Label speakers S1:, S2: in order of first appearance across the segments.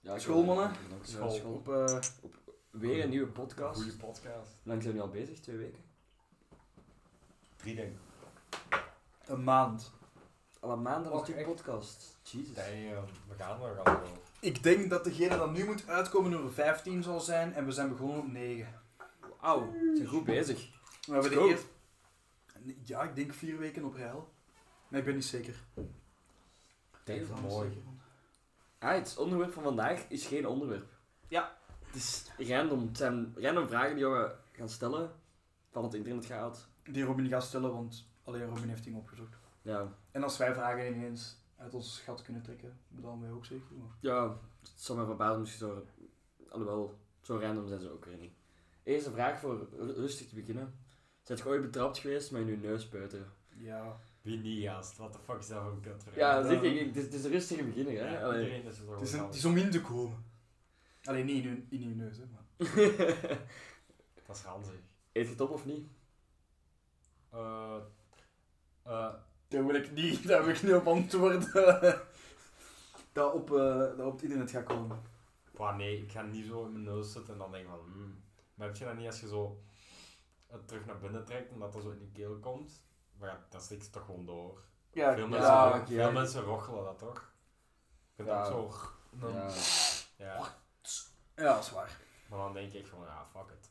S1: Ja, schoolmannen.
S2: School.
S1: School. Op, eh, op weer een nieuwe podcast.
S2: Goede podcast.
S1: Hoe lang zijn we nu al bezig? Twee weken?
S2: Drie denk ik.
S3: Een maand.
S1: Al een maand was
S2: Och,
S1: die
S2: echt?
S1: podcast. Jezus.
S2: Nee, eh, we gaan we gaan wel.
S3: Ik denk dat degene dat nu moet uitkomen nummer 15 zal zijn en we zijn begonnen op 9.
S1: Auw, we zijn goed bezig.
S3: We hebben de
S1: Go.
S3: eerste... Ja, ik denk vier weken op rij. al. Nee, ik ben niet zeker.
S2: Denk
S3: Even
S2: van mooi.
S3: zeker.
S1: Ah, het onderwerp van vandaag is geen onderwerp.
S3: Ja.
S1: Het is random. Het zijn random vragen die we gaan stellen van het internet gehaald.
S3: Die Robin gaat stellen, want alleen Robin heeft die opgezocht.
S1: Ja,
S3: En als wij vragen ineens uit ons schat kunnen trekken, dan ben je ook zeker. maar-
S1: ja het zal mij verbazen misschien zo... Alhoewel, zo random zijn ze ook weer niet. Eerste vraag voor ru- rustig te beginnen. Zijn je ooit betrapt geweest met je neus buiten?
S3: Ja.
S2: Wie niet gast? What the fuck is dat voor een kutvraag?
S1: Ja, zeg ik. ik- Het is, het is een rustige beginner, hè?
S2: Ja,
S1: Allee.
S2: iedereen is er
S3: Het is, een-
S2: wel.
S3: het is om in te komen. Alleen niet in, hun- in je neus, hè. Maar.
S2: Dat is handig.
S1: Eet je het op of niet?
S2: Eh, eh,
S3: Dat wil ik niet, daar wil ik niet op antwoorden. dat, op, eh, dat op het internet gaat komen.
S2: bah, nee, ik ga niet zo in mijn neus zitten en dan denk ik van... hmm. Maar heb je dat niet als je zo het terug naar binnen trekt en dat dat zo in je keel komt? Maar ja, dat stikt toch gewoon door.
S3: Ja,
S2: veel,
S3: ja,
S2: mensen,
S1: ja,
S2: ro-
S1: oké.
S2: veel mensen rochelen dat toch? Ik vind
S1: Ja.
S2: dat ook zo... dan-
S1: Ja.
S2: ja.
S3: ja, dat is waar.
S2: Maar dan denk ik gewoon, ja, fuck it.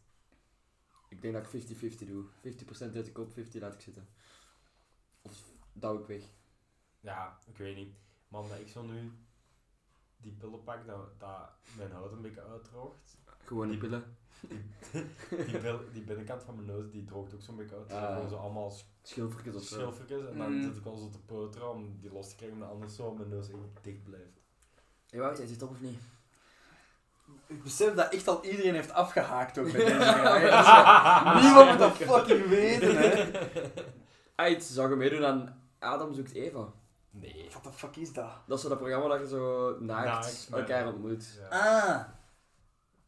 S1: Ik denk dat ik 50-50 doe. 50% zet ik op, 50 laat ik zitten. Of douw ik weg.
S2: Ja, ik weet niet. Man, dat ik zo nu die pillen pak, dat, dat mijn huid een beetje uitdroogt.
S1: Gewoon die
S2: Die-
S1: pillen.
S2: Die, bil- die binnenkant van mijn neus, die droogt ook zo'n beetje uit. Er zijn
S1: Ah.
S2: gewoon zo allemaal
S1: Schilfertjes of zo.
S2: schilfertjes. En dan
S3: Mm.
S2: zit ik al zo te peuteren om die los te krijgen, omdat anders zo mijn neus echt dik blijft.
S1: Hé Wout, jij zit op of niet?
S3: Ik besef dat echt al iedereen heeft afgehaakt ook met deze vraag. hè. Dus, eh, Niemand moet dat fucking weten, hè.
S1: Ait, Ah, zou je meedoen aan Adam zoekt Eva?
S2: Nee.
S3: Wat de fuck is dat?
S1: Dat is zo dat programma dat je zo naakt
S2: Naakt,
S1: elkaar
S2: ja.
S1: ontmoet.
S2: Ja.
S3: Ah,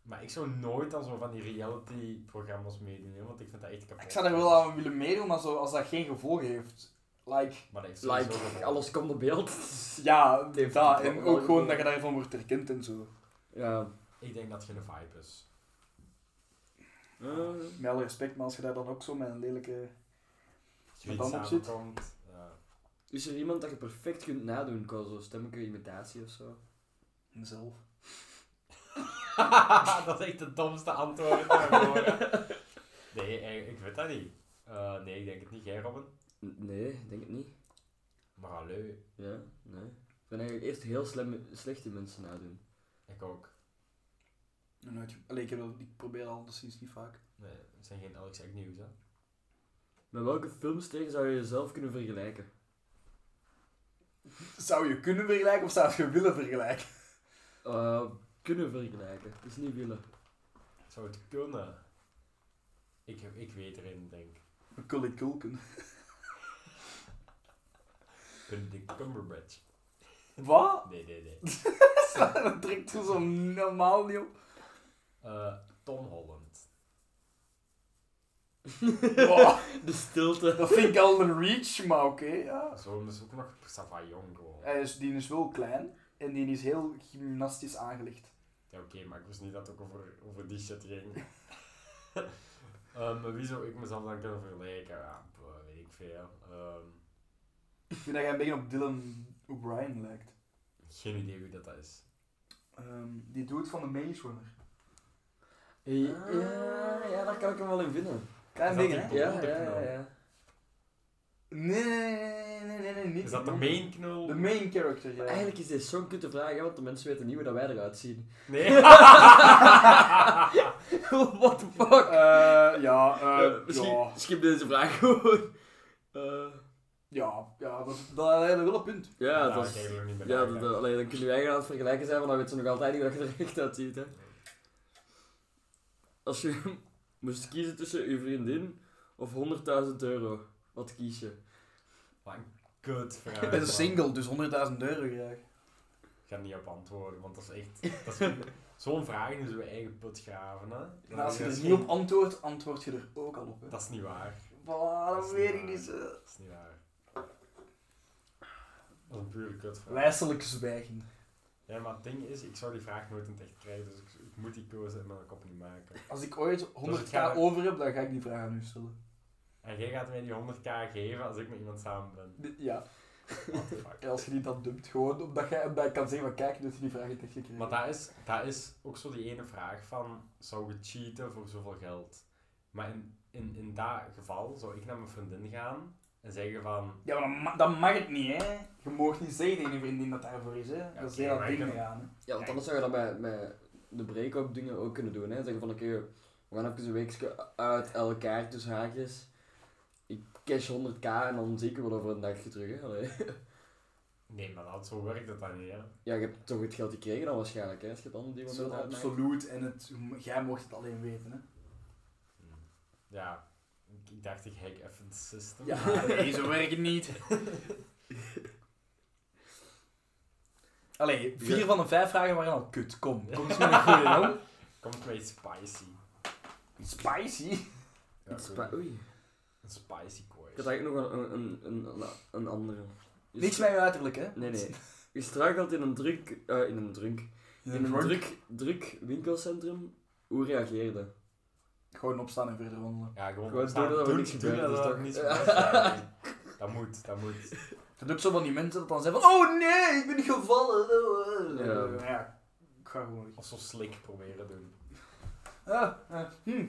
S2: Maar ik zou nooit aan zo van die reality-programma's meedoen, hè, want ik vind dat echt kapot.
S3: Ah, ik zou er wel aan willen meedoen, maar zo, als dat geen gevolgen heeft. Like,
S2: Maar dat heeft sowieso
S1: Like,
S2: gevolgen.
S1: alles komt op beeld.
S3: ja,
S1: Het heeft
S3: dat.
S1: wel
S3: En
S1: wel
S3: ook gewoon dat je
S1: gevolgen.
S3: daarvan wordt erkend en zo.
S1: Ja.
S2: Ik denk dat het geen vibe is.
S1: Eh,
S3: Met alle respect, maar als je daar dan ook zo met een lelijke...
S2: Als
S3: Met
S2: je iets
S3: dan op zit.
S2: samenkomt, ja.
S1: Is er iemand dat je perfect kunt nadoen qua zo stemmelijke imitatie of zo?
S3: Zelf.
S2: dat is echt de domste antwoord dat ik hoor. Nee, eh, ik weet dat niet. Eh, nee, ik denk het niet. Jij, Robin?
S1: N- Nee, ik denk het niet.
S2: Maar hallo,
S1: Ja, nee. Ik ben eigenlijk eerst heel slem, slechte mensen nadoen.
S2: ik ook.
S3: Nog nooit ge- Allee, ik, heb dat- ik probeer dat al sinds niet vaak.
S2: Nee, het zijn geen Alex Agnews, hè.
S1: Met welke filmsterren zou je jezelf kunnen vergelijken?
S3: Zou je kunnen vergelijken of zou je willen vergelijken?
S1: Eh, kunnen vergelijken, dus niet willen.
S2: Zou het kunnen? Ik, ik weet erin, denk ik.
S3: Macaulay Culkin.
S2: Benedict Cumberbatch.
S3: Wat?
S2: Nee, nee, nee.
S3: dat trekt er zo normaal niet op.
S2: Eh, Tom Holland.
S3: Wow,
S1: De stilte.
S3: dat vind ik al een reach, maar oké, ja.
S2: Zo is ook nog Sava Jong gewoon.
S3: Hij is, die is wel klein en die is heel gymnastisch aangelegd.
S2: Ja, oké, maar ik wist niet dat het ook over, over die shit ging. Eh, maar wie zou ik mezelf dan kunnen vergelijken? Ja, boh, weet ik veel. Ehm,
S3: Ik vind dat hij een beetje op Dylan O'Brien lijkt.
S2: geen idee wie dat is.
S3: Ehm, die doet van de Maze Runner.
S1: Ah, Ja, ja, daar kan ik hem wel in vinden.
S3: Klein
S2: Is dat
S3: ding,
S2: die
S3: hè?
S2: blonde?
S1: Ja, ja, ja. ja.
S3: Nee, nee, nee, nee, nee, nee, niet
S2: Is dat de
S3: die
S2: main knul?
S3: blonde. De main character, ja.
S1: Maar Eigenlijk is dit zo'n kutte vraag, hè, want de mensen weten niet hoe dat wij eruit zien.
S2: Nee. Ah,
S1: What the fuck?
S3: Eh, ja, eh,
S1: Eh, misschien
S3: ja,
S1: skip deze vraag gewoon. Eh,
S3: ja, ja, dat, dat, dat is wel een punt.
S1: ja, dat
S2: Daar heb ik
S1: is...
S2: eigenlijk nog niet bij
S1: Ja, dat,
S2: nagedacht.
S1: alleen, dan kunnen wij gaan aan het vergelijken zijn, want dan weten ze nog altijd niet hoe dat je er echt uitziet. Hè. Als je moest kiezen tussen je vriendin of 100.000 euro, wat kies je?
S2: Wat een kutvraag.
S3: Ik ben
S2: man.
S3: single, dus 100.000 euro graag.
S2: Ik ga er niet op antwoorden, want dat is echt... Dat is, zo'n vraag is we eigen put graven, hè.
S3: En als je er
S2: Dat is
S3: niet op antwoordt, antwoord je er ook al op. Hè.
S2: Dat is niet waar.
S3: Bah,
S2: dat
S3: dat
S2: is
S3: weet ik niet.
S2: niet waar.
S3: eh.
S2: Dat is niet waar. Dat is een pure kutvraag.
S3: Wijselijk zwijgen.
S2: Ja, maar het ding is, ik zou die vraag nooit in het echt krijgen, dus ik, ik moet die keuze in mijn kop niet maken.
S3: Als ik ooit 100k
S2: gaat-
S3: over heb, dan ga ik die vraag aan u stellen.
S2: En jij gaat mij die 100k geven als ik met iemand samen ben.
S3: Dit- Ja,
S2: What the fuck.
S3: en als je die dan dumpt, gewoon omdat jij omdat ik kan zeggen van kijk, nu heb je die vraag in het echt gekregen.
S2: Maar dat is, dat is ook zo die ene vraag van, zou je cheaten voor zoveel geld? Maar in, in, in dat geval zou ik naar mijn vriendin gaan en zeggen van...
S3: Ja, maar dat, ma- dat mag het niet, hè. Je mag niet zeggen tegen je vriendin dat daarvoor is, hè. dat is
S2: oké,
S3: heel dat
S2: maar
S3: ding
S2: ik heb-
S3: mee aan, hè.
S1: Ja, want anders zou je dat bij, bij de break-up dingen ook kunnen doen. Hè? Zeggen van, oké, we gaan even een weekje uit elkaar tussen haakjes. Ik cash 100k en dan zie ik je wel over een dagje terug. Hè? Allee.
S2: Nee, maar dat, zo werkt dat dan niet, hè.
S1: Ja, je hebt toch het geld gekregen dan waarschijnlijk, hè? Als je het dan die
S3: Het is
S1: moment
S3: wel
S1: uitmaakt.
S3: absoluut en het, jij mocht het alleen weten, hè.
S2: Ja, ik, ik dacht ik hack even het system.
S3: Ja, nee, zo werkt het niet. Allee, vier
S1: Ja.
S3: van de vijf vragen waren al kut. Kom, kom eens met een goeie, jong.
S2: Komt mee spicy.
S3: Spicy.
S2: Ja,
S1: Iets
S2: goed.
S1: spa- Oei.
S2: Een spicy
S1: Ik had
S2: course.
S1: eigenlijk nog een, een, een, een, een andere. Je
S3: Niks
S1: stra-
S3: met je uiterlijk, hè?
S1: Nee, nee. Je struikelt in een druk... eh, in een druk... In een druk, druk winkelcentrum. Hoe reageerde?
S3: Gewoon opstaan en verder wandelen.
S2: Ja, gewoon
S1: Gewoon
S2: opstaan,
S1: doen dat er
S2: doen,
S1: niks
S2: doen
S1: gebeurt,
S2: dat
S1: dat is
S2: er
S1: toch-
S2: niets
S1: Ja.
S2: gebeurt. Dat moet, dat moet.
S3: Je hebt ook zo van die mensen dat dan zeggen van... Oh nee, ik ben gevallen.
S1: Ja.
S3: ja ik ga gewoon weg.
S2: Of zo slik proberen doen.
S3: Ah, ah, hm.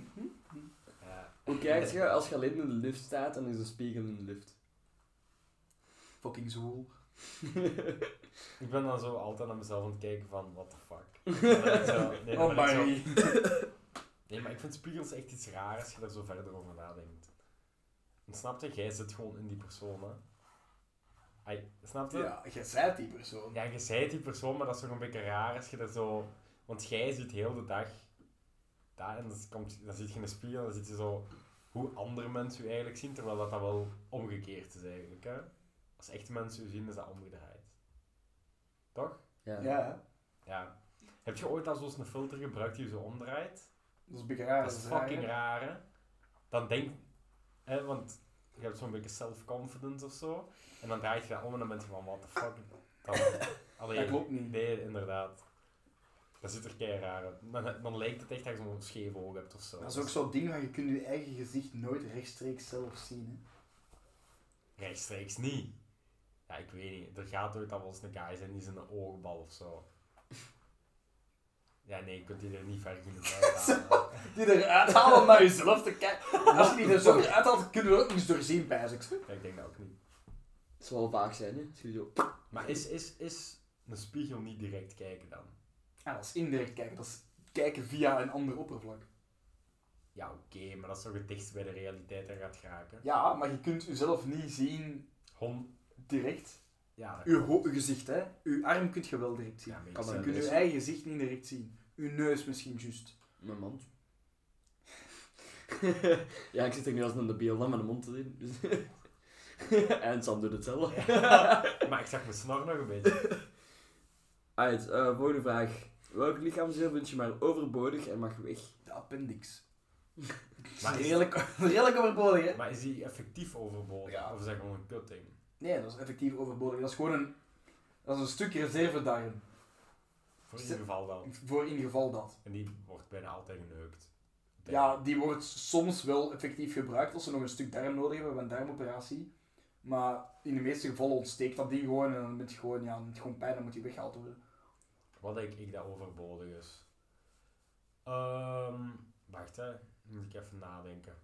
S2: Ja.
S1: Hoe kijkt je als je alleen in de lift staat en er is een spiegel in de lift?
S3: Fucking zoel.
S2: Ik ben dan zo altijd naar mezelf aan het kijken van, what the fuck. Dan ben ik zo- nee, dan
S3: oh
S2: ben ik zo-
S3: my.
S2: Nee, maar ik vind spiegels echt iets raar als je daar zo verder over nadenkt. Want snap je, jij zit gewoon in die persoon, hè. Ai, snap je?
S3: Ja, jij zijt die persoon.
S2: Ja, je zijt die persoon, maar dat is toch een beetje raar als je dat zo... Want jij ziet heel de dag... Dat, en dan, komt, dan zit je in de spiegel en dan zit je zo... Hoe andere mensen u eigenlijk zien, terwijl dat, dat wel omgekeerd is eigenlijk, hè. Als echte mensen u zien, is dat omgedraaid. Toch?
S1: Ja.
S3: Ja,
S2: Ja. Heb je ooit al zo'n filter gebruikt die je zo omdraait?
S3: dat is een beetje raar.
S2: dat is
S3: raar, hè?
S2: fucking raar, hè? Dan denk... Hè, want je hebt zo'n beetje self-confidence of zo. En dan draai je dat om en dan ben je van, what the fuck? Dan, allee,
S3: Dat klopt niet.
S2: Nee, inderdaad. Dat zit er kei raar uit. Dan, dan lijkt het echt dat je zo'n scheef oog hebt of zo.
S3: Dat is ook zo'n ding van je kunt je eigen gezicht nooit rechtstreeks zelf zien. Hè.
S2: Rechtstreeks niet. Ja, ik weet niet. Er gaat ooit al wel eens een guy zijn die is een oogbal of zo. Ja, nee, je kunt die er niet ver genoeg uit halen.
S3: Die eruit halen om naar jezelf te kijken. Als je die er zo eruit haalt, kunnen we er ook niets doorzien, pijs ik.
S2: Ja, ik denk dat ook niet.
S1: Het zal wel vaag zijn, hè? Als je zo-
S2: Maar is, is, is een spiegel niet direct kijken dan?
S3: Ja, dat is indirect kijken. Dat is kijken via een ander oppervlak.
S2: Ja, oké, maar dat is toch het dichtst bij de realiteit dat gaat geraken.
S3: Ja, maar je kunt jezelf niet zien
S2: Hon...
S3: direct.
S2: Ja, dat
S3: Uw, ho- uw gezicht, hè. Uw arm kunt je wel direct zien.
S2: ja, makes
S1: Kan
S3: Je
S1: dat
S2: sense.
S3: kunt
S1: dus-
S3: uw eigen gezicht niet direct zien. Uw neus misschien juist.
S1: Mijn mond. ja, ik zit er nu als een debiel dan met een mond te zien. dus- en Sam doet hetzelfde.
S2: Maar ik zag mijn snor nog een beetje.
S1: Alright, eh, volgende vraag. Welk lichaamsdeel vind je maar overbodig en mag weg?
S3: De appendix.
S2: Maar is,
S3: redelijk, redelijk overbodig, hè.
S2: maar is die effectief overbodig?
S3: Ja.
S2: Of is dat gewoon een kutting?
S3: Nee, dat is effectief overbodig. Dat is gewoon een... Dat is een stuk reservedarm.
S2: Voor
S3: Is
S2: ieder
S3: het-
S2: geval wel.
S3: Voor in geval dat.
S2: En die wordt bijna altijd geneukt.
S3: Ja, die wordt soms wel effectief gebruikt als ze nog een stuk darm nodig hebben bij een darmoperatie. Maar in de meeste gevallen ontsteekt dat ding gewoon en dan moet je gewoon, ja, dan heb je gewoon pijn, dan moet die weggehaald worden.
S2: Wat denk ik dat overbodig is? Ehm, wacht hè, moet ik even nadenken.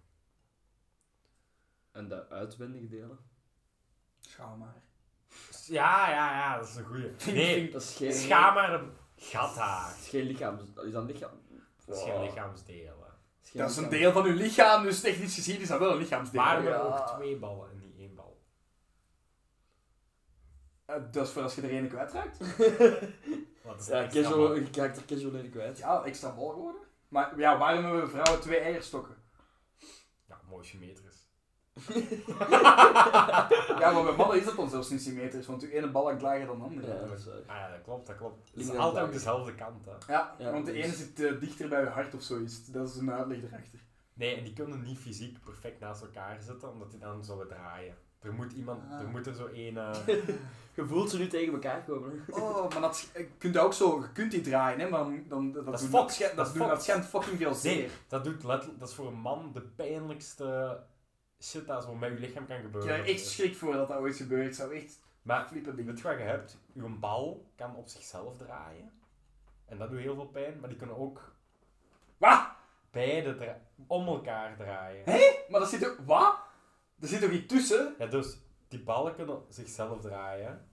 S1: En de uitwendige delen?
S3: Schaam maar.
S2: Ja, ja, ja, dat is een goeie. Nee,
S1: Dat is geen...
S2: schaam maar een gathaar.
S1: Dat is geen lichaam. Is dat een lichaam?
S2: Dat is
S1: Wow.
S2: geen lichaamsdelen.
S1: is geen
S3: Dat is een
S1: lichaam.
S3: deel van uw lichaam, dus technisch gezien is dat wel een lichaamsdeel.
S2: Maar
S1: ja.
S2: er ook twee ballen en niet één bal.
S3: Eh, dat is voor als je er een kwijtraakt.
S2: Wat is
S1: Ja,
S2: dat extra
S1: casual,
S2: bal?
S1: ik raak er casual in kwijt.
S3: Ja, extra bal geworden. Maar ja, waarom hebben vrouwen twee eierstokken?
S2: Ja, mooi symmetrisch.
S3: Ja, maar bij mannen is dat dan zelfs niet symmetrisch, want uw ene bal hangt lager dan de andere.
S1: Ja,
S3: Ja,
S1: dat is waar.
S2: Ah ja, dat klopt, dat klopt. Het is
S1: Links en
S2: altijd ook
S1: rechts.
S2: dezelfde kant, hè.
S1: Ja,
S3: want de
S1: dus-
S3: ene zit eh, dichter bij uw hart of zoiets. Dat is een uitleg erachter.
S2: Nee, en die kunnen niet fysiek perfect naast elkaar zitten, omdat die dan zouden draaien. Er moet iemand,
S3: Ah.
S2: er moet er zo één... eh,
S1: Je voelt ze nu tegen elkaar komen. hè.
S3: Oh, maar dat sch- je kunt dat ook zo, je kunt die draaien, hè, maar dan, dan, dat,
S2: Dat is
S3: doet-
S2: fucked.
S3: dat, schen-
S2: Dat
S3: dat,
S2: is
S3: doet- dat
S2: fucked.
S3: schijnt fucking veel zeer.
S2: Nee, dat, doet letterlijk- dat is voor een man de pijnlijkste shit dat zo met je lichaam kan
S3: Ik
S2: gebeuren.
S3: heb er echt schrik voor dat dat ooit gebeurt. Het zou echt
S2: Maar
S3: flippen
S2: Weet
S3: dingen.
S2: je wat je hebt? Uw bal kan op zichzelf draaien. En dat doet heel veel pijn, maar die kunnen ook
S3: Wat?
S2: beide dra- om elkaar draaien.
S3: Hè? Maar dat zit ook... Wat? Er zit toch iets tussen?
S2: Ja, dus die ballen kunnen zichzelf draaien.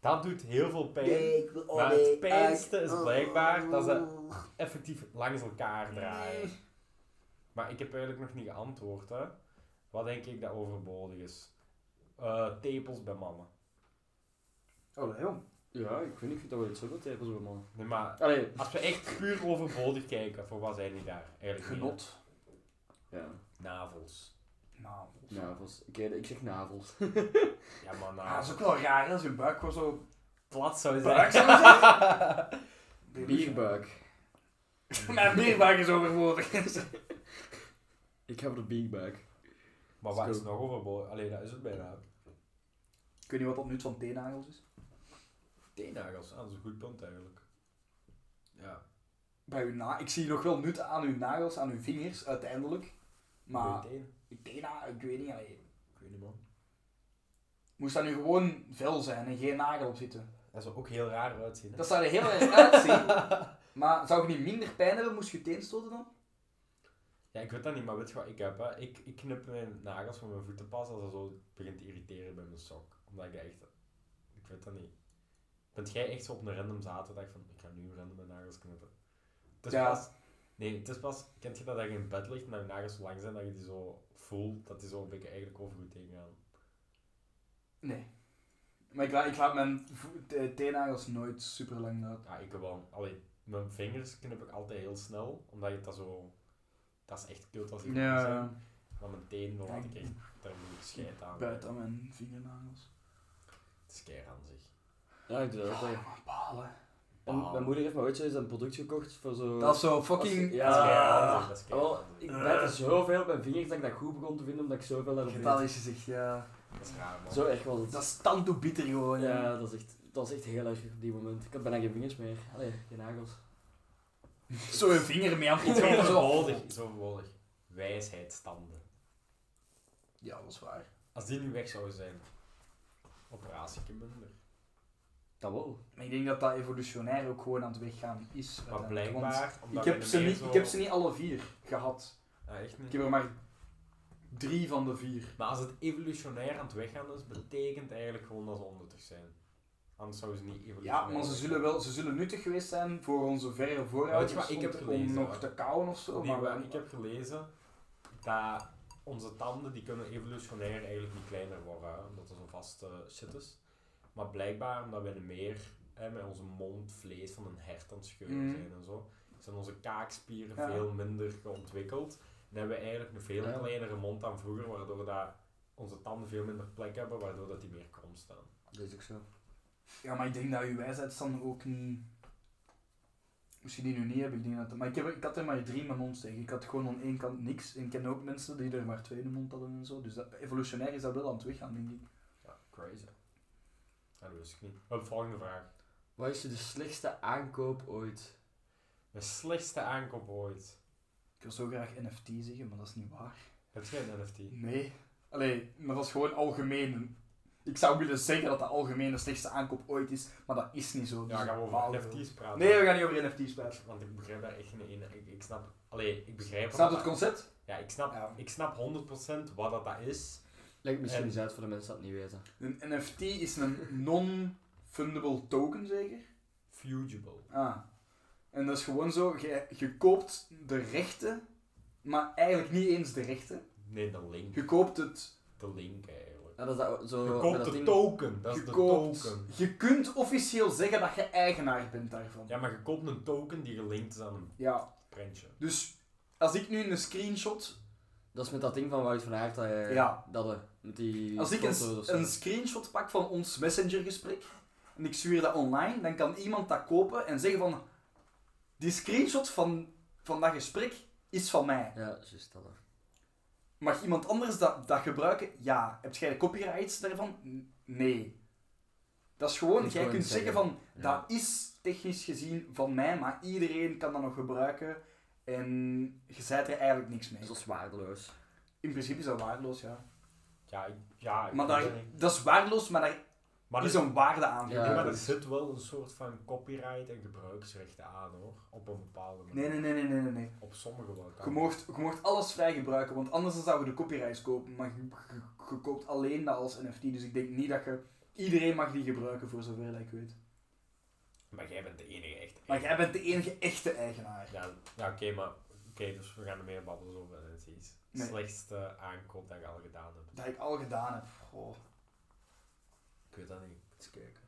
S2: Dat doet heel veel pijn.
S1: ik
S3: oh,
S1: wil-
S2: Maar het
S1: nee,
S2: pijnste
S1: ik-
S2: is blijkbaar dat ze- Effectief langs elkaar draaien.
S3: Nee.
S2: Maar ik heb eigenlijk nog niet geantwoord. Hè. Wat denk ik dat overbodig is? Eh, tepels bij mannen.
S3: Oh, heel.
S1: Ja, ik weet niet, ik vind dat wel iets zo goed hebben, zo'n man.
S2: Nee, maar
S1: Allee,
S2: als we echt puur overbodig kijken, voor wat zijn die daar? Eigenlijk niet, hè.
S3: Genot.
S1: ja,
S2: Navels.
S3: Nou,
S1: navels. Oké, ik zeg navels.
S2: Ja, maar
S3: ah, dat
S2: navels.
S3: is ook wel raar hè, als je buik gewoon zo...
S2: plat zou
S3: Buik
S2: zijn.
S3: zou zijn.
S1: Bierbuik.
S3: Mijn bierbuik is overbodig.
S1: Ik heb de bierbuik.
S2: Maar wat is
S1: Zo.
S2: nog overbodig? Allee, dat is het bijna.
S3: Ik weet niet wat dat nut van teennagels is.
S2: Teennagels, ah, dat is een goed punt eigenlijk. Ja.
S3: Bij uw na ik zie nog wel nut aan uw nagels, aan uw vingers, uiteindelijk. Maar
S2: Goeie teen.
S3: ik tena, ik weet niet. allee,
S2: Ik weet niet, man.
S3: Moest dat nu gewoon vel zijn en geen nagel op zitten?
S2: Dat zou ook heel raar uitzien. Hè?
S3: Dat zou er heel erg uitzien. maar zou je niet minder pijn hebben moest je je teen stoten dan?
S2: Ja, ik weet dat niet, maar weet je wat ik heb? Hè? Ik, ik knip mijn nagels van mijn voeten pas als dat zo begint te irriteren bij mijn sok. Omdat ik dat echt... Ik weet dat niet. Bent jij echt zo op een random zaterdag van, ik ga nu random mijn nagels knippen? Het is
S3: Ja.
S2: pas... Nee, het is pas... Kent je dat dat je in bed ligt en dat je nagels zo lang zijn, dat je die zo voelt, dat die zo een beetje eigenlijk over je tegen gaan?
S3: Nee. Maar ik, la- ik laat mijn vo- te- teennagels nooit super lang laten.
S2: Ja, ik heb wel. Allee, mijn vingers knip ik altijd heel snel, omdat je dat zo. Dat is echt kut als ik zijn. Maar mijn teen wil ik echt daar moet ik scheid aan.
S3: Buiten aan mijn vingernagels.
S2: Het is keihard aan zich.
S1: Ja, ik doe dat ook wel.
S3: Maar balen.
S1: En Mijn moeder heeft me ooit zoiets een product gekocht voor zo...
S3: Dat is zo
S1: Als-
S3: fucking... Ah,
S2: Dat is keihard
S1: Ja.
S2: aan zich, Dat is keihard
S1: Oh,
S2: aan zich.
S1: ik bette zoveel op mijn vingers dat ik dat goed begon te vinden, omdat ik zoveel daarop deed.
S3: Getalisch gezicht, ja.
S2: Dat is raar man.
S1: Zo erg was het.
S3: Dat is tandtoe bitter gewoon. hè.
S1: Ja, dat is echt, dat is echt heel erg op die moment. Ik had bijna geen vingers meer. Allee, geen nagels.
S3: Zo een vinger mee aan het
S2: Iets
S3: proberen, zo.
S2: overbodig, iets overbodig. Wijsheidstanden.
S3: Ja, dat is waar.
S2: Als die nu weg zouden zijn, operatie minder.
S1: Dat wel.
S3: Maar ik denk dat dat evolutionair ook gewoon aan het weggaan is.
S2: Maar
S3: uiteindelijk. Want
S2: blijkbaar, omdat
S3: Ik heb,
S2: we
S3: ze
S2: meer
S3: niet,
S2: zo-
S3: ik heb ze niet alle vier gehad.
S2: Ah, echt
S3: Ik
S2: niet.
S3: heb er maar drie van de vier.
S2: Maar als het evolutionair aan het weggaan is, betekent eigenlijk gewoon dat ze onnuttig zijn. Anders zouden ze niet
S3: Ja,
S2: evolutionair
S3: maar ze zullen, wel, ze zullen nuttig geweest zijn voor onze verre
S2: Ja, weet
S3: vooruit.
S2: je wat ik heb
S3: om
S2: gelezen,
S3: nog
S2: hoor.
S3: te kauwen of zo.
S2: Nee,
S3: maar
S2: maar ik heb gelezen dat onze tanden die kunnen evolutionair eigenlijk niet kleiner worden, hè, omdat dat zo'n vaste shit is. Maar blijkbaar, omdat we meer hè, met onze mond vlees van een hert aan het scheuren
S3: Mhm.
S2: zijn en zo, zijn onze kaakspieren
S3: Ja.
S2: veel minder geontwikkeld. En hebben we eigenlijk een veel
S1: Ja.
S2: kleinere mond dan vroeger, waardoor dat onze tanden veel minder plek hebben, waardoor dat die meer krom staan.
S1: Dat is ook zo.
S3: Ja, maar ik denk dat uw wijsheid dan ook niet... Misschien die nu niet hebben, ik denk dat... Maar ik, heb, ik had er maar drie in mijn mond tegen. Ik had gewoon aan één kant niks. En ik ken ook mensen die er maar twee in de mond hadden en zo. Dus dat, evolutionair is dat wel aan het weggaan, denk ik.
S2: Ja, crazy. Ja, dat wist ik niet. Op, volgende vraag.
S1: Wat is de slechtste aankoop ooit?
S2: Mijn slechtste aankoop ooit.
S3: Ik wil zo graag NFT zeggen, maar dat is niet waar.
S2: Heb jij een NFT?
S3: Nee. Allee, maar dat is gewoon algemeen. Ik zou willen zeggen dat dat algemeen de slechtste aankoop ooit is, maar dat is niet zo.
S2: Ja,
S3: Dus
S2: gaan we
S3: baal
S2: over
S3: ervan.
S2: NFT's praten?
S3: Nee, we gaan niet over NFT's praten.
S2: Want ik begrijp daar echt geen ene... Ik, ik snap... Allee, ik begrijp...
S3: Snap je
S2: wat
S3: het
S2: dat-
S3: concept?
S2: Ja, ik snap,
S3: Ja.
S2: ik snap 100% wat dat, dat is.
S1: Leg het misschien
S2: En-
S1: eens uit voor de mensen dat het niet weten.
S3: Een NFT is een non-fundable token, zeker?
S2: Fugible.
S3: Ah. En dat is gewoon zo, je, je koopt de rechten, maar eigenlijk niet eens de rechten.
S2: Nee, de link.
S3: Je koopt het...
S2: De link
S3: Eh,
S2: eigenlijk.
S1: Ja, dat is dat, zo,
S2: Je
S1: met
S2: koopt
S1: dat
S2: de
S1: ding-
S2: token. Dat is
S3: Je,
S2: de
S3: koopt-
S2: token.
S3: je kunt officieel zeggen dat je eigenaar bent daarvan.
S2: Ja, maar je koopt een token die gelinkt is aan een
S3: ja.
S2: printje.
S3: Dus als ik nu een screenshot
S1: Dat is met dat ding van Wout van Aert dat hij...
S3: Ja.
S1: Dat hij- met die
S3: Als ik
S1: foto's of
S3: een,
S1: zo.
S3: een screenshot pak van ons messengergesprek en ik stuur dat online, dan kan iemand dat kopen en zeggen van die screenshot van, van dat gesprek is van mij.
S1: eh. Ja, juist dat. hè.
S3: Mag iemand anders dat, dat gebruiken? Ja. Heb jij de copyrights daarvan? N- Nee. Dat is gewoon,
S1: Moet
S3: jij
S1: gewoon
S3: kunt zeggen
S1: zeggen.
S3: van,
S1: Ja.
S3: dat is technisch gezien van mij, maar iedereen kan dat nog gebruiken en je zei er eigenlijk niks mee.
S1: Dat is waardeloos.
S3: In principe is dat waardeloos, ja.
S2: Ja, ik- ja Ah, ik
S3: Maar
S2: weet
S3: daar,
S2: het niet.
S3: dat is waardeloos, maar daar
S2: maar
S3: is
S2: er-
S3: een waarde aan.
S1: Ja.
S2: nee, maar er
S1: dus-
S2: zit wel een soort van copyright en gebruiksrechten aan hoor. Op een bepaalde manier.
S3: Nee, nee, nee, nee, nee, nee, nee.
S2: Op sommige wel.
S3: Je moogt, je moogt alles vrij gebruiken, want anders dan zouden we de copyrights kopen. Maar je, je- je koopt alleen dat als NFT, dus ik denk niet dat je... Iedereen mag die gebruiken, voor zover dat ik weet.
S2: Maar jij bent de enige echt.
S3: Maar jij bent de enige echte eigenaar.
S2: Ja, ja oké, maar oké, dus we gaan er meer babbelen over NFT's.
S3: Nee.
S2: Slechtste aankoop dat je al gedaan hebt.
S3: Dat ik al gedaan heb. Goh.
S2: Ik weet dat niet. Eens kijken.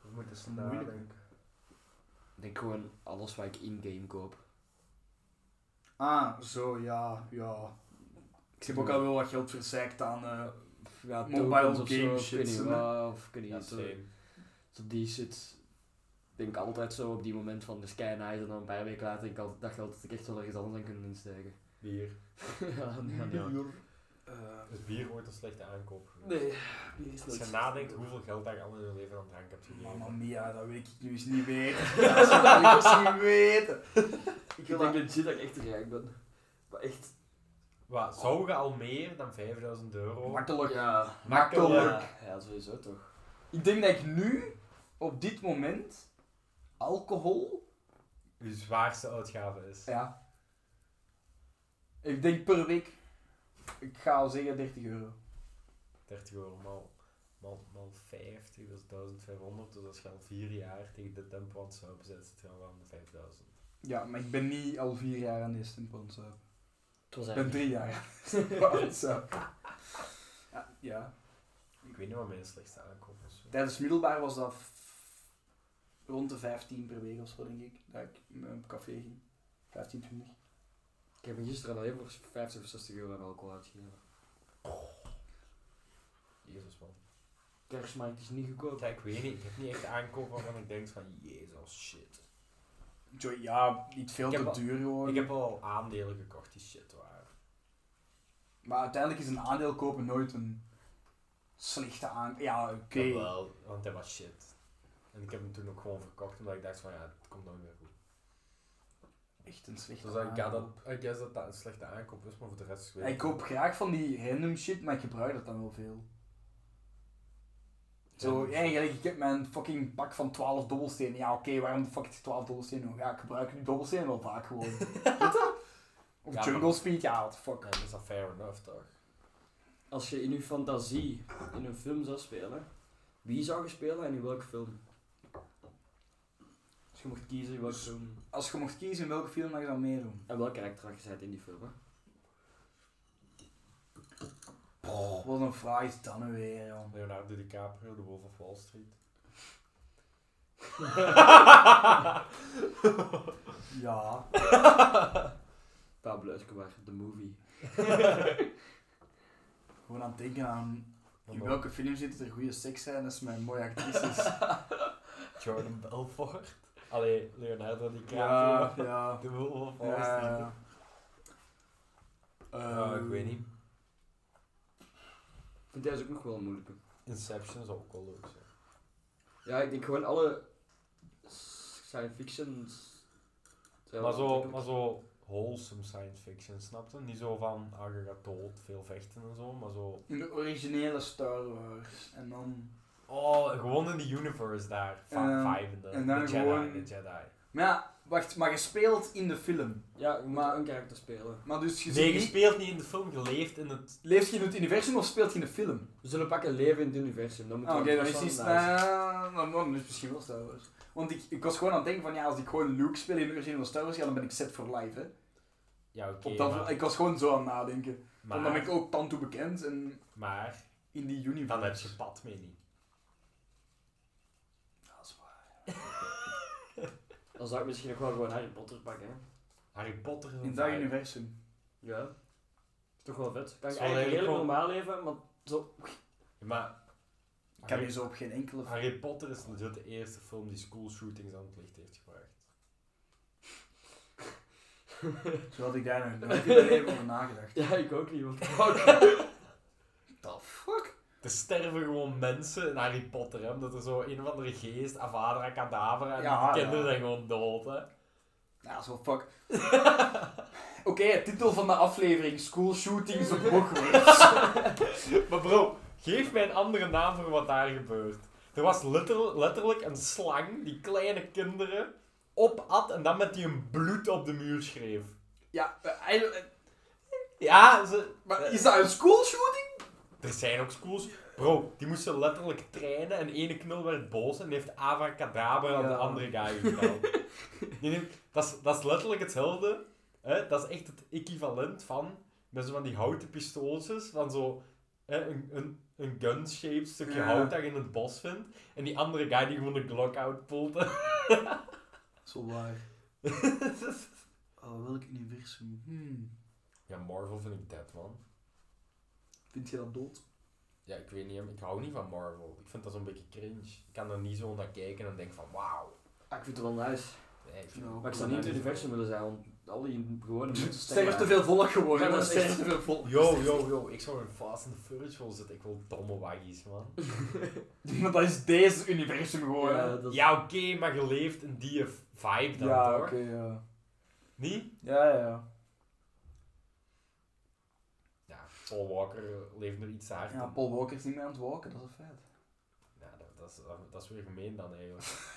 S2: We moeten eens
S3: Moeilijk.
S2: nadenken.
S1: Ik denk gewoon alles wat ik in-game koop.
S3: Ah, zo, ja, ja. Ik heb ook al wel wat geld verzeikt aan... eh,
S1: ja,
S3: mobile
S1: tokens of zo,
S3: game shit,
S1: Ik weet niet
S3: hè?
S1: wat, of ik weet
S2: Ja,
S1: niet, zo-
S2: same.
S1: zo die shit. Ik denk altijd zo op die moment van de sky nice en dan een paar weken later denk ik altijd dat geld dat ik echt wel ergens anders aan kunnen insteken.
S2: Bier.
S1: ja, ja, ja.
S3: Eh,
S2: Is bier ooit een slechte aankoop? geweest?
S1: Nee, die is
S2: Als je nadenkt hoeveel geld dat je al in je leven aan drank hebt gegeven.
S3: Mamma mia, dat wil ik nu eens niet weten. Dat wil ik eens niet weten.
S1: Ik denk legit dat ik echt rijk ben. Maar echt.
S2: Wat, zou je al meer dan 5000 euro?
S3: Makkelijk.
S1: Ja.
S3: Makkelijk.
S1: Ja, ja, sowieso toch.
S3: Ik denk dat ik nu, op dit moment, alcohol.
S2: Je zwaarste uitgave is.
S3: Ja. Ik denk per week, ik ga al zeggen 30 euro.
S2: 30 euro maal, maal, maal 50, dat is 1500. Dus als je al 4 jaar tegen de tempo aan het zuipen zit, zit je al aan de 5000.
S3: Ja, maar ik ben niet al vier jaar aan deze tempo aan het zuipen.
S1: Het was
S3: Ik ben
S1: eigenlijk.
S3: drie jaar aan deze tempo aan het zuipen. Ja, ja.
S2: Ik weet niet wat mijn slechtste aankoop is.
S3: Tijdens middelbaar was dat f- rond de 15 per week of zo, denk ik. Dat ik eh, op café ging. 15, 20.
S1: Ik heb me gisteren alleen voor 50 of 60 euro aan alcohol uitgegeven.
S2: Jezus man.
S1: Kerstmarkt is niet goedkoop.
S2: Ja, ik weet niet, ik heb niet echt aankopen waarvan ik denk van, jezus shit.
S3: Zo, ja, niet veel
S2: Ik heb
S3: te
S2: al-
S3: duur gewoon.
S2: Ik heb al aandelen gekocht die shit waren.
S3: Maar uiteindelijk is een aandeel kopen nooit een slechte aan. Ja, oké.
S2: Jawel, want dat was shit. En ik heb hem toen ook gewoon verkocht, omdat ik dacht van, ja, het komt nooit meer goed.
S3: Echt een slechte
S2: Dus ik, ga dat,
S3: aankoop.
S2: ik guess dat dat een slechte aankoop is, maar voor de rest weet
S3: Ik koop graag van die random shit, maar ik gebruik dat dan wel veel. Zo, eigenlijk, ik heb mijn fucking pak van 12 dobbelstenen. Ja, oké, waarom de fuck is 12 dobbelstenen? nog? Ja, ik gebruik die dobbelstenen wel vaak gewoon. Weet je? of
S2: Ja,
S3: jungle
S2: maar-
S3: speed, ja, what the fuck.
S2: Ja, dat is dat fair enough toch?
S1: Als je in je fantasie in een film zou spelen, wie zou je spelen en in welke film? Als je mocht kiezen in welke
S3: Dus-
S1: film.
S3: Als je mocht kiezen in welke film mag je dan meedoen?
S1: En welke actor had je bent in die film? Hè?
S3: Oh, wat een vraag is dat nu weer, joh.
S2: Leonardo DiCaprio, de Wolf of Wall Street.
S3: Ja.
S1: Pablo Escobar, The Movie.
S3: Gewoon aan het denken aan in welke film zitten er goede seksscènes met mooie actrices.
S2: Jordan Belfort. Allee, Leonardo
S3: Ja,
S2: DiCaprio.
S3: ja.
S2: De Wolf of Wall
S3: ja,
S2: Street.
S3: ja. Ehm,
S2: Ja, ik weet niet.
S1: Ik vind deze ook nog wel moeilijk.
S2: Inception zou ook wel leuk zijn.
S1: Ja, ik denk gewoon alle science fiction. zijn
S2: Maar
S1: wel
S2: zo,
S1: aantrekkelijk.
S2: maar zo wholesome science fiction, snap je? Niet zo van, ah, je gaat dood, veel vechten en zo, maar zo...
S3: In de originele Star Wars. En dan...
S2: Oh, gewoon in de universe daar.
S3: Ehm,
S2: Va- vijfende.
S3: en dan
S2: de Jedi,
S3: gewoon-
S2: de Jedi.
S3: Maar ja, wacht. Maar je speelt in de film.
S1: Ja, je moet
S3: Maar-
S1: een karakter spelen.
S3: Maar dus je,
S2: Nee,
S3: zit
S2: je
S3: niet-
S2: speelt niet in de film, je leeft in het...
S3: Leef je in het universum of speelt je in de
S2: Ah,
S3: film?
S1: We zullen pakken leven in het universum. Dan moet
S3: Ah, Oké,
S1: er
S3: dan
S1: een
S3: is iets...
S1: persoon bij zijn.
S3: eh, dan- dan is het misschien wel Star Wars. Want ik, ik was gewoon aan het denken van... Ja, als ik gewoon Luke speel in de originele Star Wars... Ja, dan ben ik set for life, hè.
S2: Ja, oké,
S3: Op dat,
S2: maar,
S3: Ik was gewoon zo aan het nadenken.
S2: maar,
S3: Want dan ben ik ook tanto bekend. En
S2: maar
S3: in die universe.
S2: dan heb je pad mee niet.
S3: Dat is waar.
S1: Dan zou ik misschien nog wel gewoon Harry Potter pakken. Hè?
S2: Harry Potter is een
S3: In dat
S2: vibe.
S3: universum.
S1: Ja. Is toch wel vet. Kan
S2: Is
S1: ik
S2: wel
S1: eigenlijk
S2: redelijk
S1: heel
S2: gewoon-
S1: normaal leven, maar zo...
S2: Ja, maar...
S3: Ik kan
S2: Harry,
S3: je zo op geen enkele...
S2: Harry Potter is legit de eerste film die school shootings aan het licht heeft gebracht.
S3: Zo had ik daar nog nooit in mijn leven over nagedacht.
S1: Ja, ik ook niet. Want...
S3: The fuck?
S2: Er sterven gewoon mensen in Harry Potter, hè, omdat er zo een of andere geest, Avada Kedavra, en
S3: Ja,
S2: die kinderen
S3: ja.
S2: zijn gewoon dood, hè.
S3: Ja, Nou, zo fuck. Oké, titel van de aflevering: School Shootings op Hogwarts.
S2: Maar bro, geef mij een andere naam voor wat daar gebeurt. Er was letter- letterlijk een slang die kleine kinderen opat en dan met die een bloed op de muur schreef.
S3: ja, eh, eigenlijk-
S2: Ja, ze...
S3: maar is dat een school shooting?
S2: Er zijn ook schools. Bro, die moesten letterlijk trainen en ene knul werd boos en die heeft abracadabra aan de
S3: Ja.
S2: andere guy gedaan. Die neemt- dat, is, dat is letterlijk hetzelfde. Hè? Dat is echt het equivalent van, met zo van die houten pistooltjes, van zo hè, een, een, een gun-shaped stukje
S3: Ja.
S2: hout dat je in het bos vindt. En die andere guy die gewoon een Glock uitpoelt.
S3: Zo waar. Oh, welk universum? Hmm.
S2: ja, Marvel vind ik dead, man.
S3: Vind je dat dood?
S2: Ja, ik weet niet, ik hou niet van Marvel. Ik vind dat zo'n beetje cringe. Ik kan er niet zo naar kijken en denk van, wauw.
S1: Ah, ik vind het wel nice.
S2: Nee, ik
S3: vind-
S1: Maar ik zou niet in het universum willen zijn, want al die gewone mensen
S3: Sterf te veel volk geworden.
S1: Ja, dat
S3: dat
S1: is
S3: is
S1: echt-
S3: sterf te veel volk.
S2: Yo, yo, yo, ik zou in Fast and the Furious willen zitten. Ik wil domme waggies, man.
S3: Maar dat is deze universum geworden.
S1: Ja, dat is-
S2: Ja, oké, maar je leeft in die vibe dan,
S3: Ja,
S2: toch?
S3: oké, ja.
S2: Niet?
S3: Ja, ja, ja.
S2: Ja, Paul Walker eh, leeft nog iets te hard.
S3: Ja, Paul Walker is niet meer aan het walken, dat is een feit.
S2: Ja, dat, dat, is, dat, dat is weer gemeen dan, eigenlijk.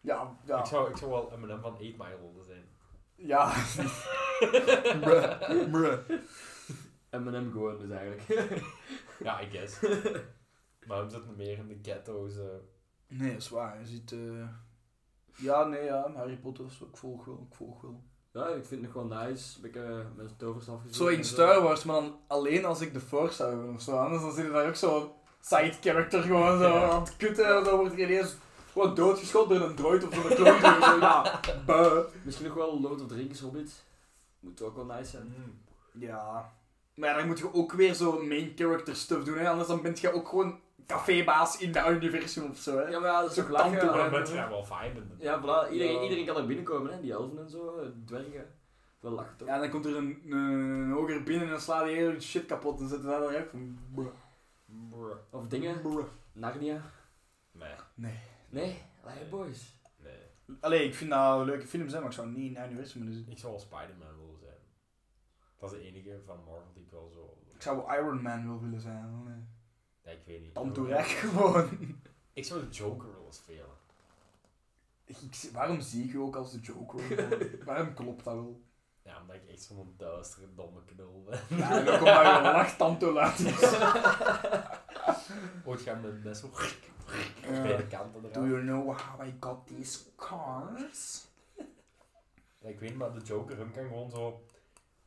S3: Ja, ja.
S2: Ik, zou, ik zou wel M&M van 8 Mile willen zijn.
S3: Ja. Bruh, bruh.
S1: M&M gewoon dus eigenlijk.
S2: Ja, I guess. maar hem zit meer in de ghetto's. eh.
S3: Nee, dat is waar. Je ziet... eh, Ja, nee, ja. Harry Potter of zo. Ik volg wel, ik volg wel.
S1: ja, ik vind het nog wel nice. Ik heb eh, mijn toverstaf gezien.
S3: Zo in Star Wars, maar dan alleen als ik de Force zou hebben of zo. Anders dan zit er daar ook zo'n side character gewoon zo
S2: Ja.
S3: aan het kutten. En dan wordt er ineens gewoon doodgeschoten door een droid of door een kloon. Zo, ja, buh.
S1: Misschien nog wel Lord of the Rings Hobbit. Moet ook wel nice zijn.
S2: Mm.
S3: Ja. Maar ja, dan moet je ook weer zo main character stuff doen, hè? anders dan ben je ook gewoon cafébaas in dat universum of zo. Hè?
S1: Ja, maar ja, dat is
S3: Zo
S1: ook lachen.
S3: tante-
S2: Maar dan
S1: hè.
S2: ben je daar wel fijn in.
S1: Ja, voilà. Iedereen,
S3: Ja.
S1: iedereen kan er binnenkomen, hè. Die elfen en zo, eh, dwergen. Wel lachen toch?
S3: Ja, dan komt er een, een hoger binnen en dan slaat hij heel shit kapot en zet hij daar echt van. bruh,
S2: Brr.
S1: Of dingen.
S3: bruh.
S1: Narnia.
S2: Nee,
S1: Nee, Lion Boys.
S2: nee.
S3: Allee, ik vind dat leuke films, hè, maar ik zou niet in het universum willen zitten.
S2: Ik zou wel Spider-Man willen zijn. Dat is de enige van Marvel die ik wel zo...
S3: Ik zou Iron Man wel willen zijn. Nee.
S2: Ja, ik weet niet.
S3: Dan doe ik gewoon.
S2: Ik zou de Joker willen spelen.
S3: Ik, ik- waarom zie ik u ook als de Joker? waarom klopt dat wel?
S2: Ja, omdat ik echt zo'n duistere, domme knul ben.
S3: Ja, en ook omdat je een lachtanto laat is.
S2: Ooit gaan met een mes zo...
S3: Ja.
S2: Bij de kant eraf.
S3: Do you know how I got these cars?
S2: Ja, ik weet maar, de Joker, hem kan gewoon zo...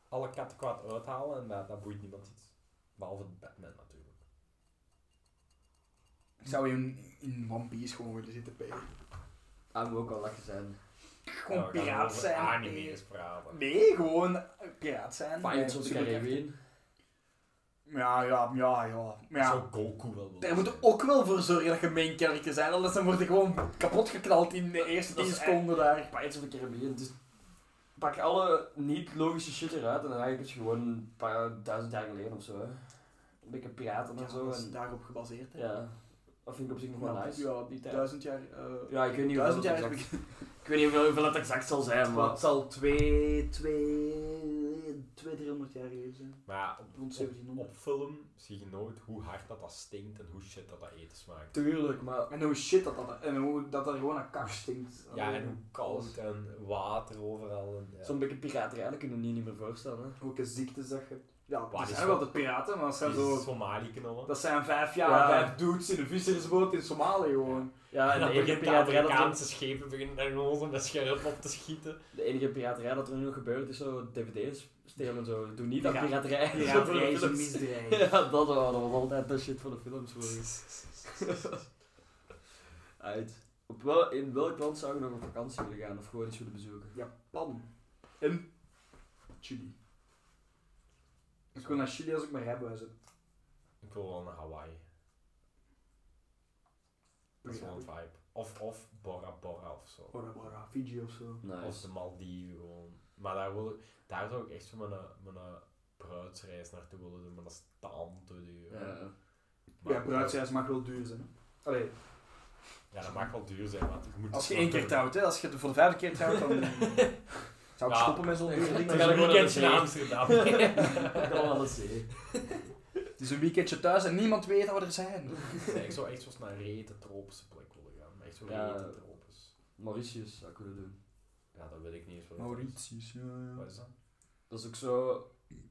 S2: Alle katten kwaad uithalen en dat, dat boeit niemand iets. Behalve Batman natuurlijk.
S3: Ik zou in, in One Piece gewoon willen zitten bij.
S1: Daar Ah, moet ook wel lachen zijn.
S3: Gewoon
S2: Ja, we gaan
S3: piraat
S2: over
S3: zijn.
S2: anime's praten.
S3: Nee, gewoon piraat zijn.
S1: Pirates
S3: Nee,
S1: of the
S3: super-
S1: Caribbean.
S3: Ja, ja, ja, ja. Maar
S2: Ik
S3: ja.
S2: zou Goku wel willen
S3: Daar moet
S2: zijn.
S3: ook wel voor zorgen dat je main character zijn, anders dan word je gewoon kapot geknald in de eerste
S1: Dat
S3: 10
S1: is
S3: seconden daar.
S1: Pirates of the Caribbean. Dus pak alle niet-logische shit eruit en dan eigenlijk is het gewoon een paar duizend jaar geleden of zo. Hè. Een beetje piraten en
S3: Ja,
S1: zo.
S3: dat is
S1: En,
S3: daarop gebaseerd. hè.
S1: ja, dat vind ik op zich nog wel
S3: Ja,
S1: nice.
S3: Ja,
S1: die tijd.
S3: duizend jaar. eh,
S1: Ja, ik weet niet hoeveel
S3: duizend
S1: het
S3: jaar.
S1: exact, ik weet niet hoeveel, hoeveel het exact zal zijn, maar...
S3: Het zal 2, 2, 300 jaar geleden zijn.
S2: Maar ja, op,
S3: Rond
S2: op,
S3: 1700.
S2: op film zie je nooit hoe hard dat dat stinkt en hoe shit dat dat eten smaakt.
S1: Tuurlijk, maar...
S3: En hoe shit dat dat, en hoe dat er gewoon een kak stinkt.
S2: Ja, en hoe koud en water overal. En, ja.
S1: Zo'n beetje piraterij, dat kunnen we niet meer voorstellen. Hè.
S3: Welke ziektes dat je... Ja,
S2: Waar
S3: dat
S2: is
S3: zijn
S2: dat?
S3: wel de piraten, maar dat zijn
S2: Die
S3: zo...
S2: Somali knullen.
S3: Dat zijn vijf jaar,
S1: Ja.
S3: vijf dudes in een vissersboot in Somalië gewoon.
S1: Ja, en
S2: En
S1: de
S2: dan
S1: enige,
S2: begint Ah, de
S1: piraterij dat er,
S2: Amerikaanse schepen beginnen daar gewoon zo met scherp op te schieten.
S1: de enige piraterij dat er nu nog gebeurt is zo dvd's stelen en zo. Doe niet dat
S3: Pira-
S1: piraterij.
S3: Piraterij is een
S1: Films.
S3: misdrijf.
S1: Ja, dat, wel, dat was altijd de shit van de films. Voor Uit. Op wel, in welk land zou je nog op vakantie willen gaan of gewoon iets willen bezoeken?
S3: Japan. En Chili. Ik wil naar Chili als ik mijn rijbewijs heb.
S2: Ik wil wel naar Hawaii. Dat is wel een vibe. Of, of Bora Bora of zo.
S3: Bora Bora, Fiji of zo.
S2: Of
S1: Nice.
S2: de Maldiven gewoon. Maar daar, wil, ik- daar zou ik echt zo mijn, eh, mijn eh, bruidsreis naartoe willen doen, maar dat is taal te duur.
S1: Ja.
S2: Maar-
S3: ja, bruidsreis mag wel duur zijn. hè. Allee,
S2: Ja, dat mag wel duur zijn, want ik moet dus
S3: als je
S2: het
S3: één keer
S2: snappen.
S3: trouwt, hè. Als je het voor de vijfde keer trouwt, dan zou ik
S2: Ja.
S3: stoppen met zo'n duur ding.
S2: Dan
S1: ga
S2: ga
S1: ik
S2: ik
S1: gewoon naar
S2: een weekendje
S1: de
S2: naar Amsterdam.
S1: Ik kan wel eens zien.
S3: Het is een weekendje thuis en niemand weet dat we er zijn.
S2: Nee, ik zou echt zoals naar een rete tropische plek willen gaan. Echt zo'n
S1: Ja.
S2: rete tropisch.
S1: Mauritius zou ik willen doen.
S2: Ja, dat weet ik niet eens wat dat is.
S3: Mauritius, ja, ja.
S2: Wat is dat?
S1: Dat is ook zo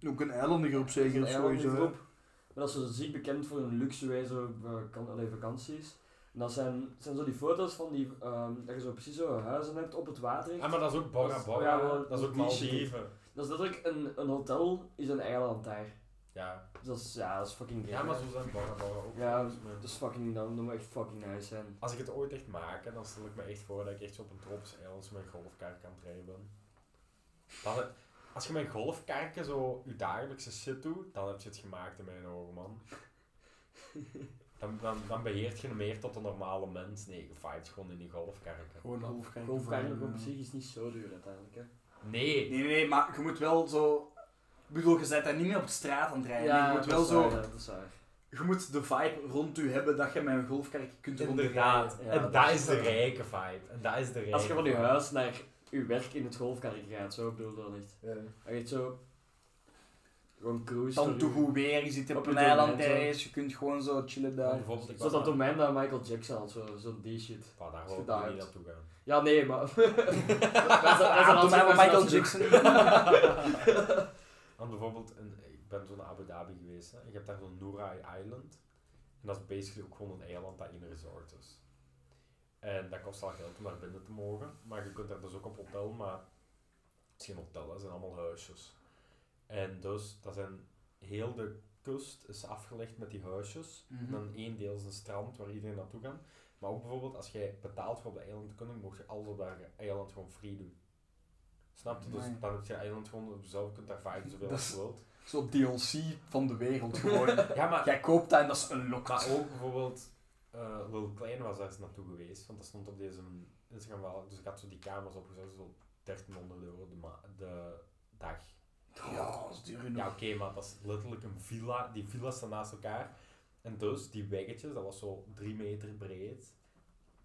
S3: Ook een eilandengroep zeker of
S1: Een eilandengroep.
S3: sowieso. hè.
S1: Maar dat is zo ziek bekend voor hun luxe wijze vakan- allee, vakanties. En dat zijn, zijn zo die foto's van die, ehm, dat je zo precies zo huizen hebt op het water.
S2: Ah, maar dat is ook Bora
S1: Dat is-
S2: Bora.
S1: ja, wel-
S2: dat is ook
S1: die shit.
S2: Maldiven.
S1: Dat is letterlijk een, een hotel, is een eiland daar.
S2: Ja.
S1: Dus dat is, ja, dat is fucking
S2: ja,
S1: gek,
S2: maar
S1: hè.
S2: zo zijn Bora Bora ook.
S1: Ja,
S2: volgens mij.
S1: Dat is fucking, dat moet echt fucking nice zijn.
S2: Als ik het ooit echt maak, hè, dan stel ik me echt voor dat ik echt zo op een tropisch eiland zo mijn golfkaart kan drijven. Dan, heb- als je mijn golfkaartje zo je dagelijkse shit doet, dan heb je het gemaakt in mijn ogen, man. Dan, dan, dan beheert je meer tot een normale mens. Nee, je fights gewoon in die golfkarken.
S3: Gewoon een half kijken.
S1: Golfkaarten op zich is niet zo duur uiteindelijk, hè.
S2: Nee,
S3: Nee, nee, nee, maar je moet wel zo... Ik bedoel, je bent daar niet meer op straat aan het rijden. je moet
S1: dat
S3: wel
S1: is
S3: zo...
S1: waar, ja, dat is waar.
S3: Je moet de vibe rond u hebben dat je met een golfkark kunt
S2: inderdaad.
S1: Ja,
S2: en
S1: dat
S2: dat
S1: is
S2: is de
S1: waar.
S2: rijke vibe. En dat is de rijke
S1: Als je van je
S2: vibe.
S1: huis naar je werk in het golfkarretje gaat, zo bedoel ik dat echt.
S3: rondrijden.
S1: Dat je echt zo... Gewoon cruise
S3: Dan
S1: door
S3: te
S1: je-
S3: goed weer, je zit op,
S1: Op
S3: een
S1: het
S3: eiland
S1: domein, zo.
S3: ergens, je kunt gewoon zo chillen
S2: Want
S3: daar.
S2: Bijvoorbeeld, ik
S1: Zo
S2: was
S1: dat
S2: naar-
S1: domein dat Michael Jackson had, zo- zo'n die shit.
S2: Bah, daar
S1: is
S2: wil ik
S1: gedaan.
S2: niet naartoe gaan.
S1: Ja, nee, maar...
S3: Ah, doe mij wat Michael Jackson.
S2: Dan bijvoorbeeld, een, ik ben zo naar Abu Dhabi geweest. Hè. Ik heb daar zo'n Nourai Island. En dat is basically ook gewoon een eiland dat in een resort is. En dat kost al geld om daar binnen te mogen. Maar je kunt daar dus ook op hotel, maar het is geen hotel, hè. het zijn allemaal huisjes. En dus, dat zijn heel de kust is afgelegd met die huisjes. En
S3: Hm. Mhm.
S2: dan één deel is een strand waar iedereen naartoe kan. Maar ook bijvoorbeeld, als jij betaalt voor op de eiland te kunnen, mocht je alles op dat eiland gewoon free doen. Snap je? Dus
S3: Amai.
S2: dan heb je eiland gewoon op jezelf, je kunt daar vaak zoveel
S3: Dat
S2: als
S3: is-
S2: je wilt.
S3: Zo DLC van de wereld gewoon.
S2: Ja, maar,
S3: Jij koopt dat en dat is een
S2: maar
S3: lokaal.
S2: ook bijvoorbeeld, eh Lil Klein was daar eens naartoe geweest, want dat stond op deze Instagram wel. Dus ik had zo die kamers opgezet, zo 1300 euro de, ma- de dag.
S3: Ja, dat is duur genoeg.
S2: Ja, oké, maar dat is letterlijk een villa. Die villa's staan naast elkaar. En dus, die weggetjes, dat was zo drie meter breed.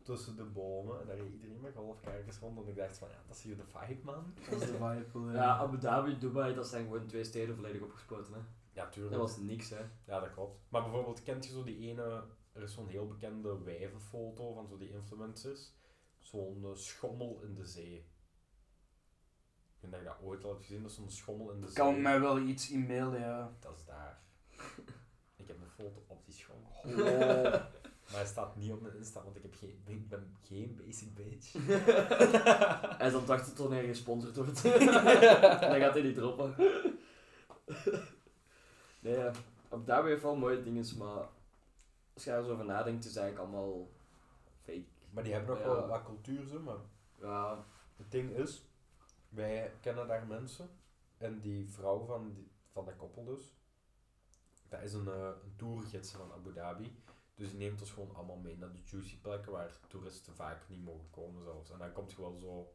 S2: Tussen de bomen. En daar reed iedereen met golfkarretjes rond. En ik dacht van, ja, dat is hier de vibe, man.
S3: Dat is de vibe. eh.
S1: Ja, Abu Dhabi, Dubai, dat zijn gewoon twee steden volledig opgespoten, hè.
S2: Ja, tuurlijk.
S1: Dat was niks, hè.
S2: Ja, dat klopt. Maar bijvoorbeeld, kent je zo die ene... Er is zo'n heel bekende wijvenfoto van zo die influencers. Zo'n eh, schommel in de zee. Ik denk dat ik dat ooit al heb gezien. Dat is zo'n schommel in de
S3: Ik
S2: zee.
S3: kan mij wel iets inbeelden, ja.
S2: Dat is daar. ik heb een foto op die schommel.
S3: Oh.
S2: Maar hij staat niet op mijn Insta, want ik, heb geen, ik ben geen basic bitch.
S1: Hij is aan het wachten tot hij gesponsord wordt. dan gaat hij die droppen. nee, ja. Abu Dhabi heeft wel mooie dingen, maar... Als je er zo over nadenkt, is het eigenlijk allemaal... Fake.
S2: Maar die hebben nog
S1: Ja.
S2: wel wat cultuur, zo, maar
S1: Ja,
S2: het ding is, wij kennen daar mensen en die vrouw van, die, van dat koppel dus, dat is een, eh, een tourgids van Abu Dhabi. Dus die neemt ons gewoon allemaal mee naar de juicy plekken waar toeristen vaak niet mogen komen zelfs. En dan komt je wel zo...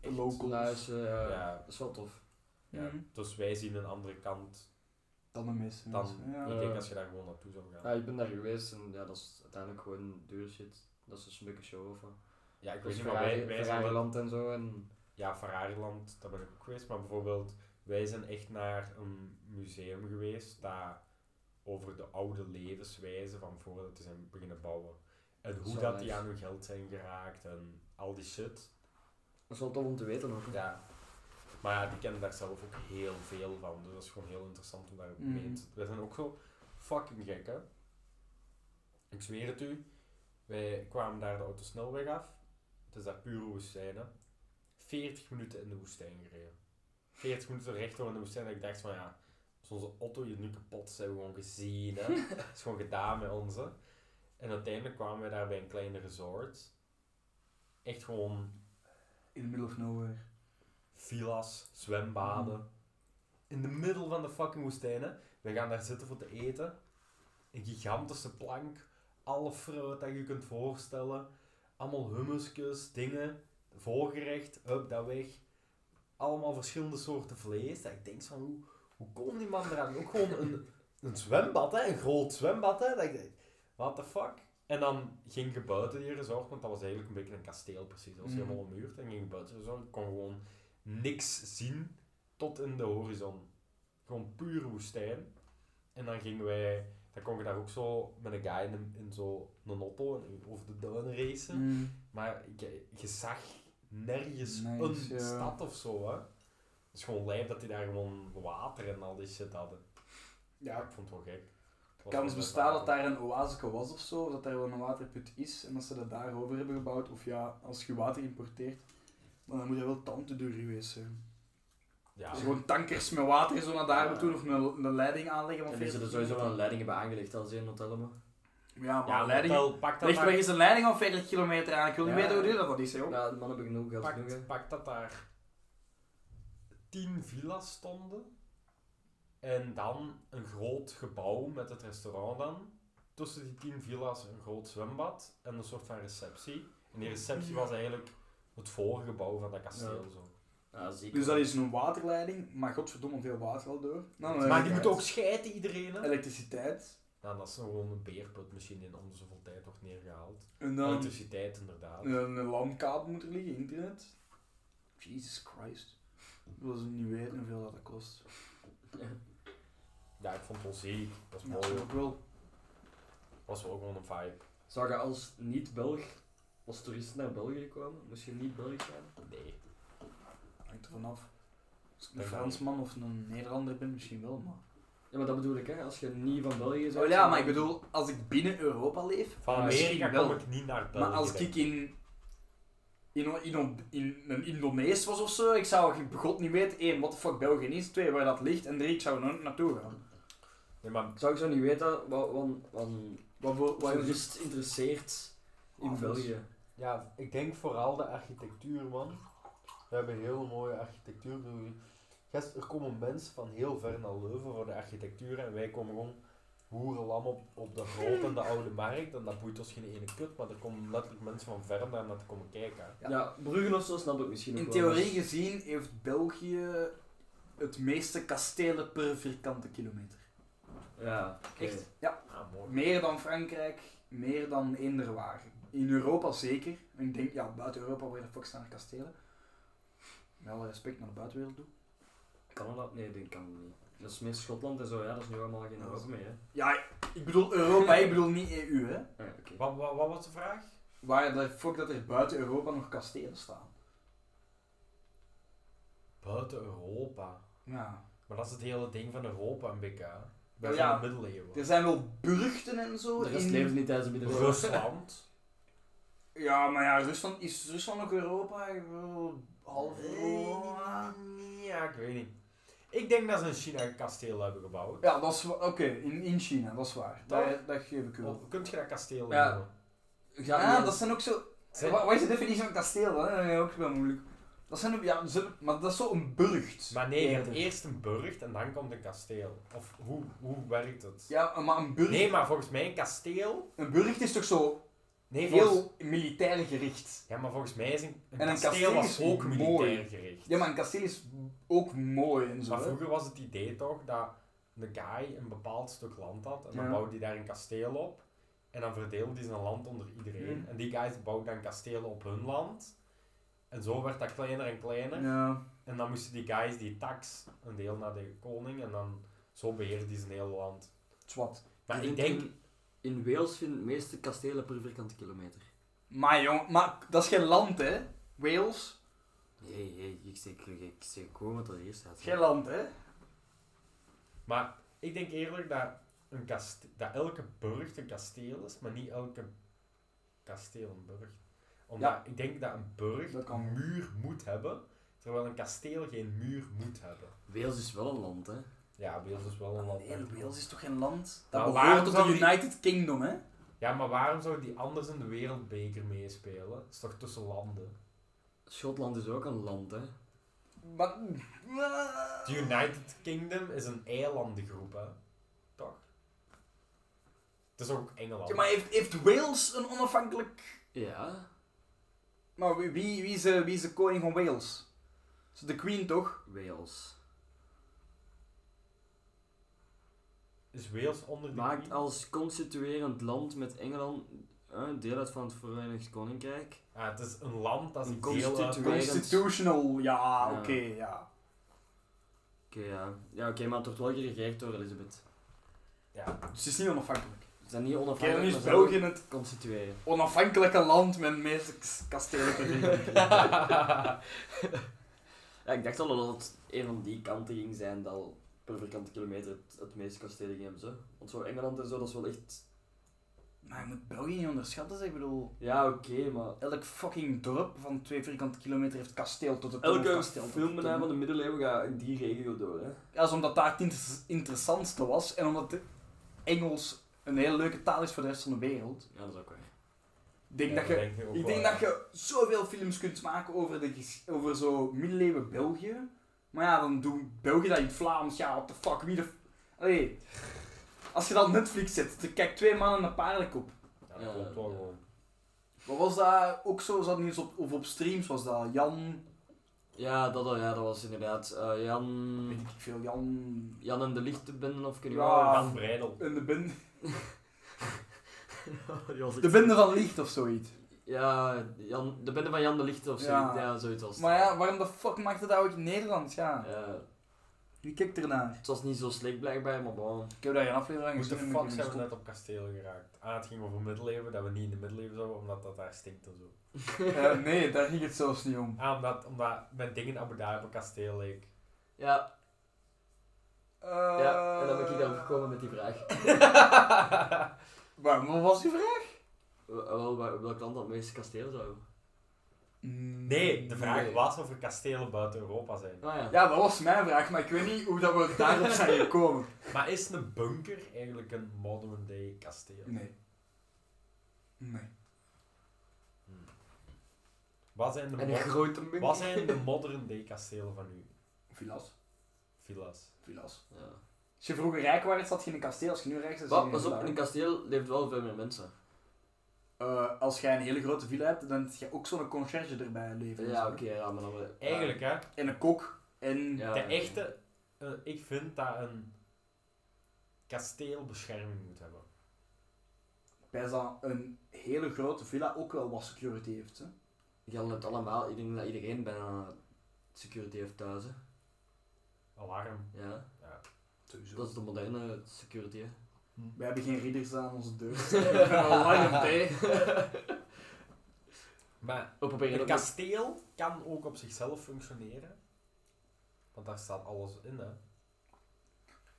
S2: echt-
S3: Local.
S1: nice, eh,
S2: Ja.
S1: Dat is wel tof.
S2: Ja.
S3: Mhm.
S2: Dus wij zien een andere kant.
S3: Dan de meeste
S2: Dan-
S3: mensen. Ja.
S1: Ja.
S2: Ik denk als je daar gewoon naartoe zou gaan.
S1: Ja, ik ben daar geweest en ja, dat is uiteindelijk gewoon duur shit. Dat is dus een smukke show of wat.
S2: Ja, ik
S1: Dus
S2: weet niet, maar wij, wij zijn wel-
S1: Ferrari-land en zo. En...
S2: ja, Ferrariland, dat ben ik ook geweest. Maar bijvoorbeeld, wij zijn echt naar een museum geweest dat over de oude levenswijze van voordat ze zijn beginnen bouwen. En hoe
S1: Zo
S2: dat die
S1: nice.
S2: aan hun geld zijn geraakt en al die shit.
S1: Dat is wel tof om te weten ook.
S2: Ja. Maar ja, die kennen daar zelf ook heel veel van. Dus dat is gewoon heel interessant om daar
S3: Mhm.
S2: mee te... Wij zijn ook zo fucking gek, hè. Ik zweer het u. Wij kwamen daar de autosnelweg af. Het is daar pure woestijn, hè. 40 minuten in de woestijn gereden. 40 minuten rechtdoor in de woestijn. En ik dacht van, ja... Als onze auto hier nu kapot is, hebben we gewoon gezien, hè. Het is gewoon gedaan met ons, hè. En uiteindelijk kwamen wij daar bij een klein resort. Echt gewoon
S3: In the middle of nowhere.
S2: villa's, zwembaden. In de middel van de fucking woestijn, hè. We gaan daar zitten voor te eten. Een gigantische plank. Alle fruit dat je kunt voorstellen. Allemaal hummusjes, dingen. Voorgerecht, up, dat weg.
S4: allemaal verschillende soorten vlees. Dat ik denk van, hoe, hoe komt die man eraan? Ook gewoon een, een zwembad, hè? een groot zwembad. Hè? Dat ik denk, what the fuck?
S2: En dan ging je buiten die resort, want dat was eigenlijk een beetje een kasteel precies. Dat was
S3: Mhm.
S2: helemaal ommuurd. En ging je buiten die resort, kon gewoon niks zien tot in de horizon. Gewoon pure woestijn. En dan gingen wij, dan kon je daar ook zo met een guy in, een- in zo'n auto over de duinen racen.
S3: Mm. Mhm.
S2: Maar je, je zag nergens
S3: Nergens,
S2: een
S3: ja.
S2: stad of zo, hè. Het is gewoon lijp dat die daar gewoon water en al die shit hadden.
S3: Ja,
S2: Ik vond het wel gek. Het was
S3: kans
S2: wel
S3: bestaan dat
S2: best wel
S3: daar een oase was of zo, of dat daar wel een waterput is en dat ze dat daarover hebben gebouwd. Of ja, als je water importeert, maar dan moet dat wel tante duur geweest zijn.
S2: Ja,
S3: Dus gewoon tankers met water zo naar daar
S1: Ja.
S3: toe of een, een leiding aanleggen.
S1: En
S3: Van
S1: die
S3: 40
S1: zullen
S2: dus
S1: sowieso wel
S3: kilometer.
S1: een leiding hebben aangelegd als ze in hotel hebben.
S3: Ja, maar
S2: ja
S3: een leiding.
S2: hotel, pak dat
S3: Leg
S2: maar.
S3: maar eens een leiding van 40 kilometer aan. Ik wil niet
S1: Ja.
S3: weten hoe duur dat dat is, joh.
S1: Nou, de mannen hebben genoeg geld genoeg, hè.
S2: Pak, pak dat daar tien villa's stonden. En dan een groot gebouw met het restaurant dan. Tussen die tien villa's een groot zwembad en een soort van receptie. En die receptie was eigenlijk het voorgebouw van dat kasteel. Zo.
S1: Ja, zeker.
S3: Dus dat is een waterleiding, maar godverdomme veel water wel door. Nou, dan
S2: Maar die
S3: elektriciteit.
S2: moet ook scheiden, iedereen. Hè?
S3: Elektriciteit.
S2: Nou, dat is gewoon een beerput misschien in om de zoveel tijd wordt neergehaald.
S3: En dan
S2: Elektriciteit, inderdaad.
S3: een, een landkabel moet er liggen, internet. Jesus Christ. Ik wil ze niet weten hoeveel dat, dat kost.
S2: Ja, ik vond het wel ziek. Dat was
S3: Ja,
S2: mooi.
S3: ook wel.
S2: was wel gewoon een vibe.
S1: Zou je als niet-Belg, als toerist naar België komen? Moest je niet Belgisch zijn?
S2: Nee.
S3: Hangt er vanaf. Als ik een
S2: Denk
S3: Fransman of een Nederlander ben, misschien wel, maar...
S1: Ja, maar dat bedoel ik, hè. Als je niet van België bent...
S3: Oh ja, maar ik bedoel, als ik binnen Europa leef,
S2: Van
S1: Ja,
S2: Amerika
S3: misschien wel.
S2: kom ik niet naar België.
S3: Maar als ik
S2: denk
S3: in, in, in, in een Indonees was of zo, ik zou god niet weten, één, wat de fuck België is, twee, waar dat ligt, en drie, ik zou er nooit naartoe gaan.
S2: Nee, maar
S1: Zou ik zo niet weten wat, wat, wat,
S3: Wat voor...
S1: wat
S3: Wat
S1: je rust interesseert in
S3: Ah, dat is-
S1: België?
S4: Ja, ik denk vooral de architectuur, man. We hebben hele mooie architectuur. Gast, er komen mensen van heel ver naar Leuven voor de architectuur en wij komen gewoon hoerenlam op, op de grote en de oude markt. En dat boeit ons geen ene kut, maar er komen letterlijk mensen van ver naar naar te komen kijken. hè.
S1: Ja. Bruggen of zo snap ik misschien
S3: In
S1: ook wel. dus-
S3: theorie gezien heeft België het meeste kastelen per vierkante kilometer.
S1: Ja, oké.
S3: Echt?
S2: Ah, mooi.
S3: Meer dan Frankrijk, meer dan eender waar. In Europa zeker. En ik denk, ja, buiten Europa waar de fuck staan er kastelen. Met alle respect naar de buitenwereld toe.
S1: Canada? Nee, dat kan niet. Dat is meer Schotland en zo, ja. Dat is nu allemaal geen
S3: Dat
S1: Europa
S3: is-
S1: mee, hè.
S3: Ja, ik bedoel Europa, ik bedoel niet EU, hè.
S1: Ah, ja, oké.
S2: Wat, wat, wat was de vraag?
S3: Waar de fuck dat er buiten Europa nog kastelen staan.
S2: Buiten Europa.
S3: Ja.
S2: Maar dat is het hele ding van Europa en BK. Wij
S3: Ja,
S2: zijn
S3: ja.
S2: de middeleeuwen.
S3: Er zijn wel burchten en zo.
S1: De rest
S3: in-
S1: leeft niet tijdens de middeleeuwen.
S2: Rusland.
S3: Ja, maar ja, Rusland is Rusland nog Europa? Ik bedoel, half Europa.
S2: Nee, Ja, ik weet niet. Ik denk dat ze in China een kasteel hebben gebouwd.
S3: Ja, dat is wa- oké, in, in China, dat is waar. Daar, dat geef ik u wel.
S2: Hoe kunt je dat kasteel
S1: Ja.
S2: noemen?
S1: Ja,
S3: Ja,
S1: nee,
S3: dat zijn ook zo.
S2: Zijn-
S3: Wa- Wat is de definitie van kasteel? dan? Dat is ook wel moeilijk. Dat zijn ook, ja, ze- maar dat is zo'n burcht.
S2: Maar nee, je hebt
S3: Eerder.
S2: eerst een burcht en dan komt een kasteel. Of hoe, hoe werkt het?
S3: Ja, maar een burcht,
S2: Nee, maar volgens mij een kasteel.
S3: een burcht is toch zo
S2: Nee, volgens-
S3: heel militair gericht.
S2: Ja, maar volgens mij is een, een
S3: En een
S2: kasteel,
S3: kasteel
S2: was
S3: is
S2: ook
S3: mooi.
S2: militair gericht.
S3: Ja, maar een kasteel is ook mooi en zo.
S2: Maar
S3: hè.
S2: vroeger was het idee toch dat een guy een bepaald stuk land had en dan
S3: Ja.
S2: bouwde hij daar een kasteel op. En dan verdeelde hij zijn land onder iedereen.
S3: Hmm.
S2: En die guys bouwden dan kastelen op hun land. En zo werd dat kleiner en kleiner.
S3: Ja.
S2: En dan moesten die guys die tax een deel naar de koning. En dan zo beheerde hij zijn hele land.
S3: Zwat.
S2: Maar
S1: Je
S2: ik
S1: vindt
S2: denk,
S1: In, in Wales vinden de meeste kastelen per vierkante kilometer.
S3: Maar jong, maar dat is geen land, hè? Wales?
S1: Nee, nee, ik zeg, ik zeg gewoon wat er hier staat.
S3: Geen land, hè?
S2: Maar ik denk eerlijk dat, een kaste- dat elke burcht een kasteel is, maar niet elke kasteel een burcht. Omdat
S3: Ja.
S2: ik denk dat een burcht
S3: Dat kan.
S2: een muur moet hebben, terwijl een kasteel geen muur moet hebben.
S1: Wales is wel een land, hè.
S2: Ja, Wales is wel een land.
S3: Nee, Wales is toch geen land?
S2: Maar
S3: Dat
S2: waarom
S3: behoort tot de
S2: zou die-
S3: United Kingdom, hè?
S2: Ja, maar waarom zou die anders in de wereldbeker meespelen? Het is toch tussen landen?
S1: Schotland is ook een land, hè.
S3: Maar...
S2: De United Kingdom is een eilandengroep, hè? Toch? Het is ook Engeland.
S3: Ja, maar heeft, heeft Wales een onafhankelijk...
S1: Ja.
S3: Maar wie, wie, wie, is, eh, wie is de koning van Wales? is de Queen toch?
S1: Wales.
S2: Is Wales onder de
S1: Maakt
S2: Queen?
S1: als constituerend land met Engeland een deel uit van het Verenigd Koninkrijk.
S2: Ah, het is een land, dat is
S1: Een
S2: een deel uit...
S1: constituerend-
S3: Constitutional, ja,
S1: Ja.
S3: oké, ja.
S1: Oké, ja. Ja, oké, maar het wordt wel geregeerd door Elizabeth.
S3: Dus het is niet onafhankelijk.
S1: Ze zijn niet
S3: Oké, dan
S1: onafhankelijk,
S3: is
S1: maar ze zijn
S3: België het
S1: wel constitueren.
S3: onafhankelijke land met de meeste k- kastelen ter wereld.
S1: Ja, ik dacht al dat het een van die kanten ging zijn dat al per vierkante kilometer het, het meeste kastelen ging hebben. Zo. Want zo Engeland en zo, dat is wel echt...
S3: Maar je moet België niet onderschatten, zeg. ik bedoel...
S1: Ja, oké, maar...
S3: Elk fucking dorp van twee vierkante kilometer heeft kasteel tot het
S1: Elke
S3: hoofdkasteel tot het
S1: filmbenaam van de middeleeuwen gaat in die regio door, hè.
S3: Ja, dat is omdat daar het inter- interessantste was en omdat de Engels een hele leuke taal is voor de rest van de wereld.
S1: Ja, dat is ook waar.
S3: Ik denk, dat, je,
S2: ook
S3: ik
S2: wel,
S3: denk
S2: ja.
S3: dat je zoveel films kunt maken over, de, ges- over zo middeleeuwen België. Maar ja, dan doet België dat in het Vlaams. Ja, what the fuck, wie de... f- Allee, als je dat op Netflix zet, dan kijk twee maanden een paardenkop.
S2: Ja, dat klopt wel
S1: Ja.
S2: gewoon.
S3: Wat was dat ook zo? Zat niet eens op, of op streams was dat Jan...
S1: Ja, dat, al, ja, dat was inderdaad eh, Jan...
S3: Weet ik veel, Jan...
S1: Jan en de Lichtenbinden of kun je
S3: Ja.
S2: Jan Breidel.
S3: En de, bende,
S1: wel...
S3: de bende van licht of zoiets.
S1: Ja, Jan, de bende van Jan de Lichten of zo.
S3: Ja.
S1: Ja, zoiets was het.
S3: Maar ja, waarom de fuck maakte dat ook in Nederland? Ja.
S1: Ja,
S3: Wie kijkt ernaar?
S1: Het was niet zo slecht blijkbaar, maar bon.
S3: Ik heb daar geen aflevering
S2: Hoe de
S3: gezien.
S2: fuck
S3: en ik
S2: zijn
S3: heb
S2: we
S3: hem
S2: net op kasteel geraakt? Ah, het ging over middeleeuwen, dat we niet in de middeleeuwen zouden, omdat dat daar stinkt en zo.
S3: gestopt. Ja, Eh, nee, daar ging het zelfs niet om.
S2: Ah, omdat, omdat mijn ding in Abu Dhabi op een kasteel leek.
S1: Ja, ja,
S3: Eh,
S1: en dan ben ik daarop gekomen met die vraag.
S3: Waarom wat was die vraag?
S1: Wel, wel, wel- welk land dat meeste kastelen zou hebben?
S2: Nee, de vraag
S1: Nee.
S2: was of er kastelen buiten Europa zijn.
S1: Ah ja.
S3: Mm. Ja, dat was mijn vraag, maar ik weet niet hoe dat we daarop zijn gekomen.
S2: Maar is een bunker eigenlijk een modern day kasteel?
S3: Nee. Nee.
S2: Wat zijn de,
S1: En een
S2: mod-
S1: grote munt.
S2: wat zijn de modern day kastelen van u?
S3: Vilas.
S2: Villa's.
S3: Vilas.
S1: Ja.
S3: Als je vroeger rijk was, zat je in een kasteel. Als je nu rijk bent, zat
S1: Maar
S3: je in
S1: pas
S3: een
S1: op, in een
S3: villa.
S1: kasteel leeft wel veel meer mensen.
S3: Eh, Als jij een hele grote villa hebt, dan heb je ook zo'n conciërge erbij leven.
S1: Ja, oké, ja, maar dan...
S2: Eigenlijk, hè?
S3: En een kok. En...
S1: Ja.
S2: De echte... eh, ik vind dat een kasteel bescherming moet hebben.
S3: Bij dat een hele grote villa ook wel wat security heeft. Hè?
S1: Jan hebt allemaal, ik denk dat iedereen bijna security heeft thuis, hè.
S2: Alarm.
S1: Ja.
S3: Sowieso.
S1: Dat is de moderne security, hè.
S3: We hebben geen readers aan onze deur. We hebben al lang een thee.
S2: Maar
S1: We proberen
S2: Een
S1: dat ook-
S2: kasteel kan ook op zichzelf functioneren. Want daar staat alles in, hè.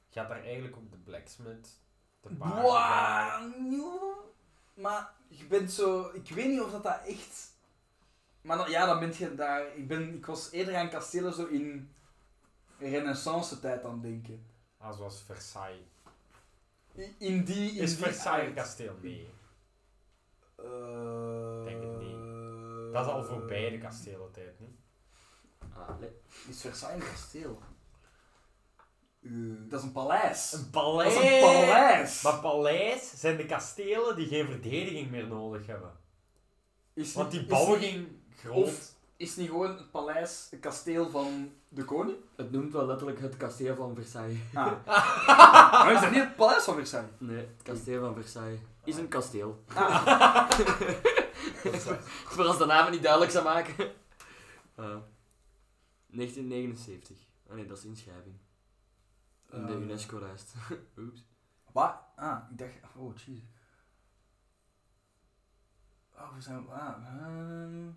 S2: Je had daar eigenlijk ook de blacksmith, de paarden...
S3: Wow, nieuw. Maar je bent zo... Ik weet niet of dat, dat echt... Maar dan- ja, dan ben je daar... Ik, ben, ik was eerder aan kastelen zo in renaissance tijd aan het denken.
S2: Ah, zoals Versailles.
S3: I- In die... In
S2: Is
S3: die
S2: Versailles een
S3: aard.
S2: kasteel? Nee.
S3: Eh,
S2: Denk het Dat is al voorbij de kastelentijd, niet?
S1: Ah, nee.
S3: Is Versailles een kasteel? Eh, dat is een paleis.
S2: Een paleis!
S3: Dat is een paleis.
S2: Maar paleis zijn de kastelen die geen verdediging meer nodig hebben.
S3: Is
S2: Want
S3: niet-
S2: die
S3: is
S2: bouwen
S3: niet-
S2: geen grond.
S3: Is niet gewoon het paleis het kasteel van de koning?
S1: Het noemt wel letterlijk het kasteel van Versailles.
S3: Ah. maar is dat niet het paleis van Versailles?
S1: Nee, het kasteel van Versailles
S2: Ah.
S1: is een kasteel.
S2: Dat is-
S1: Voor als de namen niet duidelijk zijn maken. Eh,
S2: Ah.
S1: 1979. Ah nee, dat is inschrijving.
S2: Ah,
S1: In de
S3: Eh.
S1: UNESCO-lijst. Oeps.
S3: Wat? Ah, ik dacht... Oh, jeez. Oh, we zijn... Ah, ehm,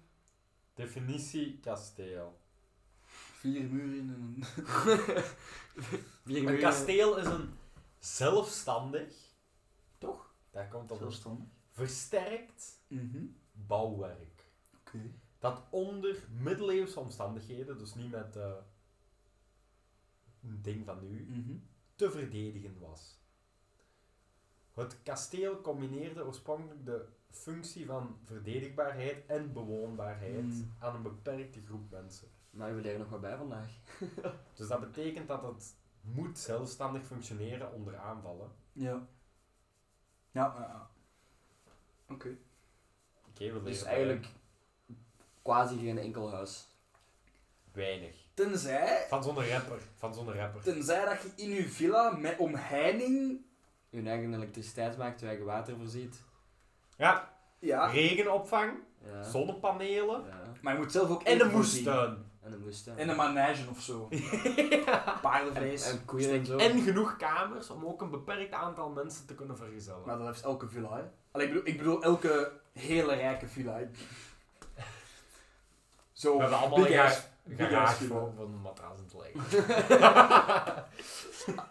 S2: Definitie kasteel.
S3: vier muren in een...
S1: Vier
S2: Een
S1: muren.
S2: kasteel is een zelfstandig...
S3: Toch?
S2: Daar komt op ons
S3: Zelfstandig.
S2: versterkt
S3: Mhm.
S2: bouwwerk.
S3: Oké.
S2: Dat onder middeleeuwse omstandigheden, dus niet met eh, een ding van nu,
S3: Mhm.
S2: te verdedigen was. Het kasteel combineerde oorspronkelijk de functie van verdedigbaarheid en bewoonbaarheid
S3: Mm.
S2: aan een beperkte groep mensen.
S1: Maar we leren nog wat bij vandaag.
S2: Dus dat betekent dat het moet zelfstandig functioneren onder aanvallen.
S3: Ja. Ja, eh, ja, ja. Oké.
S2: Oké, we leren
S1: Dus
S2: bij
S1: eigenlijk quasi geen enkel huis.
S2: weinig.
S3: Tenzij,
S2: Van zo'n rapper. Van zo'n rapper.
S3: tenzij dat je in je villa met omheining...
S1: Je eigen elektriciteit maakt, je eigen water voorziet.
S2: Ja,
S3: Ja,
S2: regenopvang,
S1: Ja.
S2: zonnepanelen
S1: Ja.
S3: maar je moet zelf ook
S2: en
S3: eten
S2: een
S3: voorzien.
S2: moestuin.
S1: En eh, de moestuin.
S3: En een manege of zo.
S1: en,
S3: Paardenvlees.
S1: en koeien en zo.
S2: En genoeg kamers om ook een beperkt aantal mensen te kunnen vergezellen.
S3: Maar dat heeft elke villa, hè? Allee, ik, bedoel, ik bedoel, elke hele rijke villa. hè. Zo,
S2: We hebben allemaal een
S3: big ass-
S2: garage,
S3: big ass
S2: garage
S3: villa.
S2: voor, voor een matras in te leggen.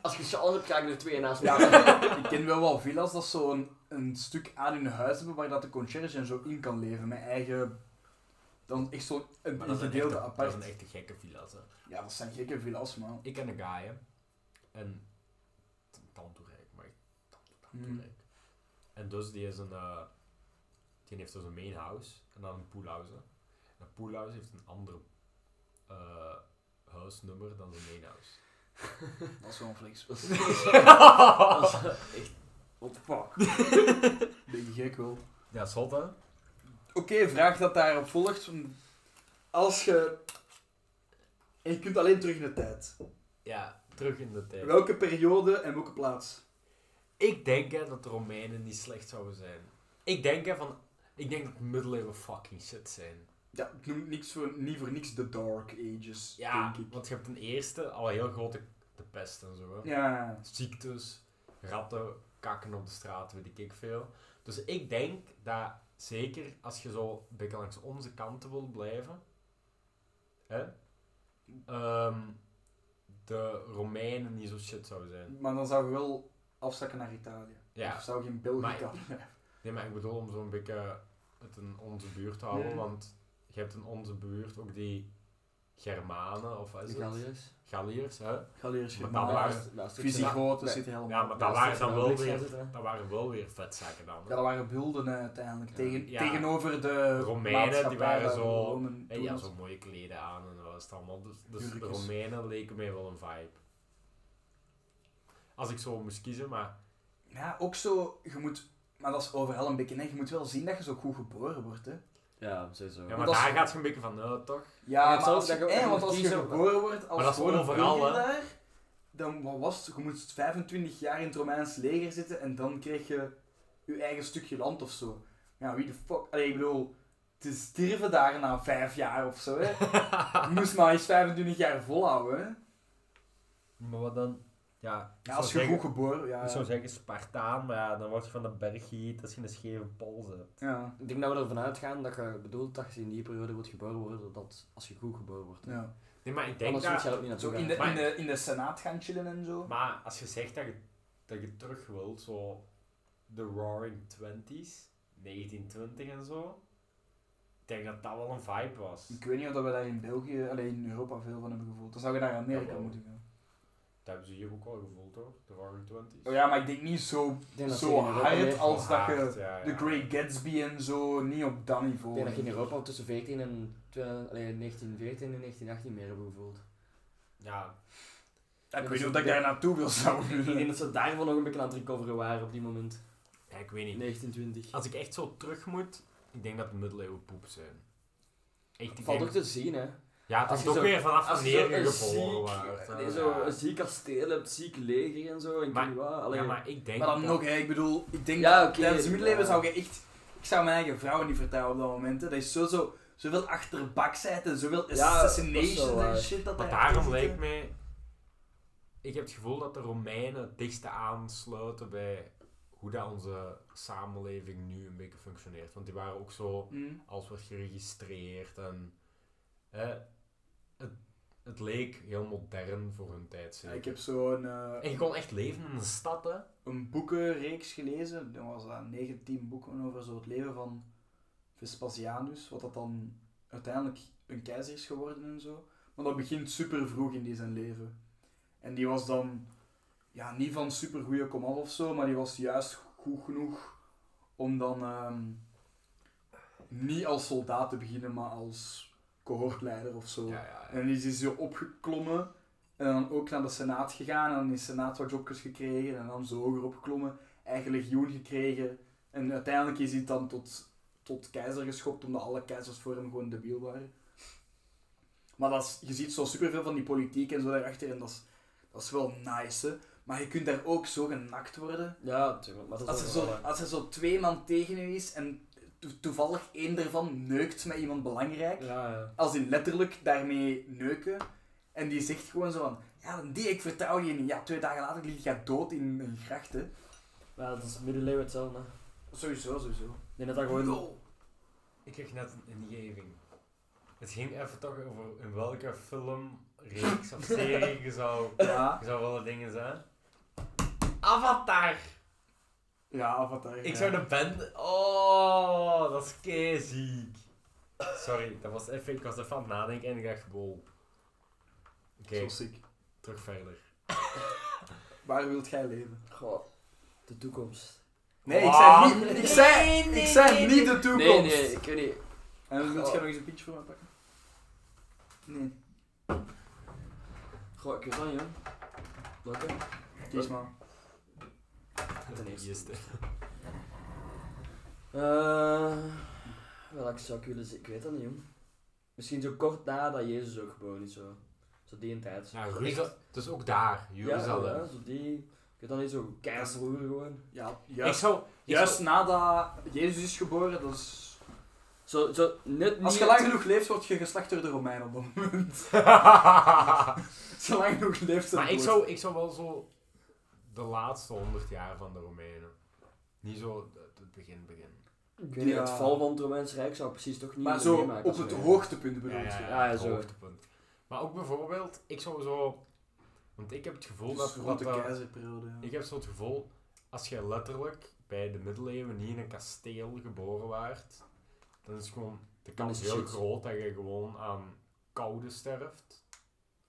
S1: Als je chance hebt, ga ik er twee naast
S3: Ja,
S1: elkaar.
S3: ik ken wel wel villa's dat zo'n een stuk aan hun huis hebben waar dat de concierge en zo in kan leven. Mijn eigen... Dan echt zo'n een,
S2: Maar
S3: een
S2: dat zijn
S3: gedeelte
S2: echte-
S3: apart.
S2: Dat zijn echte gekke villa's. Hè.
S3: Ja, dat zijn gekke villa's, man.
S2: Ik ken een guy, hè. En... t- Tandoerijk, maar... ik- tand-
S3: Hmm.
S2: Tandoerijk. En dus, die is een... eh, die heeft dus een main house. En dan een poolhouse. hè. En een poolhouse heeft een ander... eh, huisnummer dan zijn main house.
S3: Dat is wel een flex.
S1: Dat is- dat is- dat is echt... What the fuck?
S3: Beetje gek wel.
S2: Ja, zot, hè?
S3: Oké, vraag dat daarop volgt. Als je... En je kunt alleen terug in de tijd.
S2: Ja, terug in de tijd.
S3: Welke periode en welke plaats?
S2: Ik denk hè, dat de Romeinen niet slecht zouden zijn. Ik denk hè, van... Ik denk dat middeleeuwen fucking shit zijn.
S3: Ja, ik noem niks voor, niet voor niks de Dark Ages,
S2: Ja,
S3: denk ik.
S2: want je hebt ten eerste al heel grote... De pest en zo, hè.
S3: Ja,
S2: ziektes, ratten, kakken op de straat, weet ik ik veel. Dus ik denk dat zeker als je zo een beetje langs onze kanten wil blijven, hè, ehm, de Romeinen niet zo shit zouden zijn.
S3: maar dan zou je wel afzakken naar Italië.
S2: Ja,
S3: Of zou je in België
S2: Maar-
S3: kan.
S2: nee, maar ik bedoel om zo'n beetje het in onze buurt te houden,
S3: Nee.
S2: want je hebt in onze buurt ook die Germanen, of wat is
S1: De
S2: het?
S1: Galliërs.
S2: Galliërs, hè?
S3: Galliërs,
S2: Maar dat waren-
S1: Laatst- laatst ook zo-
S3: Visigoten
S1: Ja,
S3: zitten helemaal.
S2: Ja, maar dat waren dan wel
S1: Belgisch
S2: weer,
S1: was het, hè?
S2: dat waren wel weer vetzakken dan. hè.
S3: Ja, dat waren bulden eh, uiteindelijk.
S1: Ja.
S3: Tegen,
S2: Ja.
S3: Tegenover de
S2: Romeinen,
S3: maatschappij
S2: die waren
S3: waar we
S2: zo-
S3: wonen,
S2: En
S3: toen
S2: ja,
S3: het-
S2: zo'n mooie kleden aan en dat was het allemaal. Dus, dus de
S3: Jurkjes.
S2: Romeinen leken mij wel een vibe. Als ik zo moest kiezen, maar
S3: Ja, ook zo, je moet, maar dat is overal een beetje, hè. je moet wel zien dat je zo goed geboren wordt. Hè.
S1: Ja, sowieso.
S2: ja,
S3: Maar
S2: maar
S3: dat is-
S2: daar gaat je een beetje van uit, toch?
S3: Ja,
S1: het
S3: maar
S1: zal-
S3: als je,
S1: dat je ook
S3: hè,
S1: echt
S3: want
S1: moet
S3: als je
S1: kiezen.
S3: geboren wordt
S2: Maar
S3: als
S2: dat is
S3: gewone
S2: overal,
S3: burger
S2: hè.
S3: daar, dan wat was het? Je moest 25 jaar in het Romeins leger zitten en dan kreeg je je eigen stukje land of zo. Ja, wie de fuck... Allee, ik bedoel, te sterven daar na 5 jaar of zo, hè. Je moest maar eens 25 jaar volhouden, hè.
S2: Maar wat dan? Ja,
S3: Ja, als je goed geboren... Ja,
S2: zeggen Spartaan, maar dan word je van de berg geëet als je een scheve pols hebt.
S3: ja,
S1: Ik denk dat we ervan uitgaan dat je bedoelt dat je in die periode wordt geboren worden, dat als je goed geboren wordt. hè.
S3: ja.
S2: Nee, maar ik denk
S1: Anders moet je
S2: dat...
S1: daar ook niet
S3: Zo
S1: naartoe
S3: in
S1: gaan.
S3: de, in,
S2: Maar-
S3: de, in de senaat gaan chillen en zo.
S2: Maar als je zegt dat je, dat je terug wilt, zo de Roaring Twenties, 1920 en zo, ik denk dat dat wel een vibe was.
S3: Ik weet niet of dat we daar in België, alleen in Europa veel van hebben gevoeld. Dan zou je naar Amerika
S2: Jawel.
S3: moeten gaan.
S2: Dat hebben ze hier ook al gevoeld hoor, de Roaring Twenties.
S3: Oh ja, maar ik denk niet zo
S1: Ik denk dat
S3: Zo
S1: ze in Europa
S3: hard
S1: leeft.
S3: als- dat je
S2: ja,
S3: The Great Gatsby en zo, niet op dat
S1: Ik
S3: niveau.
S1: denk dat je in Europa tussen 14 en twe- allee, 1914 en 1918 meer hebben gevoeld.
S2: Ja,
S3: Ja, ik
S1: Ja,
S3: weet niet
S1: dus
S3: of dat ik
S1: ik
S3: daar
S1: denk-
S3: naartoe wil zou.
S1: Ik denk dat ze daarvan nog een beetje aan het recoveren waren op die moment.
S2: ja, ik weet niet.
S1: 1920.
S2: Als ik echt zo terug moet, ik denk dat de middeleeuwen poep zijn. Echt, ik
S1: Valt
S2: denk-
S1: ook te zien, hè.
S2: Ja, het
S1: als
S2: is
S1: je
S2: ook
S1: zo-
S2: weer vanaf
S1: Als je
S2: wanneer je
S1: zo'n
S2: geboren
S1: ziek,
S2: wordt. eh. hè,
S1: nee, zo
S2: ja.
S1: een ziek kasteel hebt, ziek leger en zo, en ik
S2: Maar-
S1: weet niet wat.
S2: Ja,
S1: Allee,
S2: maar ik denk
S3: Maar dan
S2: dat-
S3: nog, hè, ik bedoel, ik denk
S1: Ja,
S3: dat
S1: oké, dus eh,
S3: tijdens de middeleeuwen
S1: ja.
S3: zou je echt... Ik zou mijn eigen vrouwen niet vertrouwen op dat moment. Hè. Dat is sowieso zoveel achterbaksheid en zoveel
S1: Ja, dat is
S3: assassinations
S1: wel
S3: en
S1: waar.
S3: shit dat
S2: Maar
S3: daar achter
S2: daarom
S3: zit, hè.
S2: lijkt mij... Ik heb het gevoel dat de Romeinen het dichtste aansluiten bij hoe dat onze samenleving nu een beetje functioneert. Want die waren ook zo...
S3: Hm.
S2: alles werd geregistreerd en eh, het, het leek heel modern voor hun tijd.
S3: Ja,
S2: Zeker.
S3: ik heb zo'n eh
S2: En je kon echt leven in een stad, hè?
S3: een boekenreeks gelezen. Dat was dat 19 boeken over zo het leven van Vespasianus. Wat dat dan uiteindelijk een keizer is geworden en zo. Maar dat begint super vroeg in die zijn leven. En die was dan ja, niet van super goede komaf of zo, maar die was juist goed genoeg om dan ehm, niet als soldaat te beginnen, maar als cohortleider of zo.
S2: Ja, ja, ja.
S3: En die is zo opgeklommen. En dan ook naar de Senaat gegaan. En dan in de Senaat wat jobjes gekregen. En dan zo hoger opgeklommen. Eigen legioen gekregen. En uiteindelijk is hij dan tot, tot keizer geschopt. Omdat alle keizers voor hem gewoon debiel waren. Maar dat is, je ziet zo superveel van die politiek en zo daarachter. En dat is, dat is wel nice, hè. Maar je kunt daar ook zo genakt worden.
S1: Ja, tuurlijk. Maar dat
S3: Als er,
S1: is
S3: zo,
S1: wel-
S3: als er zo twee man tegen u is en to- toevallig één daarvan neukt met iemand belangrijk.
S1: Ja, ja.
S3: Als die letterlijk daarmee neuken. En die zegt gewoon zo van... Ja, die, ik vertrouw je niet. Ja, twee dagen later lig je dood in een gracht, hè.
S1: Maar ja, dat is middeleeuwen hetzelfde. hè.
S3: Sowieso, sowieso.
S1: Ik denk dat dat gewoon...
S3: Yo.
S2: Ik kreeg net een ingeving. Het ging even toch over in welke film, reeks of serie je zou,
S3: Ja,
S2: je zou willen dingen zijn. Avatar!
S3: ja, Avatar.
S2: Ik
S3: ja.
S2: zou de band... Oh, dat is keiziek. Sorry, dat was even, ik was even aan het nadenken en ik dacht, wow. Oké,
S3: Zo sick.
S2: terug verder.
S3: Waar wilt jij leven?
S1: Goh, de toekomst.
S3: Nee, ik
S2: Ah.
S3: zei niet, ik zei, ik zei
S1: nee,
S3: niet de toekomst.
S1: Nee, nee, ik weet niet.
S3: En wilt
S1: Oh.
S3: jij nog eens een pintje voor mij pakken? Nee,
S1: Goh, ik weet dat niet, hoor. Welke?
S3: kies maar.
S1: Ten eerste.
S2: Eerste.
S1: Eh welk zou ik willen zeggen? Ik weet dat niet, joh. Misschien zo kort nadat Jezus ook geboren is, zo. Zo die in tijd.
S2: Ja,
S1: Ik zou-
S2: Jeruzalem. Dus ook daar,
S1: Ja,
S2: Jeruzalem.
S1: ja, zo die... Ik weet dat niet, zo keizersroer gewoon.
S3: Ja,
S2: Ik
S3: juist,
S2: zou... ik
S3: juist
S2: zou-
S3: nadat Jezus is geboren, dat is...
S1: Zo, zo net niet...
S3: Als je lang genoeg leeft, word je geslacht door de Romeinen op dat moment. Als je lang genoeg leeft, dan
S2: maar ik
S3: wordt-
S2: zou, ik zou wel zo de laatste honderd jaar van de Romeinen. Niet zo het- het begin, begin.
S1: Ik weet niet,
S3: Ja.
S1: het val van het Romeins Rijk zou ik precies toch niet
S3: Maar
S1: willen
S3: zo
S1: meemaken
S3: op
S1: als
S3: het
S1: wij.
S3: hoogtepunt bedoel je.
S1: ja,
S2: het
S1: zo.
S2: hoogtepunt. Maar ook bijvoorbeeld, ik zou zo... Want ik heb het gevoel
S3: Dus
S2: dat... dat
S3: rond de
S2: dat-
S3: keizerperiode, ja.
S2: ik heb zo het gevoel, als je letterlijk bij de middeleeuwen niet in een kasteel geboren waart, dan is gewoon de kans
S1: is het
S2: heel
S1: shit.
S2: groot dat je gewoon aan koude sterft.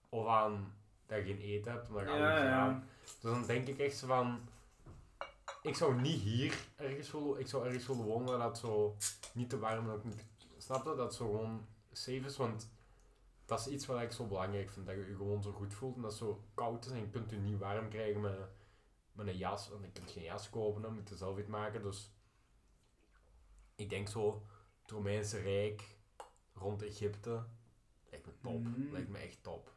S2: Of aan dat je geen eten hebt, omdat je
S3: Ja,
S2: anders
S3: ja.
S2: gaat. Dus dan denk ik echt zo van... Ik zou niet hier ergens willen... Ik zou ergens willen wonen waar dat zo niet te warm en ook niet... Snap je? Dat zo gewoon safe is, want... Dat is iets wat ik zo belangrijk vind, dat je je gewoon zo goed voelt en dat het zo koud is en je kunt je niet warm krijgen met, met een jas. En je kunt geen jas kopen, dan moet je zelf iets maken. Dus ik denk zo, het Romeinse Rijk rond Egypte, lijkt me top.
S3: Mm.
S2: Lijkt me echt top.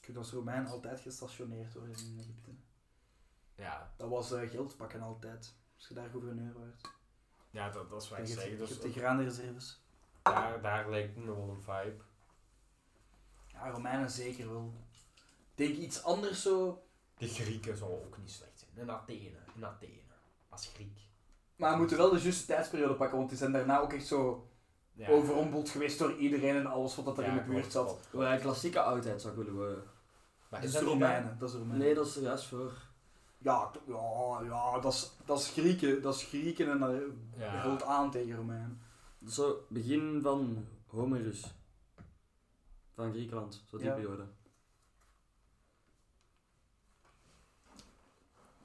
S3: Ik heb als Romein altijd gestationeerd worden in Egypte.
S2: Ja,
S3: Dat was eh, geld pakken altijd. Als je daar gouverneur wordt.
S2: ja dat, dat is wat
S3: Je
S2: ik zeg.
S3: hebt, je
S2: Dus
S3: hebt de graanreserves.
S2: daar, daar lijkt me wel een vibe.
S3: Ja, Romeinen zeker wel. Ik Denk iets anders zo.
S2: De Grieken zouden ook niet slecht zijn. En Athene, in Athene. Als Griek.
S3: Maar we moeten wel de juiste tijdsperiode pakken, want die zijn daarna ook echt zo
S2: Ja.
S3: overrompeld geweest door iedereen en alles wat dat er
S2: Ja,
S3: in de buurt
S2: klopt,
S3: zat.
S2: klopt.
S1: Wat een klassieke oudheid zou ik willen worden.
S3: Dat
S2: Maar is
S3: is
S2: dat
S3: de
S2: niet dan-
S3: Romeinen. Dat is de Romeinen.
S1: Nee, dat is er juist voor.
S3: Ja, t- ja, ja dat, is, dat is Grieken. Dat is Grieken en dat
S2: Ja.
S3: vult aan tegen Romeinen.
S1: Dat is Zo, begin van Homerus. Van Griekenland, zo die
S3: Ja.
S1: periode.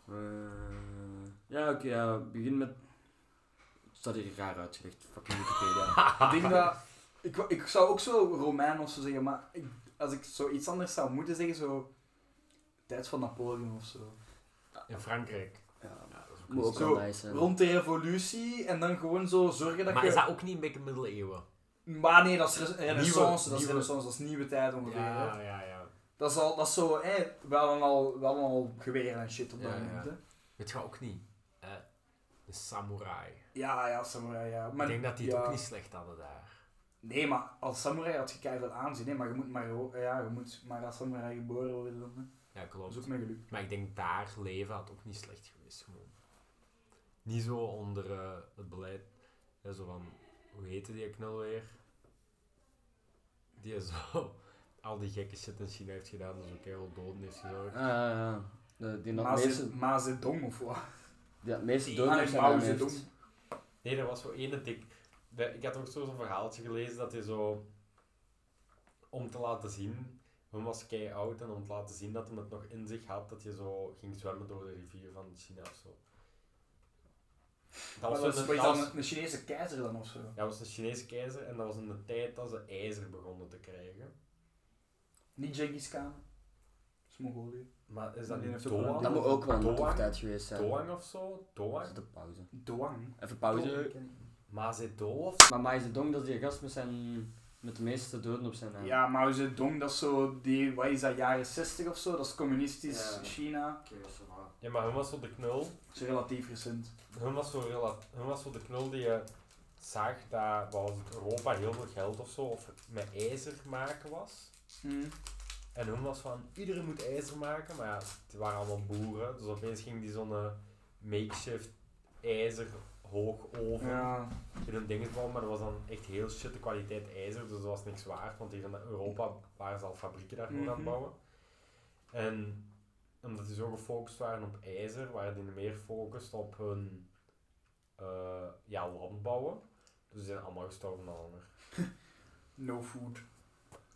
S1: Eh, ja, oké, ja, begin met... Het staat hier raar uitgelegd, fucking Wikipedia.
S3: Ik denk dat... Ik, wou- ik zou ook zo Romein of zo zeggen, maar ik, als ik zoiets anders zou moeten zeggen, zo... Tijd van Napoleon of zo.
S2: In Frankrijk.
S3: Ja.
S2: Ja, dat is ook
S1: Moet
S2: niet
S1: ook
S2: slecht.
S3: Zo,
S1: wel nice zijn.
S3: Rond de revolutie en dan gewoon zo zorgen dat
S2: Maar
S3: je...
S2: is dat ook niet een beetje middeleeuwen?
S3: Maar nee, dat is re- renaissance, dat is
S2: nieuwe-
S3: renaissance, dat is nieuwe tijd ongeveer. hè.
S2: Ja, ja, ja.
S3: Dat is al, dat is zo, hè, wel en al, wel en al geweren en shit op dat
S2: Ja, ja.
S3: moment, hè.
S2: Weet je wat ook niet? Eh, de samurai.
S3: Ja, ja, samurai, ja. Maar,
S2: ik denk dat die het
S3: ja.
S2: ook niet slecht hadden daar.
S3: Nee, maar als samurai had je keihard aanzien, hè, maar je moet maar, ho- ja, je moet maar als samurai geboren worden, dan, hè.
S2: Ja,
S3: Dat
S2: klopt.
S3: is ook mijn geluk.
S2: Maar ik denk daar leven had ook niet slecht geweest. Gewoon. Niet zo onder eh, het beleid. Ja, zo van, hoe heette die knul weer? Die zo al die gekke shit in China heeft gedaan, dus ook heel doden heeft gezorgd.
S1: Ah, ja, ja. De- Die had meeste-
S3: Maze- Mazedong of wat?
S1: die had meeste
S2: Ah,
S1: doden
S3: nee,
S1: op zijn naam
S3: Maozedong.
S1: heeft.
S2: Nee, er was zo ene dik. de- ik had ook zo'n verhaaltje gelezen dat hij zo. Om te laten zien. Hem was kei oud en om te laten zien dat hij het nog in zich had, dat hij zo ging zwemmen door de rivier van China of zo. Dat
S3: Maar
S2: was,
S3: Dat
S2: in
S3: is was
S2: de, dat
S3: dan
S2: was-
S3: een Chinese keizer dan of zo?
S2: dat was een Chinese keizer en dat was in de tijd dat ze ijzer begonnen te krijgen.
S3: Niet Genghis Khan. Dat is Mongolië.
S2: Maar is
S3: Maar
S2: dat
S3: die
S2: niet
S3: heeft ook wel
S2: Doang?
S3: een
S1: Dat moet ook wel een
S2: Doang?
S1: tof tijd geweest zijn.
S2: Doang of zo?
S1: Dat
S2: Doang?
S1: is de pauze.
S3: Doang.
S1: Even
S3: Doang
S1: pauze.
S3: ken ik niet.
S2: Mazedong of
S1: Maar Maizedong, dat is die gast met zijn Met de meeste doden op zijn naam.
S3: Ja, Mao Zedong, dat is zo, die, wat is dat, jaren 60 of zo? Dat is communistisch
S1: Ja.
S3: China.
S1: Oké, dat is wel.
S2: Ja, maar hun was zo de knul.
S3: Dat is relatief recent.
S2: Hun was zo, rela- hun was zo de knul die je zag dat wat was het, Europa heel veel geld of zo of met ijzer maken was.
S3: Hm.
S2: En hun was van, iedereen moet ijzer maken, maar ja, het waren allemaal boeren. Dus opeens ging die zo'n eh, makeshift ijzer hoog over
S3: Ja.
S2: in hun dingetbouw, maar dat was dan echt heel shit de kwaliteit ijzer, dus dat was niks waard, want hier in Europa waren ze al fabrieken daarvoor aan het
S3: Mhm.
S2: bouwen. En omdat die zo gefocust waren op ijzer, waren die meer gefocust op hun eh, ja, landbouwen. Dus die zijn allemaal gestorven aan honger.
S3: No food.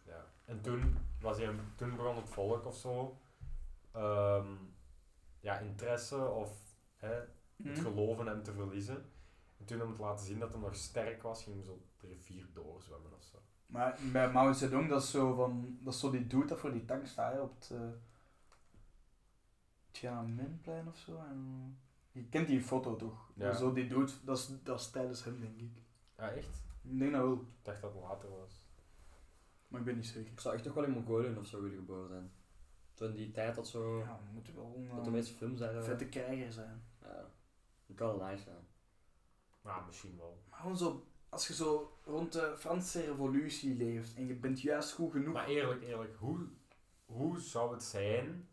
S2: Ja. En toen, was hij, toen begon het volk of zo ehm, ja, interesse of hè, het
S3: Hm.
S2: geloven hem te verliezen. En toen om het te laten zien dat hij nog sterk was, ging hij zo de rivier doorzwemmen of zo.
S3: Maar bij Mao Zedong, dat is zo van, dat is zo die dude dat voor die tank staat, hè, op het eh, Tiananmenplein of zo. En, eh, je kent die foto toch?
S2: Ja.
S3: Zo die dude, dat is, dat is tijdens hem, denk ik.
S2: Ja, echt?
S3: Ik denk dat wel,
S2: Ik dacht dat het later was.
S3: maar ik ben niet zeker.
S1: Ik zou echt toch wel in Mongolië of zo willen geboren zijn. Toen die tijd dat zo.
S3: Ja, we moeten wel een
S1: Dat de meeste films daar.
S3: vette krijger zijn.
S1: Ja. Dat kan wel nice zijn.
S2: Ja, misschien wel.
S3: Maar gewoon zo, als je zo rond de Franse revolutie leeft en je bent juist goed genoeg...
S2: Maar eerlijk, eerlijk, hoe, hoe zou het zijn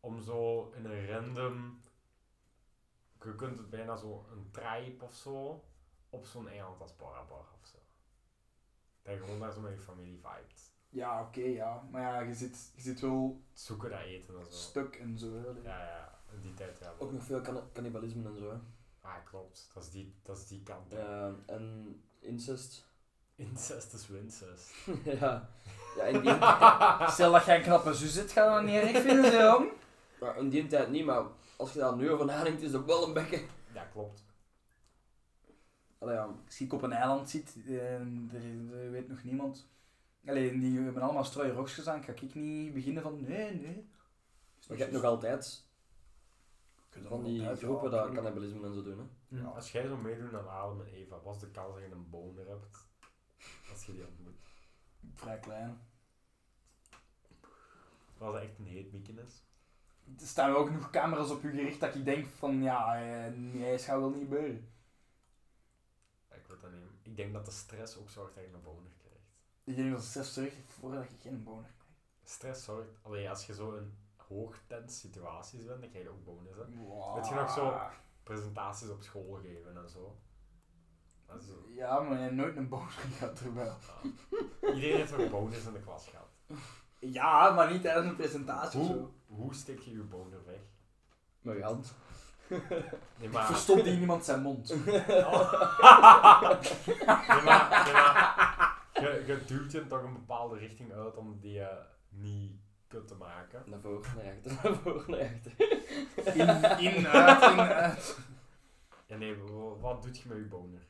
S2: om zo in een random... Je kunt het bijna zo een tribe of zo op zo'n eiland als Barabar of zo. Dat je gewoon daar zo met je familie vibet.
S3: Ja, oké, ja. Maar ja, je zit, je zit wel
S2: Het Zoeken dat eten en zo.
S3: stuk en zo. hè.
S2: Ja, ja, in die tijd ja.
S1: Ook nog veel kan- cannibalisme en zo. hè.
S2: Ah, klopt. Dat is die, dat is die kant. hè.
S1: Ja, en incest.
S2: Incest is wincest.
S1: ja. Ja, in die,
S3: Stel dat jij een knappe zus zit, gaan we dat niet erg vinden, zo. jong?
S1: maar in die tijd niet, maar als je daar nu over nadenkt, is dat wel een bekken.
S2: Ja, klopt.
S1: Allee, ja.
S3: Als je op een eiland zit, en er, er weet nog niemand. Alleen die hebben allemaal strooie rokjes aan, ga ik niet beginnen van nee, nee.
S1: Maar je hebt nog altijd
S3: Kun je
S1: van
S3: dat
S1: die
S3: altijd,
S1: groepen
S3: ja,
S1: dat
S3: tuurlijk.
S1: cannibalisme en zo doen. Hè?
S3: Ja.
S2: Als jij zo meedoet aan Adam en Eva, was de kans dat je een boner hebt? Als je die ontmoet.
S3: Vrij klein.
S2: Was dat echt een heet weekend?
S3: Er staan ook nog camera's op u gericht dat ik denk van ja, eh, nee, dat gaat wel niet gebeuren.
S2: Ik weet dat niet. Ik denk dat de stress ook zorgt dat je een boner krijgt.
S3: Ik denk dat ze zelfs terug voordat ik geen boner krijg.
S2: Stress zorgt... Allee, als je zo in hoogtens situaties bent, dan krijg je ook bonus. Hè? Weet je nog zo? Presentaties op school geven en zo. Dat is zo.
S3: Ja, maar je hebt nooit een boner gehad erbij.
S2: Ja. Iedereen heeft een bonus in de klas gehad.
S3: Ja, maar niet tijdens een presentatie of
S2: Hoe,
S3: zo.
S2: hoe steek je je boner weg?
S1: Met je hand.
S2: Nee,
S3: Ik
S2: maar...
S3: verstop die in iemand zijn mond.
S2: Nee, maar, nee, maar je, je duwt hem toch een bepaalde richting uit om die eh, niet kut te maken.
S1: Naar voren, naar achter, naar voren, naar achter.
S3: In,
S2: eh,
S3: in, eh, uit, in, uit.
S2: Ja, nee, wa- wat doet je met je boner?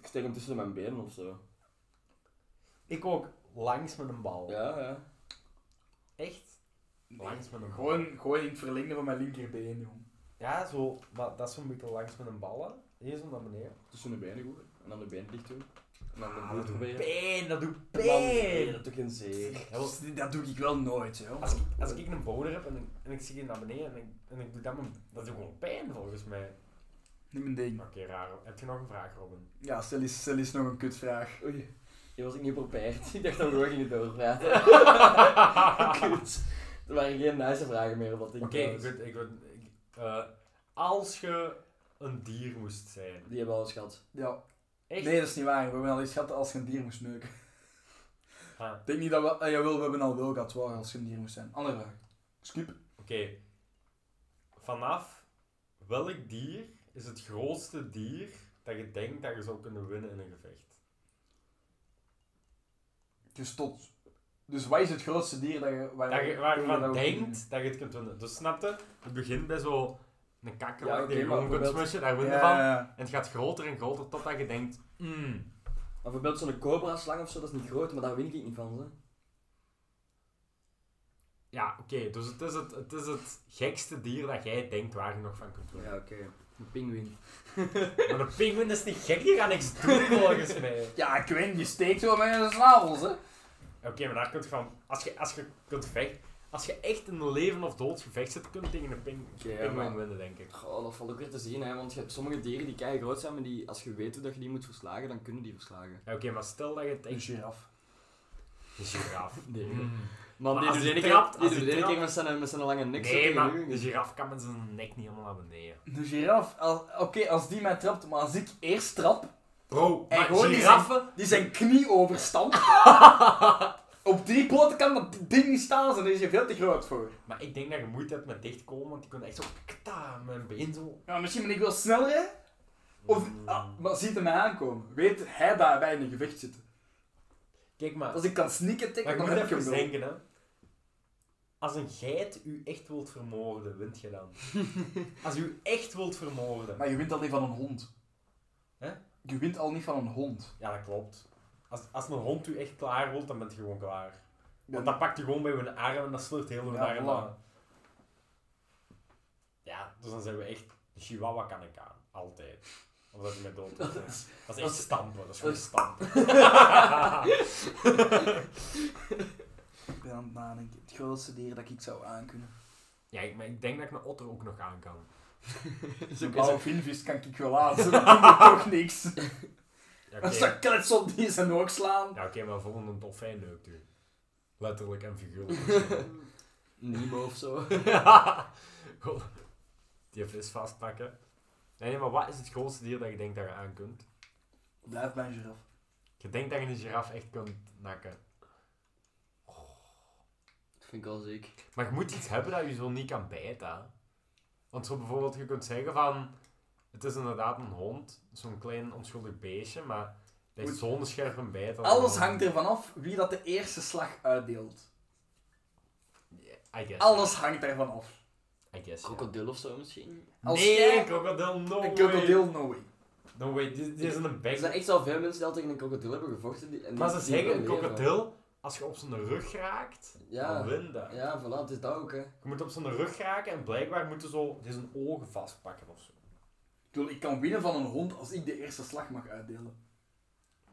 S1: Ik steek hem tussen mijn benen of zo.
S2: Ik ook langs met een bal.
S1: Ja, ja.
S2: Echt? Langs met een bal.
S3: Gewoon, gewoon in het verlengde van mijn linkerbeen, jong.
S2: Ja, zo, maar dat is zo'n beetje langs met een bal. hè. Hier zo naar beneden.
S1: Tussen de benen goed. En dan de been dicht doen. En dan de
S2: Ah,
S1: boel
S2: dat doet
S1: proberen.
S2: pijn, dat doet
S1: Nee,
S2: pijn!
S1: dat doe ik een zeer.
S2: Ja, wel,
S3: Dat doe ik wel nooit, joh.
S2: Als ik, als ik een boner heb en, ik- en ik zie je naar beneden en ik, en ik doe dat, met- dat doet gewoon pijn volgens mij.
S3: Niet mijn ding.
S2: Oké, raar. Heb je nog een vraag, Robin?
S3: Ja, stel eens, stel eens nog een kutvraag.
S1: Oei. Hier was ik niet prepared. Ik dacht dat we gewoon gingen doorpraten. Kut. Er waren geen nice vragen meer op dat ding.
S2: Oké, ik
S1: trouwens.
S2: weet, ik weet, ik- eh, als je een dier moest zijn.
S1: Die hebben alles gehad.
S3: Ja.
S2: Echt?
S3: Nee, dat is niet waar. We hebben al eens gehad als je een dier moest neuken.
S2: Ah,
S3: Ik denk niet dat we... eh, jawel, we hebben al wel gehad waar als je een dier moest zijn. Andere vraag. Skip.
S2: Oké. Vanaf welk dier is het grootste dier dat je denkt dat je zou kunnen winnen in een gevecht?
S3: Dus tot... Dus wat is het grootste dier dat je... Waar,
S2: Dat je,
S3: waar-
S2: waarvan
S3: Eh, dat we-
S2: denkt dat je het kunt winnen. Dus snapte, het begint bij zo'n kakkerlak
S1: Ja,
S2: die je
S1: oké, maar
S2: gewoon kunt
S1: bijvoorbeeld-
S2: smushen, daar win je
S3: Ja,
S2: van.
S3: ja,
S2: En
S3: ja.
S2: het gaat groter en groter totdat je denkt, mm,
S1: Maar bijvoorbeeld zo'n cobra-slang of zo, dat is niet groot, maar daar win ik niet van. Hè.
S2: ja oké, dus het is het, het is het gekste dier dat jij denkt waar je nog van kunt winnen.
S1: Ja, oké.
S5: Een pinguïn.
S2: Maar de pinguïn is niet gek, die gaat niks doen volgens mij.
S3: Ja, ik weet niet, je steekt wel met je snavels, hè.
S2: Oké, maar daar kunt je van. Als je, als je kunt vechten. Als je echt in een leven of dood gevecht zit, kun je tegen een ping,
S1: Oké, ja,
S2: pinguïn
S1: maar-
S2: winnen, denk ik.
S1: Goh, dat valt ook weer te zien, hè, want je hebt sommige dieren die kei groot zijn, maar die, als je weet hoe dat je die moet verslagen, dan kunnen die verslagen.
S2: Ja, Oké, maar stel dat je het
S3: Een
S2: echt...
S3: giraf.
S2: Een giraf.
S1: Nee.
S2: Mm.
S1: Man,
S2: Maar
S1: die
S2: als
S1: doet
S2: die
S1: de ene keer,
S2: trapt,
S1: die
S2: als
S1: doet
S2: die
S1: de ene keer
S2: trapt-
S1: met zijn, met zijn lange nek zo
S2: Nee,
S1: tegen Dus
S2: maar
S1: u.
S2: een giraf kan met zijn nek niet helemaal naar beneden.
S3: De giraf, als- oké, als die mij trapt, maar als ik eerst trap,
S2: Bro,
S3: En
S2: maar
S3: gewoon die
S2: giraffen...
S3: die zijn knie overstand. Op drie poten kan dat ding niet staan, dan is je veel te groot voor.
S2: Maar ik denk dat je moeite hebt met dichtkomen, want die kunnen echt zo... Kta, mijn been zo...
S3: Ja, misschien ben ik wel sneller, hè? Of, ah, maar ziet hij mij aankomen? Weet hij dat wij in een gevecht zitten?
S2: Kijk maar,
S3: Als ik kan sneaken
S2: maar
S3: tikken,
S2: je
S3: dan
S2: moet
S3: heb ik hem
S2: even
S3: wel.
S2: denken, hè. Als een geit u echt wilt vermoorden, wint je dan. Als u echt wilt vermoorden.
S3: Maar je wint al niet van een hond.
S2: Hè?
S3: Je wint al niet van een hond.
S2: Ja, dat klopt. Als, als een hond u echt klaar wilt, dan bent je gewoon klaar. Want
S3: Ja,
S2: dan pakt hij gewoon bij uw arm en dan sleurt heel uw
S3: Ja,
S2: arm
S3: voilà.
S2: aan. Ja, dus dan zijn we echt... een Chihuahua kan ik aan. Altijd. Omdat hij met dood is.
S3: dat is-
S2: Dat is
S3: dat
S2: echt
S3: is-
S2: stampen. Dat is
S3: dat
S2: gewoon
S3: is-
S2: stampen.
S3: Ik ben aan het nadenken. Het grootste dier dat ik zou aankunnen.
S2: ja, ik- maar ik denk dat ik een otter ook nog aan kan.
S3: Zo'n
S1: ook- is
S3: blauwe vinvis kan ik wel aan, ze doen er toch niks.
S2: Ja, oké.
S3: Als dat klets op die zijn oog slaan.
S2: Ja, oké, maar volgende een dolfijn neukt u. Letterlijk en figuurlijk.
S1: Nemo of zo.
S2: Goh. Die vis vastpakken. Nee, nee, maar wat is het grootste dier dat je denkt dat je aan kunt?
S3: Blijf bij een giraf.
S2: Je denkt dat je een giraf echt kunt nakken.
S1: Dat vind ik wel ziek.
S2: Maar je moet iets hebben dat je zo niet kan bijten. hè. Want zo bijvoorbeeld, je kunt zeggen van... Het is inderdaad een hond, zo'n klein onschuldig beestje, maar dat is
S3: Moet-
S2: zo'n scherp een bijt. dat-
S3: Alles hangt ervan af wie dat de eerste slag uitdeelt.
S2: Ja, I guess.
S3: Alles hangt ervan af.
S2: I guess, ja.
S1: Krokodil of zo misschien?
S3: Als
S2: nee,
S3: jij-
S2: krokodil, no
S3: Een
S2: way.
S3: krokodil, no way.
S2: No way, dit, dit is een
S1: Er
S2: bek.
S1: zijn echt wel veel mensen die al tegen een krokodil hebben gevochten. Die, en die-
S2: Maar ze
S1: die
S2: zeggen, een
S1: overleven.
S2: krokodil, als je op zijn rug raakt, dan
S1: Ja,
S2: win je.
S1: ja, voilà, het is dat ook, hè.
S2: Je moet op zijn rug raken en blijkbaar moeten zo zijn ogen vastpakken of zo.
S3: Ik bedoel, ik kan winnen van een hond als ik de eerste slag mag uitdelen.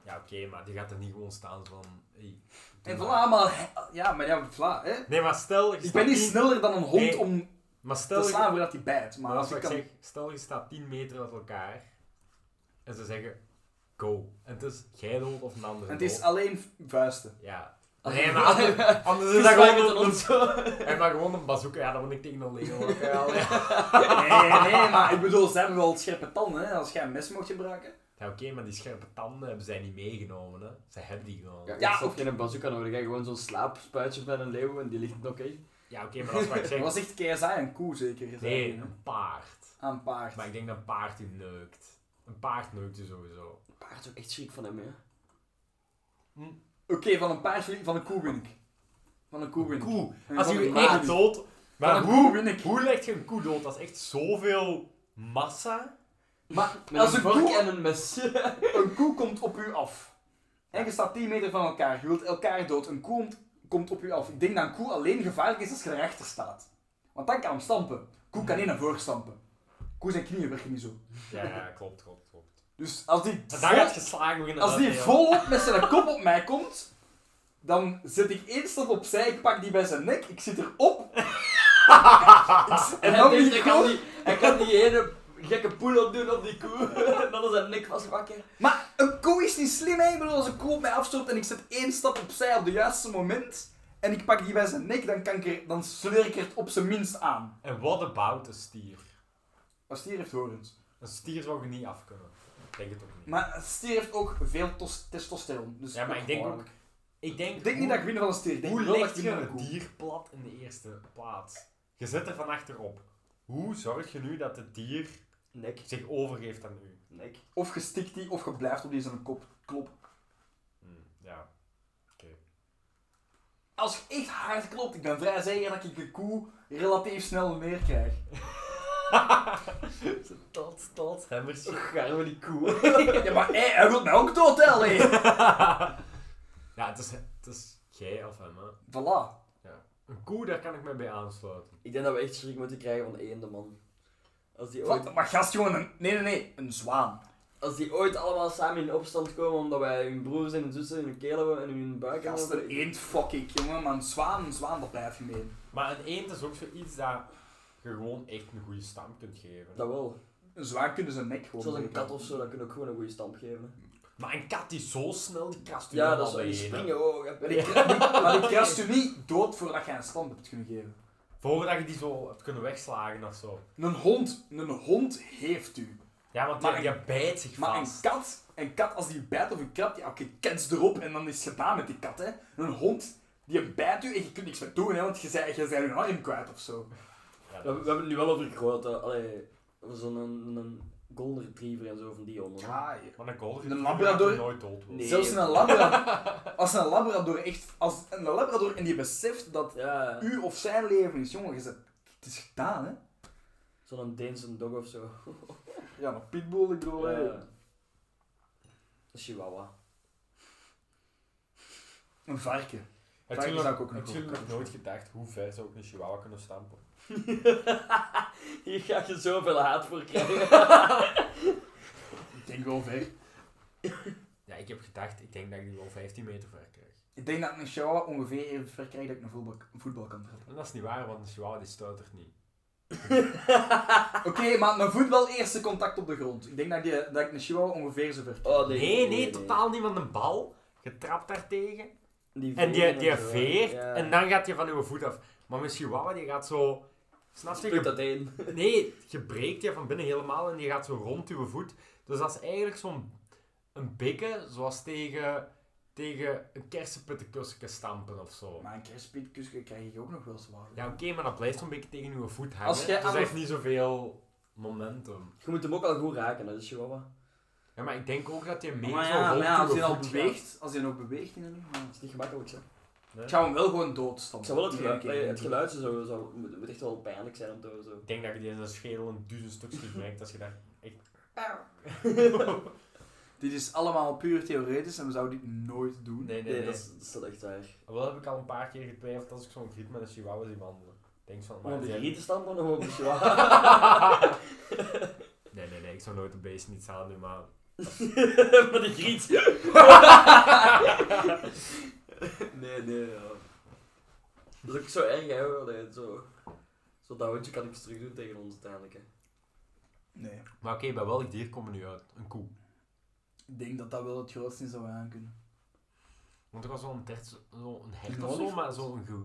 S2: Ja, oké, maar die gaat er niet gewoon staan van... hey, doe
S3: En
S2: maar.
S3: voilà, maar... Ja, maar ja, voilà, hè.
S2: Nee, maar stel... Je
S3: Ik
S2: staat
S3: ben niet
S2: tien-
S3: sneller dan een hond
S2: Nee,
S3: om
S2: Maar
S3: te
S2: stel, je,
S3: slaan voordat hij bijt. Maar
S2: maar
S3: als
S2: als
S3: ik
S2: ik
S3: kan...
S2: zeg, stel je staat 10 meter uit elkaar en ze zeggen go. En het is jij dood of een ander
S3: En het is
S2: dood.
S3: alleen vuisten.
S2: Ja. Nee, maar anders, anders is dat
S1: Verslagen
S2: gewoon
S1: tot
S2: een,
S1: ons.
S2: een- en maar gewoon een bazooka. Ja, dat moet ik tegen een leeuw. ook, ja, ja.
S3: Nee, nee, nee, maar ik bedoel, ze hebben wel scherpe tanden, hè. Als jij een mes mocht gebruiken.
S2: Ja, oké, maar die scherpe tanden hebben zij niet meegenomen, hè. Ze hebben die gewoon.
S1: Ja,
S2: Ja,
S1: ja
S3: Ja,
S1: ik heb
S3: of-
S1: geen bazooka nodig, hè. Gewoon zo'n slaapspuitje van een leeuw en die ligt nog echt.
S2: oké, maar dat is wat ik
S3: Dat
S2: zeg.
S3: was echt KSI een koe, zeker. is dat
S2: Nee,
S3: niet, hè?
S2: een paard.
S3: Aan paard.
S2: Maar ik denk dat een paard die neukt. Een paard neukt je sowieso.
S1: Paard is ook echt ziek van hem, hè.
S3: Oké, van een paard verlie- van een koe win ik. Van een koe win ik.
S2: Koe.
S3: En
S2: Als
S3: van
S2: je
S3: een
S2: echt
S3: paard.
S2: dood...
S3: Van
S2: Maar
S3: een
S2: hoe,
S3: koe win ik.
S2: hoe legt je een koe dood? Dat is echt zoveel massa.
S3: Maar
S1: Met
S3: als
S1: een
S3: een
S1: vork
S3: koe,
S1: en een mes.
S3: een koe komt op u af. En je staat 10 meter van elkaar. Je wilt elkaar dood. Een koe ont- komt op u af. Ik denk dat een koe alleen gevaarlijk is als je erachter staat. Want dan kan hem stampen. Koe kan niet naar voren stampen. Koe zijn knieën werken niet zo.
S2: Ja, ja, klopt, klopt, klopt.
S3: Dus als die,
S2: En
S3: vol-
S2: daar gaat geslagen beginnen.
S3: als die
S2: ja.
S3: volop met zijn kop op mij komt, dan zet ik één stap opzij. Ik pak die bij zijn nek. Ik zit erop. en
S1: hij,
S3: dan ben
S1: denkt,
S3: ik
S1: hij kan
S3: gewoon...
S1: die, hij kan die ene gekke pull-up doen op die koe. en dan is zijn nek vastpakken.
S3: Maar een koe is niet slim, hè? Ik bedoel, als een koe op mij afstoot en ik zet één stap opzij op het juiste moment en ik pak die bij zijn nek, dan, kan ik er, dan sleur ik er het op zijn minst aan.
S2: En what about een stier?
S3: Als stier heeft horens.
S2: Een stier zou je niet af kunnen. Ik denk het ook niet.
S3: Maar een stier heeft ook veel tos- testosteron. Dus
S2: Ja, maar ik denk ook-
S3: gevaarlijk.
S2: ik denk,
S3: Ik denk niet dat ik win van een stier. Ik denk
S2: Hoe
S3: wel dat ik
S2: ligt je
S3: win van een
S2: een
S3: koe.
S2: dier plat in de eerste plaats? Je zit er van achterop. Hoe zorg je nu dat het dier
S1: Nek.
S2: zich overgeeft aan u?
S1: Nek.
S3: Of je stikt die, of je blijft op die zijn kop kloppen.
S2: Hm, ja.
S3: Als je echt hard klopt, ik ben vrij zeker dat ik de koe relatief snel neerkrijg.
S1: Tot, tot.
S2: Hemmers.
S1: Gaan we die koe.
S3: ja, maar hé, hij wil mij ook dood, hè, alleen.
S2: Ja, het is, het is jij of hem, hè.
S3: Voilà.
S2: Een koe, daar kan ik me bij aansluiten.
S1: Ik denk dat we echt schrik moeten krijgen van eenden, man. Als die ooit,
S3: Wat? Maar gast, gewoon een... Nee, nee, nee. Een zwaan.
S1: als die ooit allemaal samen in opstand komen omdat wij hun broers en hun zussen en hun keel hebben en hun buik
S3: Gast,
S1: hebben.
S3: een eend fuck ik, jongen. Maar een zwaan, een zwaan, dat blijft gemeen.
S2: Maar een eend is ook zoiets dat je gewoon echt een goede stam kunt geven.
S1: Dat wel.
S3: Een zwaan kunnen ze nek gewoon
S1: Zoals een
S3: breken.
S1: kat of zo, dat kan ook gewoon een goede stamp geven.
S2: Maar een kat die zo snel, die krast u
S1: Ja, dat
S2: helemaal
S1: is wel die
S2: bijeen, hè.
S1: springen. Oh, ja,
S3: Maar die, die- maar die krast u niet dood voordat jij een stand hebt kunnen geven.
S2: Voordat je die zo hebt kunnen wegslagen of zo.
S3: Een hond, een hond heeft u.
S2: Ja, want
S3: Maar
S2: die, die bijt zich
S3: Maar
S2: vast.
S3: een kat, een kat als die bijt of een krabt, ja oké, kets erop en dan is het gedaan met die kat, hè. Een hond, die bijt u en je kunt niks meer doen, hè, want je zei je zei je arm kwijt of zo.
S2: Ja,
S1: We,
S2: dat
S1: we
S2: is-
S1: hebben het nu wel over grote, allee, zo'n een, een golden retriever en zo van die honden. hè.
S3: Ja, ja.
S2: Maar een golden
S3: Een
S2: retriever
S3: labrador-
S2: gaat nooit dood worden.
S1: Nee.
S3: Zelfs een labrador, als een labrador echt, als een labrador en die beseft dat
S1: Ja,
S3: u of zijn leven is, jongen, je zegt, het is gedaan, hè.
S1: zo'n Deense dog of zo.
S3: Ja, maar pitbull, ik bedoel, hè.
S1: Ja. Een chihuahua.
S3: Een varken.
S2: Heb
S3: Vaak
S2: je
S3: is dat
S2: nog,
S3: ook nog
S2: heb
S3: een
S2: je nog
S3: golden
S2: nooit gedacht hoe ver zou ook een chihuahua kunnen stampen?
S1: Hier ga je zoveel haat voor krijgen.
S3: Ik denk wel ver.
S2: Ja, ik heb gedacht, ik denk dat ik die wel 15 meter ver krijg.
S3: Ik denk dat een chihuahua ongeveer even ver krijgt dat ik een voetbal, een voetbal kan trappen.
S2: En dat is niet waar, want een chihuahua die stuitert niet.
S3: Oké, maar een voetbal eerste contact op de grond. Ik denk dat, die, dat ik een chihuahua ongeveer zo ver krijg.
S1: oh,
S2: Nee, nee, totaal niet, want een bal, je trapt daartegen
S1: Die
S2: en die,
S1: veren
S2: die
S1: zo.
S2: veert
S1: Ja.
S2: en dan gaat je van je voet af. Maar een chihuahua die gaat zo... Snap je?
S1: Split
S2: je?
S1: dat één.
S2: Nee, je breekt je van binnen helemaal en die gaat zo rond je voet. Dus dat is eigenlijk zo'n een bikken, zoals tegen, tegen een kersenpittenkussen stampen of zo.
S3: Maar een kerstpietkusje krijg ik ook nog wel zwaar.
S2: Ja, oké, maar dat blijft zo'n beetje tegen uw voet hangen.
S3: Als jij
S2: dus dat
S3: aan-
S2: heeft niet zoveel momentum.
S1: Je moet hem ook al goed raken, hè, de chihuahua.
S2: Ja, maar ik denk ook dat je meer
S3: maar
S2: zo
S3: ja,
S2: rond
S3: maar ja,
S2: uw
S3: als hij
S2: voet
S3: al
S2: gaat.
S3: beweegt, als hij nog beweegt in de lucht. maar-
S1: Dat is niet gemakkelijk, hè.
S3: Ik zou hem wel gewoon doodstampen.
S1: Ik zou wel het geluid,
S3: Iedere keer.
S1: eh, het geluid zo, zo, moet, moet echt wel pijnlijk zijn om te zo.
S2: Ik denk dat je die in zijn schedel een duizend stukjes breekt als je daar... Echt...
S3: Dit is allemaal puur theoretisch en we zouden dit nooit doen.
S2: Nee, nee,
S1: Nee,
S2: nee.
S1: dat is, dat is wel echt waar.
S2: Wel heb ik al een paar keer getwijfeld als ik zo'n griet met een chihuahua zie wandelen. Ik Denk
S3: Oh,
S2: van,
S1: Om op
S2: maar...
S1: de
S2: die-
S1: rieten stampen of op de chihuahua.
S2: Nee, nee, nee, ik zou nooit een beest niet aan doen, maar...
S1: maar die griet. nee, nee, ja. Dat is ook zo erg, hè. hoor. Allee, Zo, zo dat hondje kan ik eens terug doen tegen ons uiteindelijk, hè.
S3: Nee.
S2: Maar oké, bij welk dier komen we nu uit? Een koe.
S3: Ik denk dat dat wel het grootste is dat we aankunnen.
S2: Want er was zo'n hert, zo een
S3: Een
S2: hert of zo,
S3: olifant?
S2: maar zo'n goe.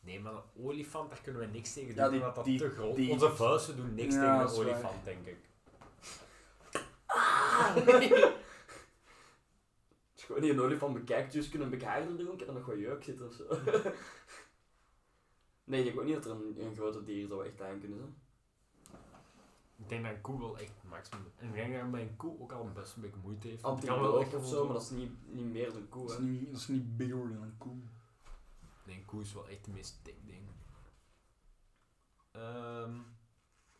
S2: Nee, maar een olifant, daar kunnen we niks tegen doen,
S3: Ja, die-
S2: omdat dat
S3: die-
S2: te groot
S3: die-
S2: Onze vuisten doen niks
S3: Ja,
S2: tegen
S3: dat is
S2: een
S3: waar.
S2: olifant, denk ik.
S1: Ah! Als je gewoon niet een olifant bekijkt, dus kunnen bekaarden doen, kan er nog wat jeuk zitten of zo. nee, ik denk ook niet dat er een, een groter dier is dat we echt aan kunnen zijn.
S2: Ik denk dat een koe wel echt maximum... En ik denk dat mijn koe ook al best een beetje moeite heeft. want die kan wel
S1: Antiloop
S2: echt
S1: of zo,
S2: gewoon-
S1: maar dat is niet, niet meer dan
S3: Dat
S1: koe,
S3: is
S1: hè.
S3: niet, dat is niet bigger dan een koe.
S2: Nee, een koe is wel echt de meest dik ding. Ehm,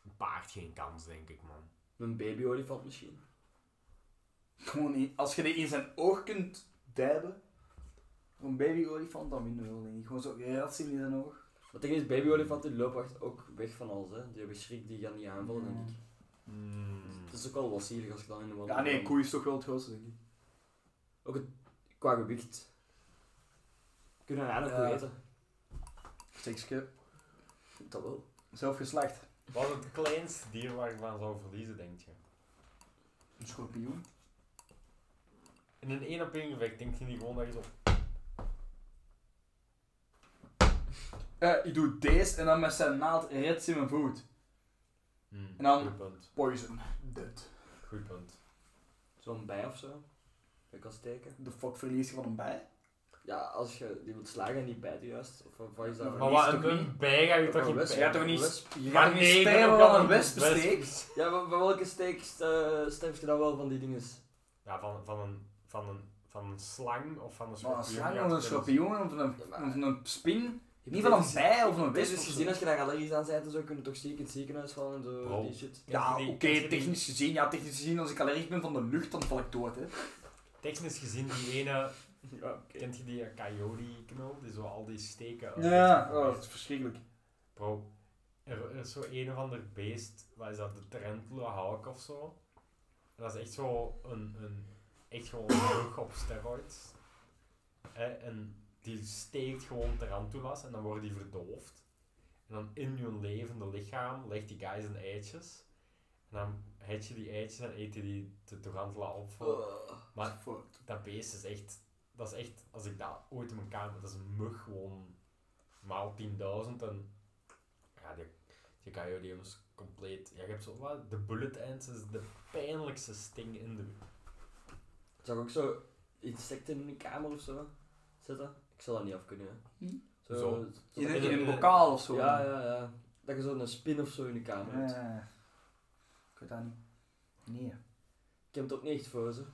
S2: een paard geen kans, denk ik, man.
S1: Een baby-olifant misschien.
S3: Gewoon niet. Als je die in zijn oog kunt duiben, een baby-olifant, dan winnen we wel, denk ik. Gewoon zo, ja, dat in zijn oog.
S1: Maar tegen is babyolifanten lopen echt ook weg van alles. Hè. Die hebben schrik, die gaan niet aanvallen, denk ik. Dus
S2: Mm.
S1: Het is ook wel wat zielig als je dan in de wandel
S3: Ja, nee, koe is toch wel het grootste, denk ik.
S1: Qua gewicht. Kunnen we eigenlijk
S3: Ja.
S1: koe eten?
S3: Sekske.
S1: Dat wel.
S3: Zelf geslacht.
S2: Wat is het kleinste dier waar ik van zou verliezen, denk je?
S3: Een schorpioen.
S2: In een 1 op 1 gevecht denk je niet gewoon dat je zo...
S3: Eh, ik doe deze en dan met zijn naald redt ze mijn voet.
S2: Mm,
S3: En dan-
S2: Goed punt.
S3: Poison. Dead.
S2: Goed punt.
S1: Zo'n bij of zo. Dat je kan steken.
S3: De fuck verlies je van een bij?
S1: Ja, als je die wilt slagen en die bijt je juist. Of wat is
S3: Maar
S1: dat?
S2: Maar
S3: wat-
S2: wat,
S3: toch
S2: een,
S3: niet?
S2: een bij ga je
S1: Een
S2: toch niet
S1: wesp.
S2: bij?
S1: Je gaat toch
S3: niet-
S1: Wesp.
S3: Je
S2: Maar
S3: gaat niet
S2: nee,
S3: sterven
S2: dat
S3: van
S2: kan
S3: een wespensteek.
S1: Ja, maar bij welke steek eh, sterf je dan wel van die dingen?
S2: Ja, van, van, een, van, een, van een slang of van een
S3: Maar
S2: schorpioen.
S3: een slang
S2: gaat
S3: of een
S2: het
S3: schorpioen of een,
S1: Ja, maar-
S3: of een spin. Niet van een bij of een
S1: Het is
S3: wesp.
S1: dus
S3: of zo.
S1: gezien als je daar allergisch aan bent en zo, kun je toch ziek in het ziekenhuis vallen en zo.
S2: Bro.
S1: Die shit.
S3: Ja,
S2: Ken je
S3: oké,
S2: die- ken je die-
S3: technisch gezien. Ja, technisch gezien, als ik allergisch ben van de lucht, dan val ik dood, hè.
S2: Technisch gezien, die ene...
S1: Ja, oké.
S2: Kent je die Oh, coyote-knul? Die zo al die steken... uit-
S3: is verschrikkelijk.
S2: Bro, Er, er is zo een of ander beest, wat is dat, de Trentele Hawk of zo. En dat is echt zo een, een echt gewoon een rug op steroids. Eh, en die steekt gewoon tarantulas en dan worden die verdoofd. En dan in hun levende lichaam legt die guy zijn eitjes. En dan heet je die eitjes en eet je die de tarantula op. voor-
S1: Oh.
S2: Maar-
S3: Fucked.
S2: dat beest is echt, dat is echt, als ik dat ooit in mijn kamer, dat is een mug gewoon maal 10.000 en ja, die, die Coyoteums compleet, ja, je hebt zo, wat, de bullet ants is de pijnlijkste sting in de
S1: Zou ik ook zo insecten in de kamer of zo zetten? Ik zal dat niet af kunnen. hè.
S3: Hm?
S1: Zo,
S2: Zo.
S3: In,
S1: dat
S3: een-
S1: je
S3: in
S1: zo-
S3: een bokaal of zo.
S1: Ja, ja, ja. Dat je zo'n spin of zo in de kamer hebt.
S3: Eh, ik weet dat niet. Nee.
S1: Ik heb het ook niet echt voor ze.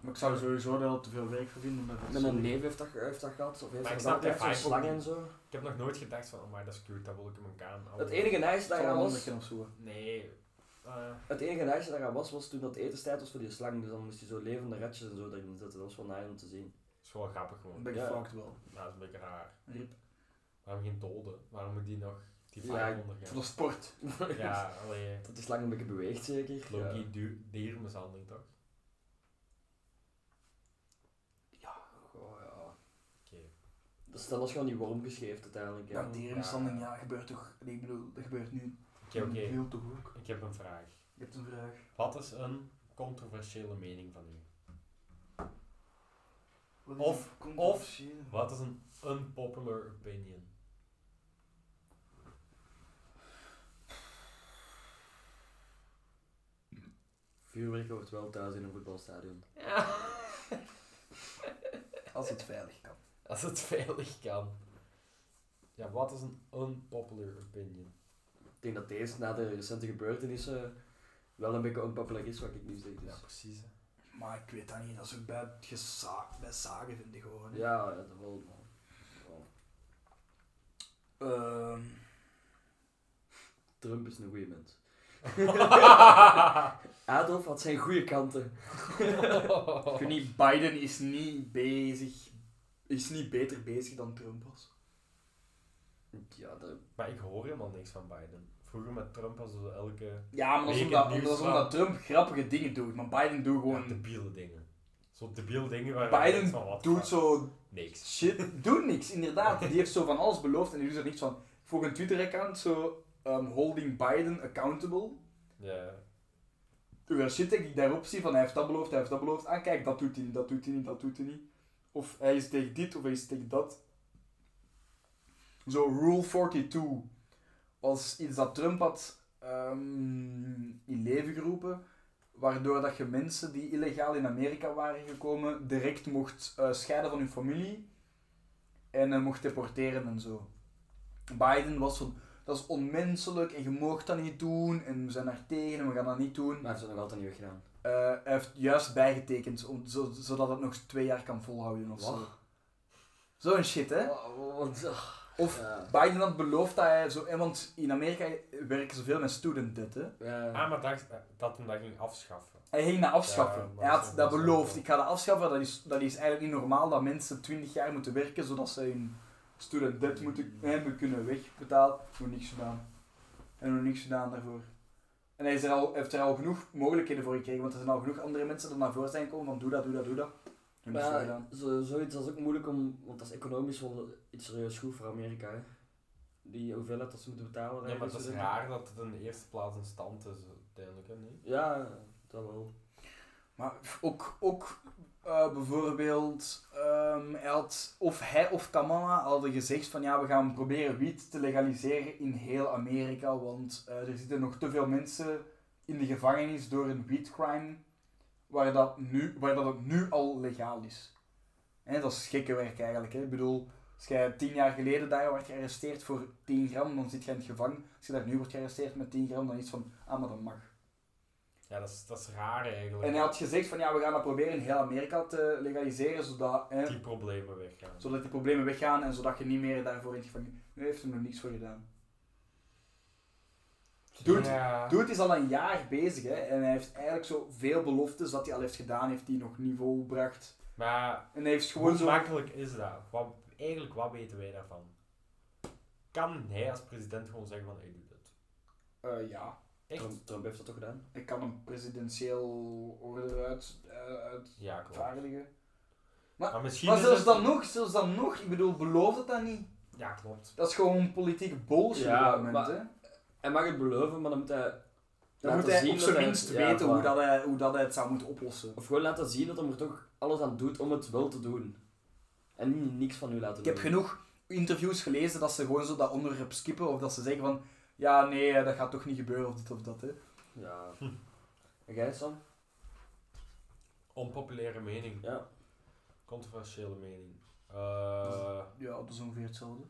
S3: Maar ik zou sowieso er al te veel werk voor vinden. maar dat is-
S1: Met mijn neef heeft dat, ge- heeft dat gehad. Of heeft
S2: Maar
S1: dat
S2: ik snap
S1: gehad,
S2: de
S1: zo'n
S2: vibe ook
S1: slang
S2: niet. Oh.
S1: en zo.
S2: Ik heb nog nooit gedacht van, maar dat is cute, dat wil ik in mijn kamer.
S1: Het enige nice
S3: zal een
S1: daaraan was...
S3: mannetje of zo.
S2: Nee, eh,
S1: Het enige nice daaraan was, was toen dat etenstijd was voor die slang. Dus dan moest je zo levende ratjes en zo erin zetten. Dat was wel nice om te zien.
S2: is gewoon grappig gewoon.
S3: Dan ben ik
S1: Ja.
S3: fucked wel.
S2: Ja, dat is een beetje raar.
S3: Rip.
S2: Waarom geen doden? Waarom moet die nog die
S1: Ja,
S2: vibe
S1: ik-
S3: Voor de
S2: ondergaan?
S3: sport.
S2: Ja, alleen
S1: Dat die slang een beetje beweegt zeker.
S2: Loki
S1: Ja.
S2: du- diermishandeling toch?
S1: Goh, ja.
S2: Oké.
S1: Dat is- dat was gewoon die worm gescheefd uiteindelijk. Ja.
S3: Ja, dierenmishandeling, ja, gebeurt toch. nee, Ik bedoel, dat gebeurt nu
S2: Oké, oké.
S3: veel toch ook.
S2: Ik heb een vraag.
S3: Je hebt een vraag.
S2: Wat is een controversiële mening van u?
S3: Wat
S2: is Of-
S3: een
S2: controversiële? Wat is een unpopular opinion?
S1: Vuurwerk hoort wel thuis in een voetbalstadion.
S3: Als het veilig kan.
S2: Als het veilig kan. Ja, wat is een unpopular opinion?
S1: Ik denk dat deze na de recente gebeurtenissen wel een beetje onpopulair is wat ik nu zeg.
S2: Ja,
S1: Dus.
S2: precies. hè.
S3: Maar ik weet dat niet, dat is ook bij, het geza- bij zagen vind ik gewoon. hè.
S1: Ja, ja, dat wel. wel.
S3: Ehm,
S1: Trump is een goede mens. Adolf had zijn goede kanten.
S3: ik
S2: Oh.
S3: weet niet, Biden is niet bezig, is niet beter bezig dan Trump was.
S1: Ja, dat...
S2: Maar ik hoor helemaal niks van Biden. Vroeger met Trump was er elke
S3: Ja, maar dat is
S2: Week
S3: omdat,
S2: het nieuws
S3: dat is
S2: van-
S3: omdat Trump grappige dingen doet, maar Biden doet
S2: ja,
S3: gewoon...
S2: debiele dingen. Zo debiele dingen waar
S3: Biden
S2: denkt van wat de
S3: doet
S2: fuck?
S3: zo
S2: niks.
S3: shit, doet niks, inderdaad. Die heeft zo van alles beloofd en die doet er niks van. Voor een Twitter-account zo, ehm, holding Biden accountable.
S2: Ja.
S3: Hoeveel shit dat ik daarop zie van hij heeft dat beloofd, hij heeft dat beloofd. Ah kijk, dat doet hij niet, dat doet hij niet, dat doet hij niet. Of hij is tegen dit, of hij is tegen dat. Zo, Rule 42 was iets dat Trump had ehm, in leven geroepen. Waardoor dat je mensen die illegaal in Amerika waren gekomen, direct mocht eh, scheiden van hun familie. En eh, mocht deporteren en zo. Biden was van, dat is onmenselijk en je mag dat niet doen. En we zijn daar tegen en we gaan dat niet
S1: Maar
S3: doen.
S1: hij heeft het nog altijd niet weggedaan.
S3: Eh, hij heeft juist bijgetekend, om, zo- zodat het nog twee jaar kan volhouden of zo. Zo'n shit, hè?
S1: Wa- Want, ah,
S3: Of
S1: ja.
S3: Biden had beloofd dat hij zo... eh, Want in Amerika werken ze veel met student debt, hè?
S1: Ja.
S2: Ah, maar dat, dat hem dat ging afschaffen.
S3: Hij ging dat afschaffen.
S2: Ja, maar
S3: hij
S2: dat
S3: had
S2: is-
S3: dat
S2: dat is-
S3: beloofd. Ik ga dat afschaffen. Dat is, dat is eigenlijk niet normaal dat mensen 20 jaar moeten werken zodat ze hun student debt
S2: Mm.
S3: moeten hebben kunnen wegbetalen. Nog niks gedaan. En nog niks gedaan daarvoor. En hij is er al, heeft er al genoeg mogelijkheden voor gekregen, want er zijn al genoeg andere mensen die naar voren zijn gekomen van doe dat, doe dat, doe dat. En niks voor
S1: Maar
S3: gedaan.
S1: ja, zo, zoiets is ook moeilijk om, want dat is economisch wel iets serieus goed voor Amerika. Hè. Die hoeveelheid dat ze moeten betalen.
S2: Ja,
S1: daar
S3: dus
S2: maar het
S1: zo.
S2: is raar dat het in de eerste plaats een stand is, uiteindelijk, hè, niet?
S1: Ja, dat wel.
S3: Maar ook, ook eh, bijvoorbeeld, ehm, hij had, of hij of Kamala hadden gezegd van ja, we gaan proberen wiet te legaliseren in heel Amerika, want eh, er zitten nog te veel mensen in de gevangenis door een wietcrime waar dat, nu, waar dat het nu al legaal is. En dat is gekke werk eigenlijk. Hè? Ik bedoel, als jij tien jaar geleden daar werd gearresteerd voor 10 gram, dan zit je in het gevangen. Als je daar nu wordt gearresteerd met 10 gram, dan is het van, ah, maar dat mag.
S2: Ja, dat is, dat is raar eigenlijk.
S3: En hij had gezegd van ja, we gaan dat proberen in heel Amerika te legaliseren, zodat, hè,
S2: die problemen weggaan.
S3: zodat die problemen weggaan en zodat je niet meer daarvoor in het gevangen... Nu heeft hij er nog niks voor gedaan. Dude,
S2: Ja.
S3: Dude is al een jaar bezig hè, en hij heeft eigenlijk zo veel beloftes dat hij al heeft gedaan, heeft hij nog niet volbracht.
S2: Maar
S3: En hij heeft gewoon
S2: hoe
S3: zo...
S2: makkelijk is dat? Wat, eigenlijk, wat weten wij daarvan? Kan hij als president gewoon zeggen van, ik doe dit?
S3: Eh, ja,
S2: Echt?
S1: Trump, Trump heeft dat toch gedaan?
S3: ik kan een presidentieel order uit, eh,
S2: Ja, klopt.
S3: uitvaardigen.
S2: Maar misschien
S3: Maar
S2: is
S3: zelfs
S2: het-
S3: dan nog, zelfs dan nog, ik bedoel, beloof dat dan niet.
S2: Ja, klopt.
S3: Dat is gewoon politiek bullshit
S1: Ja,
S3: op dat moment,
S1: maar-
S3: hè.
S1: Hij mag het beloven, maar dan moet hij.
S3: Dan moet
S1: laten
S3: hij
S1: zien
S3: op
S1: dat
S3: zijn
S1: hij-
S3: minst
S1: ja,
S3: weten hoe,
S1: voilà.
S3: dat hij, hoe dat hij het zou moeten oplossen.
S1: Of gewoon laten zien dat hij er toch alles aan doet om het wel te doen. En niet niks van u laten
S3: Ik
S1: doen.
S3: heb genoeg interviews gelezen dat ze gewoon zo dat onderwerp skippen of dat ze zeggen van ja, nee, eh, dat gaat toch niet gebeuren of dit of dat. Hè.
S1: Ja. En jij, Sam?
S2: Onpopulaire mening.
S1: Ja.
S2: Controversiële mening. Eh,
S3: Ja, dat is ongeveer hetzelfde.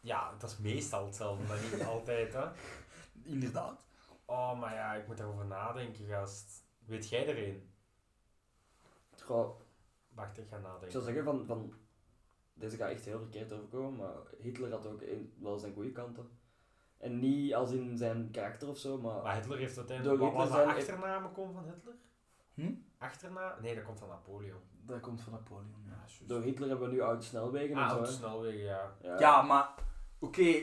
S2: ja, dat is meestal hetzelfde, maar niet altijd, hè.
S3: Inderdaad.
S2: Oh, maar ja, ik moet daarover nadenken, gast. Weet jij er een?
S1: Goh,
S2: Wacht, ik ga
S1: ik zou
S2: nadenken.
S1: zeggen van, van. Deze gaat echt heel verkeerd overkomen, maar Hitler had ook een- wel zijn goede kanten. En niet als in zijn karakter of zo, maar.
S2: Maar Hitler heeft uiteindelijk...
S1: Door
S2: Wat was
S1: Hitler
S2: de
S1: zijn-
S2: achternaam komt van Hitler?
S3: Hm?
S2: Achternaam? Nee, dat komt van Napoleon.
S3: Dat komt van Napoleon. Ja,
S1: Door Hitler hebben we nu oude snelwegen en
S2: Ah,
S1: zo.
S2: op de
S1: hè.
S2: snelweg, ja.
S1: Ja.
S3: ja maar oké.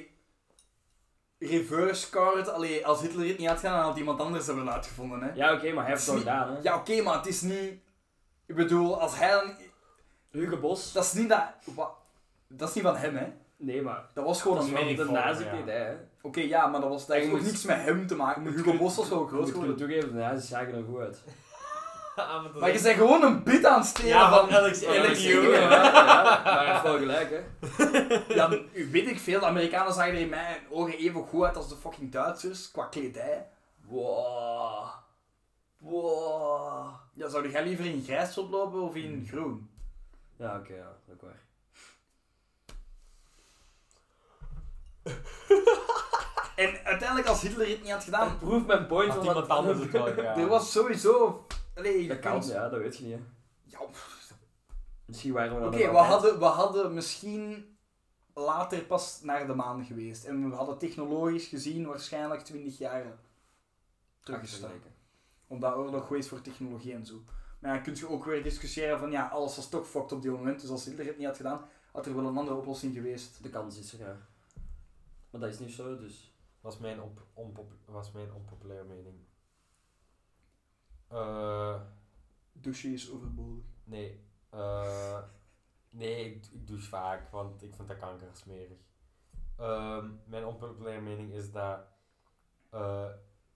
S3: Reverse card, allee, als Hitler het niet had gedaan, dan had iemand anders dat wel uitgevonden. Hè.
S1: Ja, oké, maar hij heeft het wel gedaan, hè?
S3: Ja, oké, maar het is niet. Ik bedoel, als hij. dan-
S1: Hugo Bos?
S3: Dat is niet dat. wa- Dat is niet van hem, hè?
S1: Nee, maar.
S3: Dat was gewoon
S1: Dat is
S3: een
S2: wel
S1: wel
S2: die
S1: de
S2: vorm,
S1: nazi-partij, hè?
S3: Oké, ja, maar dat was dat heeft
S1: Je
S3: ook
S1: moet-
S3: niks met hem te maken. Hugo Boss was wel
S1: Ik moet
S3: groot
S1: kunnen
S3: geworden.
S1: toegeven, de nazi's zagen er goed uit.
S2: Ah, dat is
S3: Maar je
S2: echt-
S3: bent gewoon een bit aan het stelen
S2: Ja,
S3: van...
S2: van Alex Alex
S3: Alex
S2: Ewan.
S3: Ewan.
S1: Ja, maar hij heeft wel gelijk, hè?
S3: Ja, u weet ik veel, de Amerikanen zagen er in mijn ogen even goed uit als de fucking Duitsers, qua kledij.
S1: Wow. Wow.
S3: Ja, zou jij liever in grijs oplopen of in groen?
S1: Ja, oké, ja, dat is ook waar.
S3: En uiteindelijk, als Hitler het niet had gedaan,
S1: Proef mijn point
S2: Ah. Had
S1: van
S2: iemand anders het wel gedaan.
S3: er was sowieso... Allee, je
S1: Dat kan,
S3: kunt-
S1: ja, dat weet je niet. hè.
S3: Ja, pff.
S1: Misschien waren we dan
S3: Oké,
S1: nog
S3: we,
S1: altijd-
S3: hadden, we hadden misschien later pas naar de maan geweest. En we hadden technologisch gezien waarschijnlijk 20 jaar teruggestaan.
S1: Achtergekeken.
S3: Omdat oorlog geweest voor technologie en zo. Maar ja, kun je ook weer discussiëren van ja, alles was toch fucked op die moment. Dus als Hitler het niet had gedaan, had er wel een andere oplossing geweest.
S1: De kans is er, ja. Maar dat is niet zo, dus...
S2: was mijn, op, onpop, was mijn onpopulaire mening. Eh,
S3: Douche is overbodig.
S2: nee. eh, nee, ik, ik douche vaak, want ik vind dat kanker smerig. Ehm, mijn onpopulaire mening is dat eh,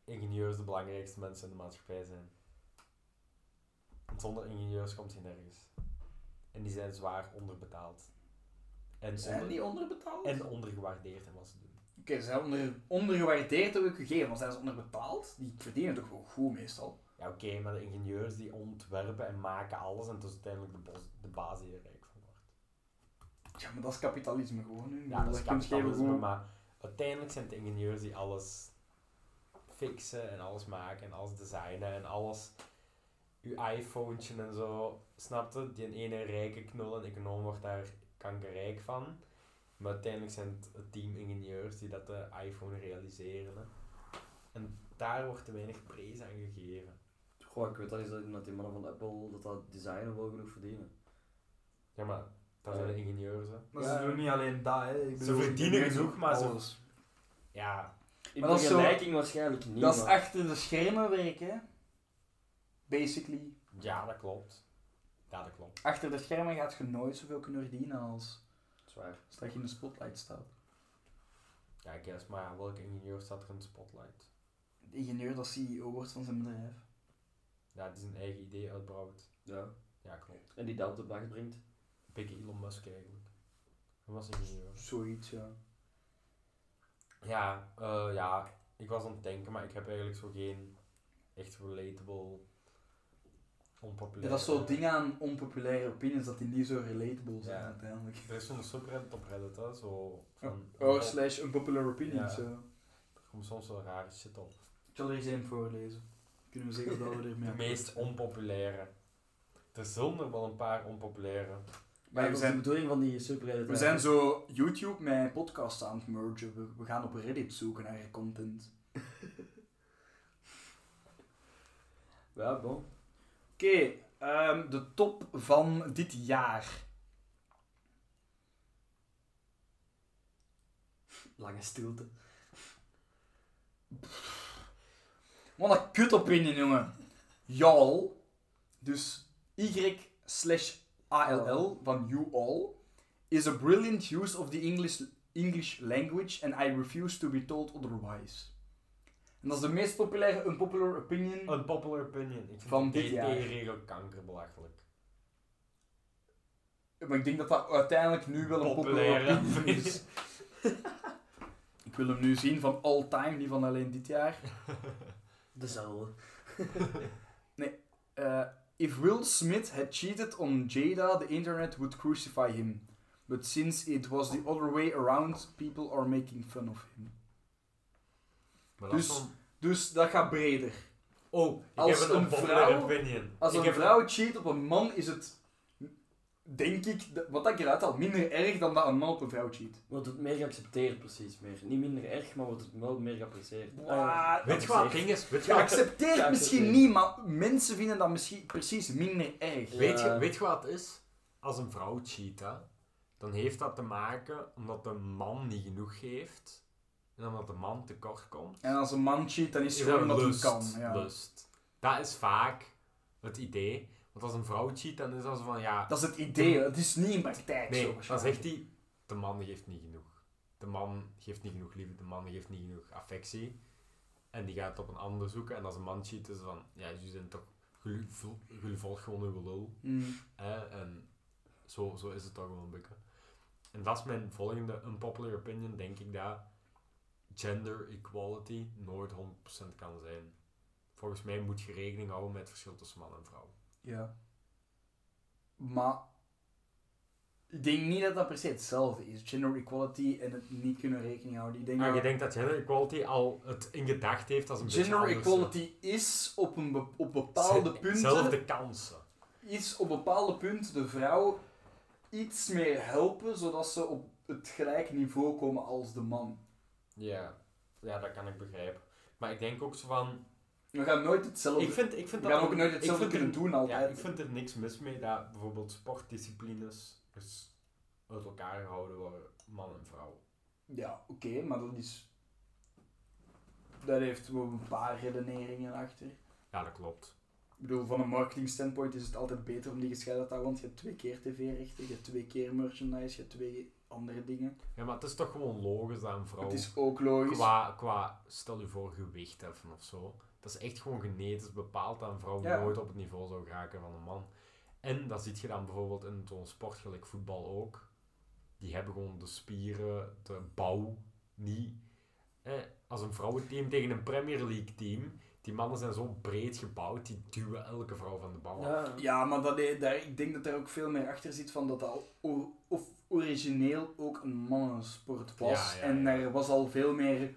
S2: ingenieurs de belangrijkste mensen in de maatschappij zijn. Want zonder ingenieurs komt je nergens. En die zijn zwaar onderbetaald. En,
S3: Zijn
S2: onder-
S3: die onderbetaald?
S2: en ondergewaardeerd in wat ze doen.
S3: Oké, ze zijn onder, ondergewaardeerd heb ik gegeven, maar zijn ze onderbetaald? Die verdienen toch wel goed meestal.
S2: Ja, oké, maar de ingenieurs die ontwerpen en maken alles en het is uiteindelijk de, bos, de baas die er rijk van wordt.
S3: Ja, maar dat is kapitalisme gewoon. hè.
S2: Ja, dat is
S3: kun je even
S2: kapitalisme,
S3: goed-
S2: maar uiteindelijk zijn het de ingenieurs die alles fixen en alles maken en alles designen en alles. Uw iPhone en zo, snapte? Die ene rijke knul en econoom wordt daar kankerrijk van. Maar uiteindelijk zijn het het team ingenieurs die dat de iPhone realiseren. hè. En daar wordt te weinig prijs aan gegeven.
S1: Goh, ik weet dat is dat met die mannen van Apple, dat dat designen wel genoeg verdienen.
S2: Ja, maar dat zijn de ingenieurs. Hè.
S3: Maar
S1: Ja.
S3: ze doen niet alleen dat, hè. Ik
S2: Ze
S3: bedoel,
S2: verdienen
S3: ik-
S2: genoeg, maar ze-
S3: Alles.
S2: Ja,
S1: In
S3: Maar dat is zo-
S1: vergelijking waarschijnlijk niet,
S3: Dat is
S1: maar-
S3: achter de schermen werken, hè. Basically.
S2: ja, dat klopt. Ja, dat klopt.
S3: Achter de schermen gaat je nooit zoveel kunnen verdienen als
S1: Zwaar.
S3: straks in de spotlight staat.
S2: Ja, ik guess, maar ja, welke ingenieur staat er in de spotlight?
S3: De ingenieur dat CEO wordt van zijn bedrijf.
S2: Ja, die zijn eigen idee uitbrouwt.
S1: Ja.
S2: Ja, klopt.
S1: En die dat op de dag brengt.
S2: Pikke Elon Musk eigenlijk. Dat was ingenieur.
S3: Zoiets, ja.
S2: Ja, eh, ja, ik was aan het denken, maar ik heb eigenlijk zo geen echt relatable, onpopulaire...
S3: dat is zo'n ding aan onpopulaire opinions dat die niet zo relatable zijn
S2: Ja.
S3: uiteindelijk.
S2: Er is zo'n subreddit op Reddit, hè, zo van...
S3: Oh, slash unpopular opinions,
S2: Ja.
S3: ja.
S2: Er komt soms wel rare shit op.
S3: Ik zal er eens één voorlezen. Kunnen we zeggen dat we ermee
S2: De meest onpopulaire. Er zijn er wel een paar onpopulaire.
S1: Maar dat is
S3: we
S1: de
S3: zijn,
S1: bedoeling van die subreddit.
S3: we zijn zo YouTube met podcasts aan het mergen. We, we gaan op Reddit zoeken naar content.
S1: Ja, bon.
S3: Oké, ehm, de top van dit jaar.
S1: Lange stilte.
S3: Wat een kut opinion, jongen. Y'all. Dus Y slash ALL van you all is a brilliant use of the English, English language and I refuse to be told otherwise. En dat is de meest populaire unpopular opinion.
S2: Een popular opinion. Ik vind
S3: Van
S2: de
S3: dit jaar.
S2: DT-regel kankerbelachelijk.
S3: Maar ik denk dat dat uiteindelijk nu wel een populaire
S2: Populaire
S3: opinion is. ik wil hem nu zien van all time, niet van alleen dit jaar.
S1: Dezelfde.
S3: Uh, if Will Smith had cheated on Jada, the internet would crucify him. But since it was the other way around, people are making fun of him.
S2: Maar
S3: Dus- Dus dat gaat breder.
S2: Oh, ik
S3: als
S2: heb een,
S3: een
S2: popular
S3: vrouw-
S2: opinion.
S3: Als
S2: ik
S3: een
S2: heb
S3: vrouw cheat op een man, is het, denk ik, de- wat ik eruit haal, minder erg dan dat een man op een vrouw cheat.
S1: Wordt het meer geaccepteerd, precies meer. Niet minder erg, maar wordt het wel meer geapprecieerd.
S3: Wow.
S1: Ah,
S2: Weet je wat het ding is? Weet je wat,
S3: Geaccepteerd misschien niet, maar mensen vinden dat misschien precies minder erg.
S2: weet je,
S1: Ja.
S2: weet je wat het is? Als een vrouw cheat, hè, dan heeft dat te maken omdat de man niet genoeg heeft. En omdat de man tekort komt.
S3: En als een man cheat, dan is
S2: Is
S3: het gewoon
S2: dat
S3: omdat hij
S2: lust.
S3: kan. Ja.
S2: Lust. Dat is vaak het idee. Want als een vrouw cheat, dan is dat zo van, ja...
S3: Dat is het idee, het is niet in praktijk zo.
S2: Nee, dan
S3: waarschijnlijk.
S2: zegt hij, de man geeft niet genoeg. De man geeft niet genoeg liefde, de man geeft niet genoeg affectie. En die gaat op een ander zoeken. En als een man cheat, is het van, ja, jullie zijn toch... Jullie vol- jullie volgen gewoon uw lul.
S3: Mm.
S2: Hè? En zo, zo is het toch wel een beetje. En dat is mijn volgende unpopular opinion, denk ik, dat gender equality nooit 100% kan zijn. Volgens mij moet je rekening houden met het verschil tussen man en vrouw.
S3: Ja. Maar ik denk niet dat dat per se hetzelfde is. Gender equality en het niet kunnen rekening houden. Ik denk
S2: Maar je
S3: dat
S2: denkt dat gender equality al het in gedacht heeft als een beetje
S3: gender
S2: anders, hè.
S3: equality is op, een be- op bepaalde
S2: Ze-
S3: punten...
S2: Zelfde kansen.
S3: Is op bepaalde punten de vrouw iets meer helpen, zodat ze op het gelijk niveau komen als de man.
S2: Ja. ja, dat kan ik begrijpen. Maar ik denk ook zo van.
S3: We gaan nooit hetzelfde...
S2: Ik vind, ik vind
S3: we
S2: dat
S3: gaan ook nooit
S2: ik
S3: hetzelfde
S2: vind er-
S3: kunnen doen
S2: Ja,
S3: altijd.
S2: ik vind er niks mis mee dat bijvoorbeeld sportdisciplines dus uit elkaar gehouden worden, man en vrouw.
S3: Ja, oké, maar dat is... Daar heeft wel een paar redeneringen achter.
S2: Ja, dat klopt.
S3: Ik bedoel, van een marketing standpoint is het altijd beter om die gescheiden te houden, want je hebt twee keer tv-rechten, je hebt twee keer merchandise, je hebt twee andere dingen.
S2: Ja, maar het is toch gewoon logisch dat een vrouw.
S3: Het is ook logisch.
S2: Qua, qua, stel je voor gewicht heffen of zo. Dat is echt gewoon genetisch bepaald dat een vrouw
S3: Ja.
S2: nooit op het niveau zou geraken van een man. En dat ziet je dan bijvoorbeeld in zo'n sport, gelijk voetbal ook. Die hebben gewoon de spieren, de bouw, niet. Eh, als een vrouwenteam tegen een Premier League team, die mannen zijn zo breed gebouwd, die duwen elke vrouw van de bal af.
S1: Ja.
S3: Ja, maar dat, eh, daar, ik denk dat er ook veel meer achter zit van dat dat o- of origineel ook een mannensport was.
S2: Ja, ja,
S3: En
S2: ja.
S3: er was al veel meer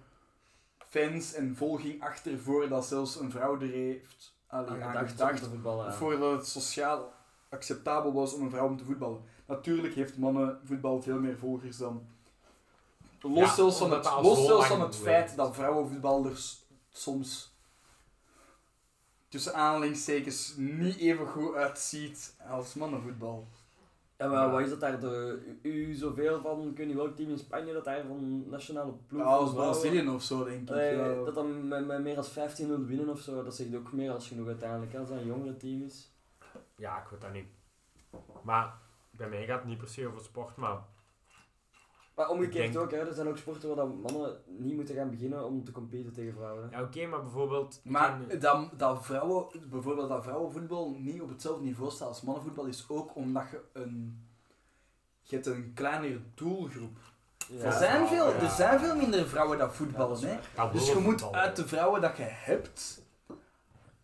S3: fans en volging achter voordat zelfs een vrouw er heeft allee,
S1: Aan
S3: aan
S1: gedacht om
S3: gedacht.
S1: te voetballen. ja.
S3: Voordat het sociaal acceptabel was om een vrouw om te voetballen. Natuurlijk heeft mannenvoetbal veel meer volgers dan. Los
S2: Ja,
S3: zelfs van
S2: omdat
S3: het,
S2: dat al
S3: los
S2: zo
S3: zelfs van
S2: lang
S3: het
S2: leeft.
S3: feit dat vrouwenvoetballers soms tussen aanhalingstekens niet even goed uitziet als mannenvoetbal.
S1: En maar wat is dat daar de u zoveel van? Ik weet niet welk team in Spanje dat daar van nationale ploeg.
S3: Ja, als
S1: van vrouwen-
S3: Brazilië of zo, denk ik.
S1: Allee,
S3: ja.
S1: dat dan met, met meer dan 15-0 winnen of zo, dat zegt ook meer als genoeg uiteindelijk. hè, Als dat een jongere team is.
S2: Ja, ik weet dat niet. Maar bij mij gaat het niet per se over sport, maar
S1: Maar
S2: Ik
S1: omgekeerd
S2: denk-
S1: ook, hè. er zijn ook sporten waar dat mannen niet moeten gaan beginnen om te competen tegen vrouwen. hè.
S2: ja, oké, maar bijvoorbeeld.
S3: Maar dat, dat vrouwen, bijvoorbeeld dat vrouwenvoetbal niet op hetzelfde niveau staat als mannenvoetbal, is ook omdat je een... Je hebt een kleinere doelgroep.
S1: Ja.
S3: Er, zijn veel,
S2: Ja.
S3: er zijn veel minder vrouwen
S1: Ja,
S3: dat
S1: dat
S3: voetballen.
S1: is
S3: hè.
S1: waar.
S2: dat
S3: Dus
S2: wil
S3: je moet
S2: voetbal
S3: uit de
S2: wel.
S3: vrouwen dat je hebt,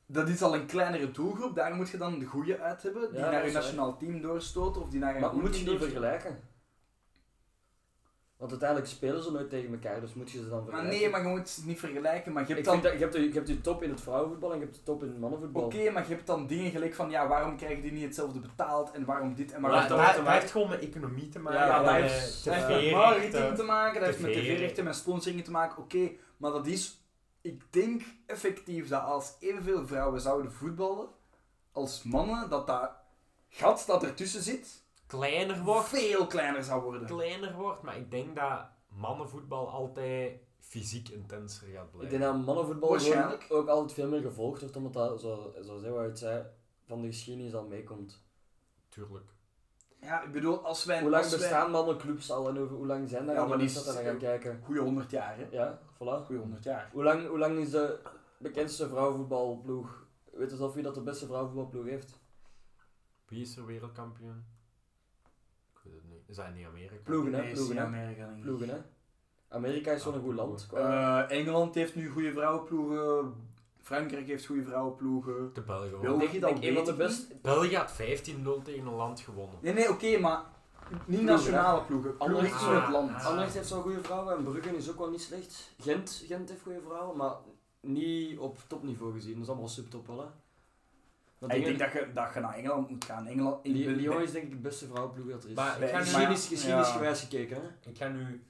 S3: dat is al een kleinere doelgroep, daar moet je dan de goede uit hebben, die
S1: Ja,
S3: naar
S1: dat
S3: je
S1: is waar.
S3: nationaal team doorstoten of die naar een
S1: Maar
S3: goed
S1: moet je
S3: team
S1: die
S3: doorstoten.
S1: vergelijken? Want uiteindelijk spelen ze nooit tegen elkaar, dus moet je ze dan
S3: Maar
S1: vergelijken?
S3: nee, maar je moet het niet vergelijken, maar je
S1: Ik
S3: hebt dan...
S1: vind dat, je, hebt de, je hebt de top in het vrouwenvoetbal en je hebt de top in het mannenvoetbal.
S3: Oké, maar je hebt dan dingen gelijk van, ja, waarom krijgen die niet hetzelfde betaald en waarom dit en
S2: Maar,
S3: waarom
S2: dat,
S3: dat...
S2: dat-
S3: Ja,
S2: dat heeft gewoon met economie te maken.
S1: Ja,
S3: dat
S2: en, eh,
S3: heeft, dat heeft met
S2: tv-rechten.
S3: marketing te maken, dat heeft met
S2: TV-rechten.
S3: tv-rechten, met sponsoringen te maken, oké, maar dat is... Ik denk effectief dat als evenveel vrouwen zouden voetballen als mannen, dat dat gat dat ertussen zit,
S2: Kleiner wordt.
S3: veel kleiner zou worden.
S2: Kleiner wordt, maar ik denk dat mannenvoetbal altijd fysiek intenser gaat
S1: Ik
S2: blijven.
S1: denk dat mannenvoetbal gewoon
S3: Waarschijnlijk.
S1: ook altijd veel meer gevolgd wordt, omdat dat, zo- zoals hij het zei, van de geschiedenis al meekomt.
S2: Tuurlijk.
S3: Ja, ik bedoel, als wij...
S1: Hoe lang
S3: als wij-
S1: bestaan mannenclubs al en hoe, hoe lang zijn daar
S3: Ja,
S1: al
S3: maar die
S1: mensen dat dan gaan
S3: is-
S1: kijken?
S3: Goeie 100 jaar, hè.
S1: Ja, voilà.
S3: Goeie 100 jaar.
S1: Hoe lang, hoe lang is de bekendste vrouwenvoetbalploeg? Weet je zelf wie dat de beste vrouwenvoetbalploeg heeft?
S2: Wie is er wereldkampioen? Ik weet het niet. Is dat niet Amerika?
S1: Ploegen, hè?
S3: Nee, is
S1: Ploegen,
S3: in
S1: hè?
S3: Amerika, denk ik.
S1: Ploegen, hè? Amerika is zo'n
S2: Ah,
S1: goed
S2: ploegen.
S1: land. qua-
S3: Eh, Engeland heeft nu goede vrouwenploegen. Frankrijk heeft goede vrouwenploegen.
S2: De Belgen.
S3: Wil-
S2: hoor.
S1: Ik
S3: je
S1: denk,
S3: dat
S1: denk een van de
S3: weet ik
S1: best.
S2: België had 15-0 tegen een land gewonnen.
S3: Nee, nee, oké, maar niet nationale ploegen. Ploegen
S1: Anderlecht
S3: is
S1: is
S3: van het
S2: wel-
S3: land.
S2: Ah.
S1: Anderlecht heeft zo'n goede vrouwen en Bruggen is ook wel niet slecht. Gent, Gent heeft goede vrouwen, maar niet op topniveau gezien. Dat is allemaal subtop wel, hè? Want
S3: ik denk dat je, dat je naar Engeland moet gaan. Engeland, ik
S1: Li-
S3: ben-
S1: Lyon is denk ik de beste vrouwenploeg dat er is.
S2: Maar
S3: ik ga nu-
S1: geschiedenis,
S3: maar-
S1: geschiedenis
S3: ja.
S1: gewijs gekeken, hè?
S2: Ik ga nu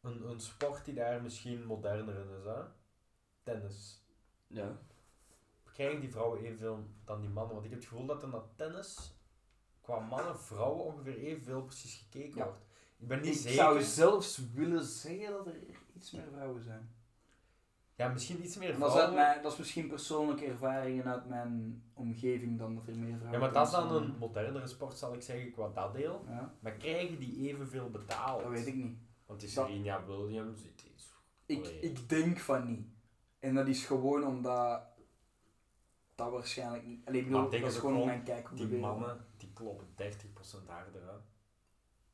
S2: een, een sport die daar misschien moderner in is, hè? Tennis.
S1: Ja.
S2: Krijgen die vrouwen evenveel dan die mannen? Want ik heb het gevoel dat er naar tennis qua mannen, vrouwen ongeveer evenveel precies gekeken
S3: Ja.
S2: wordt. Ik ben niet
S3: ik
S2: zeker.
S3: zou zelfs willen zeggen dat er iets meer vrouwen zijn.
S2: Ja, misschien iets meer
S3: Maar dat is, uit
S2: vrouwen.
S3: mijn, dat is misschien persoonlijke ervaringen uit mijn omgeving dan dat er meer vrouwen
S2: Ja, maar dat is dan
S3: thuis
S2: een modernere sport, zal ik zeggen, qua dat deel.
S3: zijn. Ja,
S2: Maar krijgen die evenveel betaald?
S3: dat weet ik niet.
S2: Want die
S3: Dat-
S2: Serena Williams, die die is...
S3: Ik,
S2: Allee.
S3: ik denk van niet. En dat is gewoon omdat dat waarschijnlijk niet. Allee, ik bedoel,
S2: Maar ik denk
S3: dat is
S2: dat
S3: gewoon
S2: ook
S3: om mijn kijk hoe
S2: Die
S3: de wereld-
S2: mannen, die kloppen 30% harder, hè.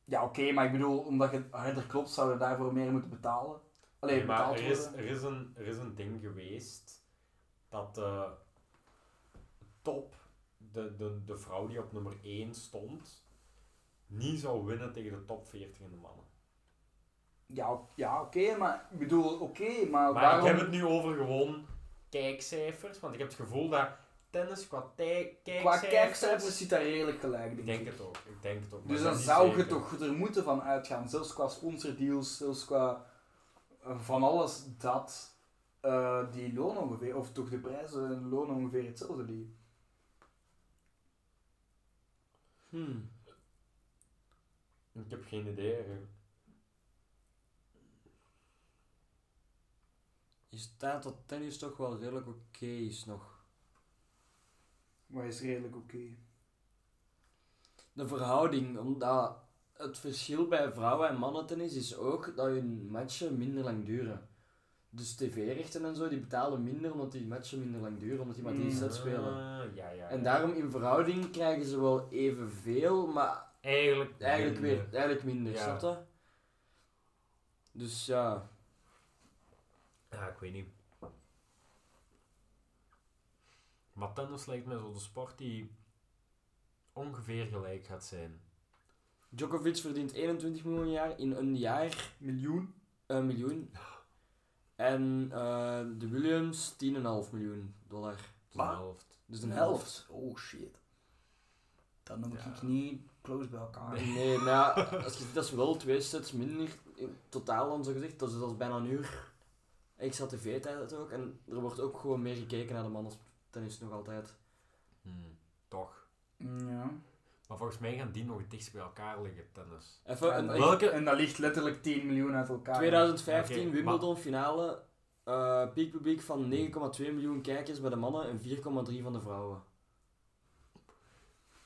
S3: Ja, oké, maar ik bedoel, omdat je harder klopt, zouden we daarvoor meer moeten betalen. Allee,
S2: Nee, maar
S3: betaald
S2: er is,
S3: worden.
S2: er, is een, er is een ding geweest dat de top, de, de, de vrouw die op nummer 1 stond, niet zou winnen tegen de top 40 in de mannen.
S3: Ja, o- ja oké, maar ik bedoel, oké, maar, Nou,
S2: maar
S3: waarom...
S2: ik heb het nu over gewoon kijkcijfers, want ik heb het gevoel dat tennis qua tij-
S3: Qua
S2: kijkcijfers...
S3: kijkcijfers zit daar redelijk gelijk,
S2: Ik
S3: denk
S2: denk
S3: ik.
S2: het ook, ik denk het ook. maar
S3: Dus
S2: ik
S3: dan
S2: ben niet
S3: zou je
S2: zeker.
S3: toch er moeten van uitgaan, zelfs qua sponsordeals, zelfs qua eh, van alles, dat eh, die loon ongeveer, of toch de prijzen en loon ongeveer hetzelfde liggen.
S1: Hmm.
S2: Ik heb geen idee. hè.
S1: Je staat dat tennis toch wel redelijk oké is nog.
S3: Maar is redelijk oké.
S1: De verhouding, omdat het verschil bij vrouwen en mannen tennis is ook dat hun matchen minder lang duren. Dus tv-rechten en zo, die betalen minder omdat die matchen minder lang duren, omdat die maar drie
S3: Mm.
S1: sets spelen.
S2: Ah, ja, ja.
S1: En
S2: ja.
S1: daarom in verhouding krijgen ze wel evenveel, maar
S2: Eigenlijk,
S1: eigenlijk, weer,
S2: minder.
S1: eigenlijk minder,
S2: Ja.
S1: snap je? Dus ja,
S2: Ja, ik weet niet. Maar tennis lijkt mij zo de sport die ongeveer gelijk gaat zijn.
S1: Djokovic verdient 21 miljoen jaar in een jaar.
S3: Miljoen?
S1: Een miljoen. En eh, de Williams 10,5 miljoen dollar.
S2: De
S3: Wat?
S2: helft.
S1: Dus een helft.
S3: Oh shit. Dan noem ik
S2: Ja.
S3: niet close bij elkaar.
S1: Ah, Nee, maar ja, als je ziet, dat is wel twee sets minder in totaal dan zo gezegd. Dat is, dat is bijna een uur extra tv-tijd ook. En er wordt ook gewoon meer gekeken naar de mannen tennis nog altijd.
S2: Hmm, toch.
S3: Mm, Ja.
S2: Maar volgens mij gaan die nog het dichtst bij elkaar liggen, tennis.
S1: Even, een-
S3: Ja,
S1: een-
S2: wel. Welke-
S3: En dat ligt letterlijk 10 miljoen uit elkaar.
S1: 2015
S2: Oké,
S1: Wimbledon finale. eh piekpubliek van 9,2 miljoen kijkers bij de mannen en 4,3 van de vrouwen.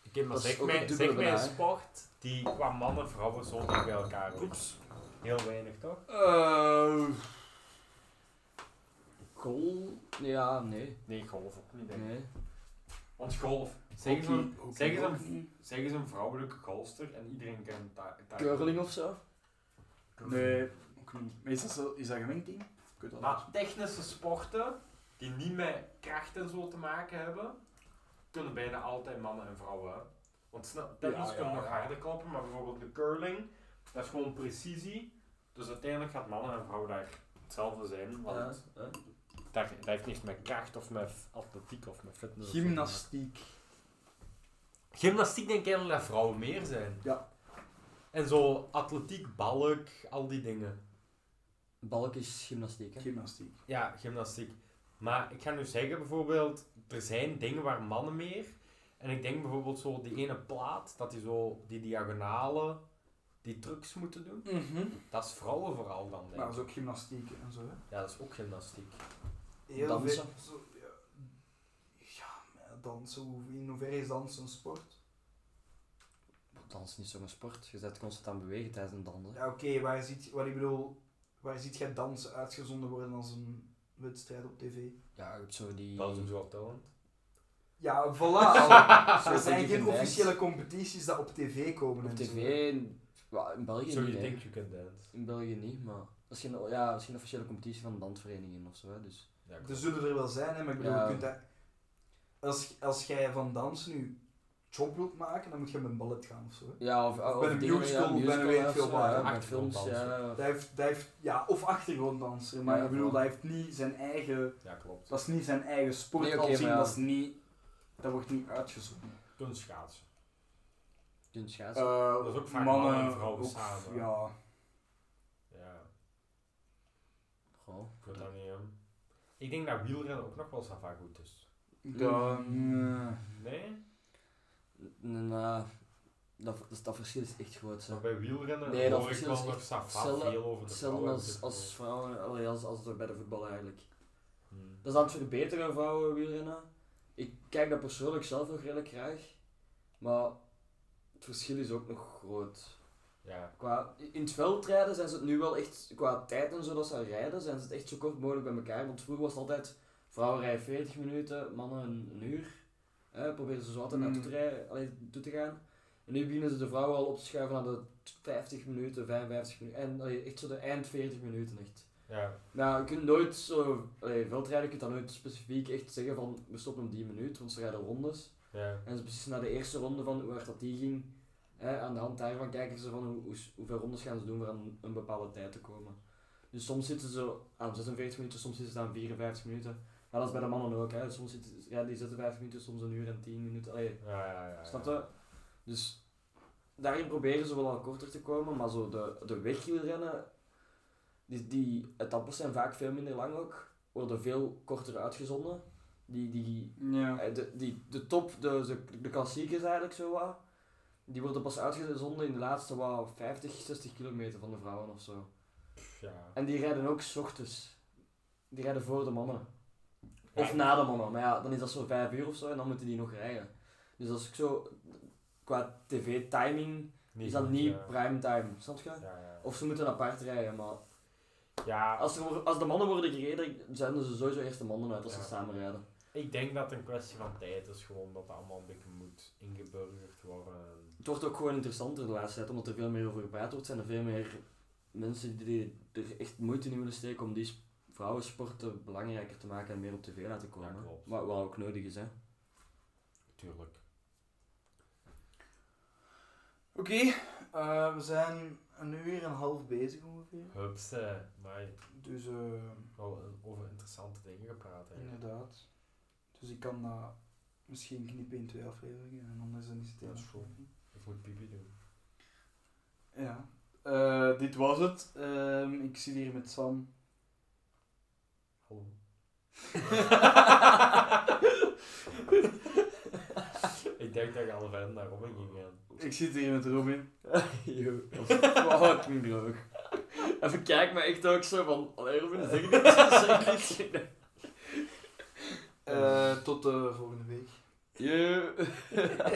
S2: Oké, maar
S1: Dat is
S2: zeg
S1: ook
S2: mij,
S1: het
S2: zeg
S1: dubbele
S2: mij een
S1: bijna, hè.
S2: sport die qua mannen vrouwen zo dicht bij elkaar ligt. Heel weinig, toch?
S3: Eh,
S1: Goal? Ja, nee.
S2: Nee, golf ook niet, denk ik.
S1: nee.
S2: Want golf, zeg eens, een,
S3: hockey-
S2: zeg eens
S3: hockey
S2: een-
S3: ook niet.
S2: zeg eens een vrouwelijke golfster en iedereen kent daar.
S1: Curling of zo?
S3: Nee, ook niet. Maar is dat, zo, is dat gemengd Kut
S1: Ah,
S3: dat
S2: Maar technische sporten die niet met kracht en zo te maken hebben, kunnen bijna altijd mannen en vrouwen. hè. Want sna- tennis
S3: Ja, ja,
S2: kunnen nog
S3: ja.
S2: harder klappen, maar bijvoorbeeld de curling, dat is gewoon precisie. Dus uiteindelijk gaat mannen en vrouwen daar hetzelfde zijn. Want
S1: Ja, ja.
S2: daar, dat heeft niks met kracht of met f- atletiek of met fitness. of zo te
S3: Gymnastiek.
S2: maken. Gymnastiek denk ik eigenlijk dat vrouwen meer zijn.
S3: Ja.
S2: En zo atletiek, balk, al die dingen.
S1: Balk is gymnastiek, hè?
S3: Gymnastiek.
S2: Ja, gymnastiek. Maar ik ga nu zeggen bijvoorbeeld, er zijn dingen waar mannen meer. En ik denk bijvoorbeeld zo die ene plaat, dat die zo die diagonale, die die trucs moeten doen.
S3: Mhm.
S2: Dat is vrouwen vooral dan,
S3: Maar
S2: denk
S3: dat
S2: ik.
S3: is ook gymnastiek en zo. Hè?
S2: Ja, dat is ook gymnastiek.
S3: Heel
S1: Dansen.
S3: veel- zo, ja, ja, maar dansen. hoe- In hoeverre is dansen een sport?
S1: Dans is niet zo'n sport. Je bent constant aan het bewegen tijdens een dansen.
S3: Ja, Ah, oké, waar ziet, wat ik bedoel, waar ziet jij dansen uitgezonden worden als een wedstrijd op tv?
S1: Ja, je hebt zo die...
S2: Dat is een soort talent.
S3: Ja, voilà.
S1: Zo
S3: Er
S1: denk
S3: zijn
S1: ik
S3: geen
S1: een dance.
S3: officiële competities dat op tv komen.
S1: Op
S3: en zo.
S1: tv... In, wel, in België
S2: So
S1: niet,
S2: you
S1: hè.
S2: think you can dance.
S1: In België niet, maar... Misschien, ja, misschien een officiële competitie van dansverenigingen of zo, hè, dus...
S2: Ja,
S3: Er
S2: klopt.
S3: zullen er wel zijn, hè, maar ik bedoel,
S1: Ja.
S3: je kunt dat... Als, als jij van dansen nu job wilt maken, dan moet je met een ballet gaan of zo. hè.
S1: Ja, of... of
S3: een
S1: dingen,
S3: musical,
S1: ja,
S3: bij
S1: musical,
S3: weet ik
S1: ja,
S3: veel
S1: zo,
S3: waar,
S1: ja,
S3: hè.
S1: met films, ja.
S3: Dat heeft, dat heeft, ja, of achtergronddanser, maar
S1: Ja,
S3: ik bedoel,
S1: voilà.
S3: dat heeft niet zijn eigen...
S2: Ja, klopt.
S3: Dat is niet zijn eigen sport
S1: Nee, oké,
S3: al zien,
S1: maar ja.
S3: dat is niet... Dat wordt niet uitgezonden.
S2: Kunstschaatsen.
S1: Kunt schaatsen.
S3: Eh,
S2: dat is ook vaak mannen en vrouwen samen.
S3: Ja.
S2: Ja,
S1: Goh.
S2: ik weet dat niet, aan. Ik denk dat wielrennen ook nog wel sava goed is.
S1: Mm.
S3: Dan... eh,
S2: Nee?
S1: N- nou, dat, dat, dat verschil is echt groot, hè.
S2: Maar bij wielrennen
S1: Nee, dat
S2: hoor ik
S1: verschil is
S2: wel nog
S1: echt
S2: sava
S1: zelden-
S2: veel over de
S1: Hetzelfde
S2: vrouwen.
S1: als, als vrouwen, allee, als, als bij de voetbal eigenlijk.
S2: Hmm.
S1: Dat is aan het verbeteren, vrouwen wielrennen. Ik kijk dat persoonlijk zelf nog redelijk graag, maar het verschil is ook nog groot.
S2: Ja,
S1: Qua, in het veldrijden zijn ze het nu wel echt, qua tijd en zo dat ze rijden, zijn ze het echt zo kort mogelijk bij elkaar. Want vroeger was het altijd, vrouwen rijden 40 minuten, mannen een, een uur. Hè, proberen ze zo altijd naartoe te,
S3: Mm.
S1: rijden, allee, toe te gaan. En nu beginnen ze de vrouwen al op te schuiven naar de 50 minuten, 55 minuten. En allee, echt zo de eind 40 minuten echt.
S2: ja.
S1: Nou, je kunt nooit zo, allee, veldrijden kun je dat nooit specifiek echt zeggen van we stoppen om die minuut, want ze rijden rondes.
S2: ja.
S1: En ze beslissen na de eerste ronde van hoe hard dat die ging. Hè, aan de hand daarvan kijken ze van hoe, hoe, hoeveel rondes gaan ze doen voor aan een bepaalde tijd te komen. Dus soms zitten ze aan 46 minuten, soms zitten ze aan 54 minuten. Maar dat is bij de mannen ook, hè. soms zitten ze- rijden die 56 minuten, soms een uur en 10 minuten. Allee,
S2: Ja, ja, ja, ja.
S1: Snap je? Dus daarin proberen ze wel al korter te komen, maar zo de, de wegwielrennen, die, die etappes zijn vaak veel minder lang ook, worden veel korter uitgezonden. Die, die,
S3: Ja.
S1: eh, de, die, de top, de, de, de klassiekers eigenlijk zo wat, die worden pas uitgezonden in de laatste wat, 50, 60 kilometer van de vrouwen of zo.
S2: Pff, Ja.
S1: En die rijden ook 's ochtends. Die rijden voor de mannen.
S2: Ja.
S1: Of na de mannen, maar ja, dan is dat zo vijf uur of zo en dan moeten die nog rijden. Dus als ik zo, qua tv-timing,
S2: Niet
S1: is dat
S2: goed,
S1: niet
S2: ja.
S1: prime time, snap je?
S2: Ja, ja.
S1: Of ze moeten apart rijden, maar
S2: ja,
S1: als, er, wo- als de mannen worden gereden, zenden ze sowieso eerst de mannen uit als ze
S2: Ja.
S1: samen rijden.
S2: ik denk dat het een kwestie van tijd is. Gewoon dat dat allemaal een beetje moet ingeburgerd worden.
S1: Het wordt ook gewoon interessanter de laatste tijd, omdat er veel meer over gepraat wordt. Zijn er veel meer mensen die er echt moeite in willen steken om die sp- vrouwensporten belangrijker te maken en meer op tv laten komen.
S2: Ja, klopt.
S1: wat, wat ook nodig is, hè.
S2: Tuurlijk.
S3: Oké, eh, we zijn een uur en een half bezig ongeveer.
S2: Hupste. Maar
S3: Dus eh,
S2: wel een- over interessante dingen gepraat. eigenlijk.
S3: inderdaad. Dus ik kan dat misschien knippen in twee afleveringen en anders dan is het één
S2: Dat is goed.
S3: aflevering.
S2: Ik moet pipi doen.
S3: Ja. Eh, dit was het. Ehm, ik zit hier met Sam.
S2: Hallo. ik denk dat ik al ver naar Robin ging gaan.
S3: Ik zit hier met Robin.
S1: Yo, dat is fucking droog. Even kijk, maar echt ook zo van... Allee, Robin, zeg ik dit? Zeg ik dit?
S3: Eh, tot de volgende week.
S1: Yo.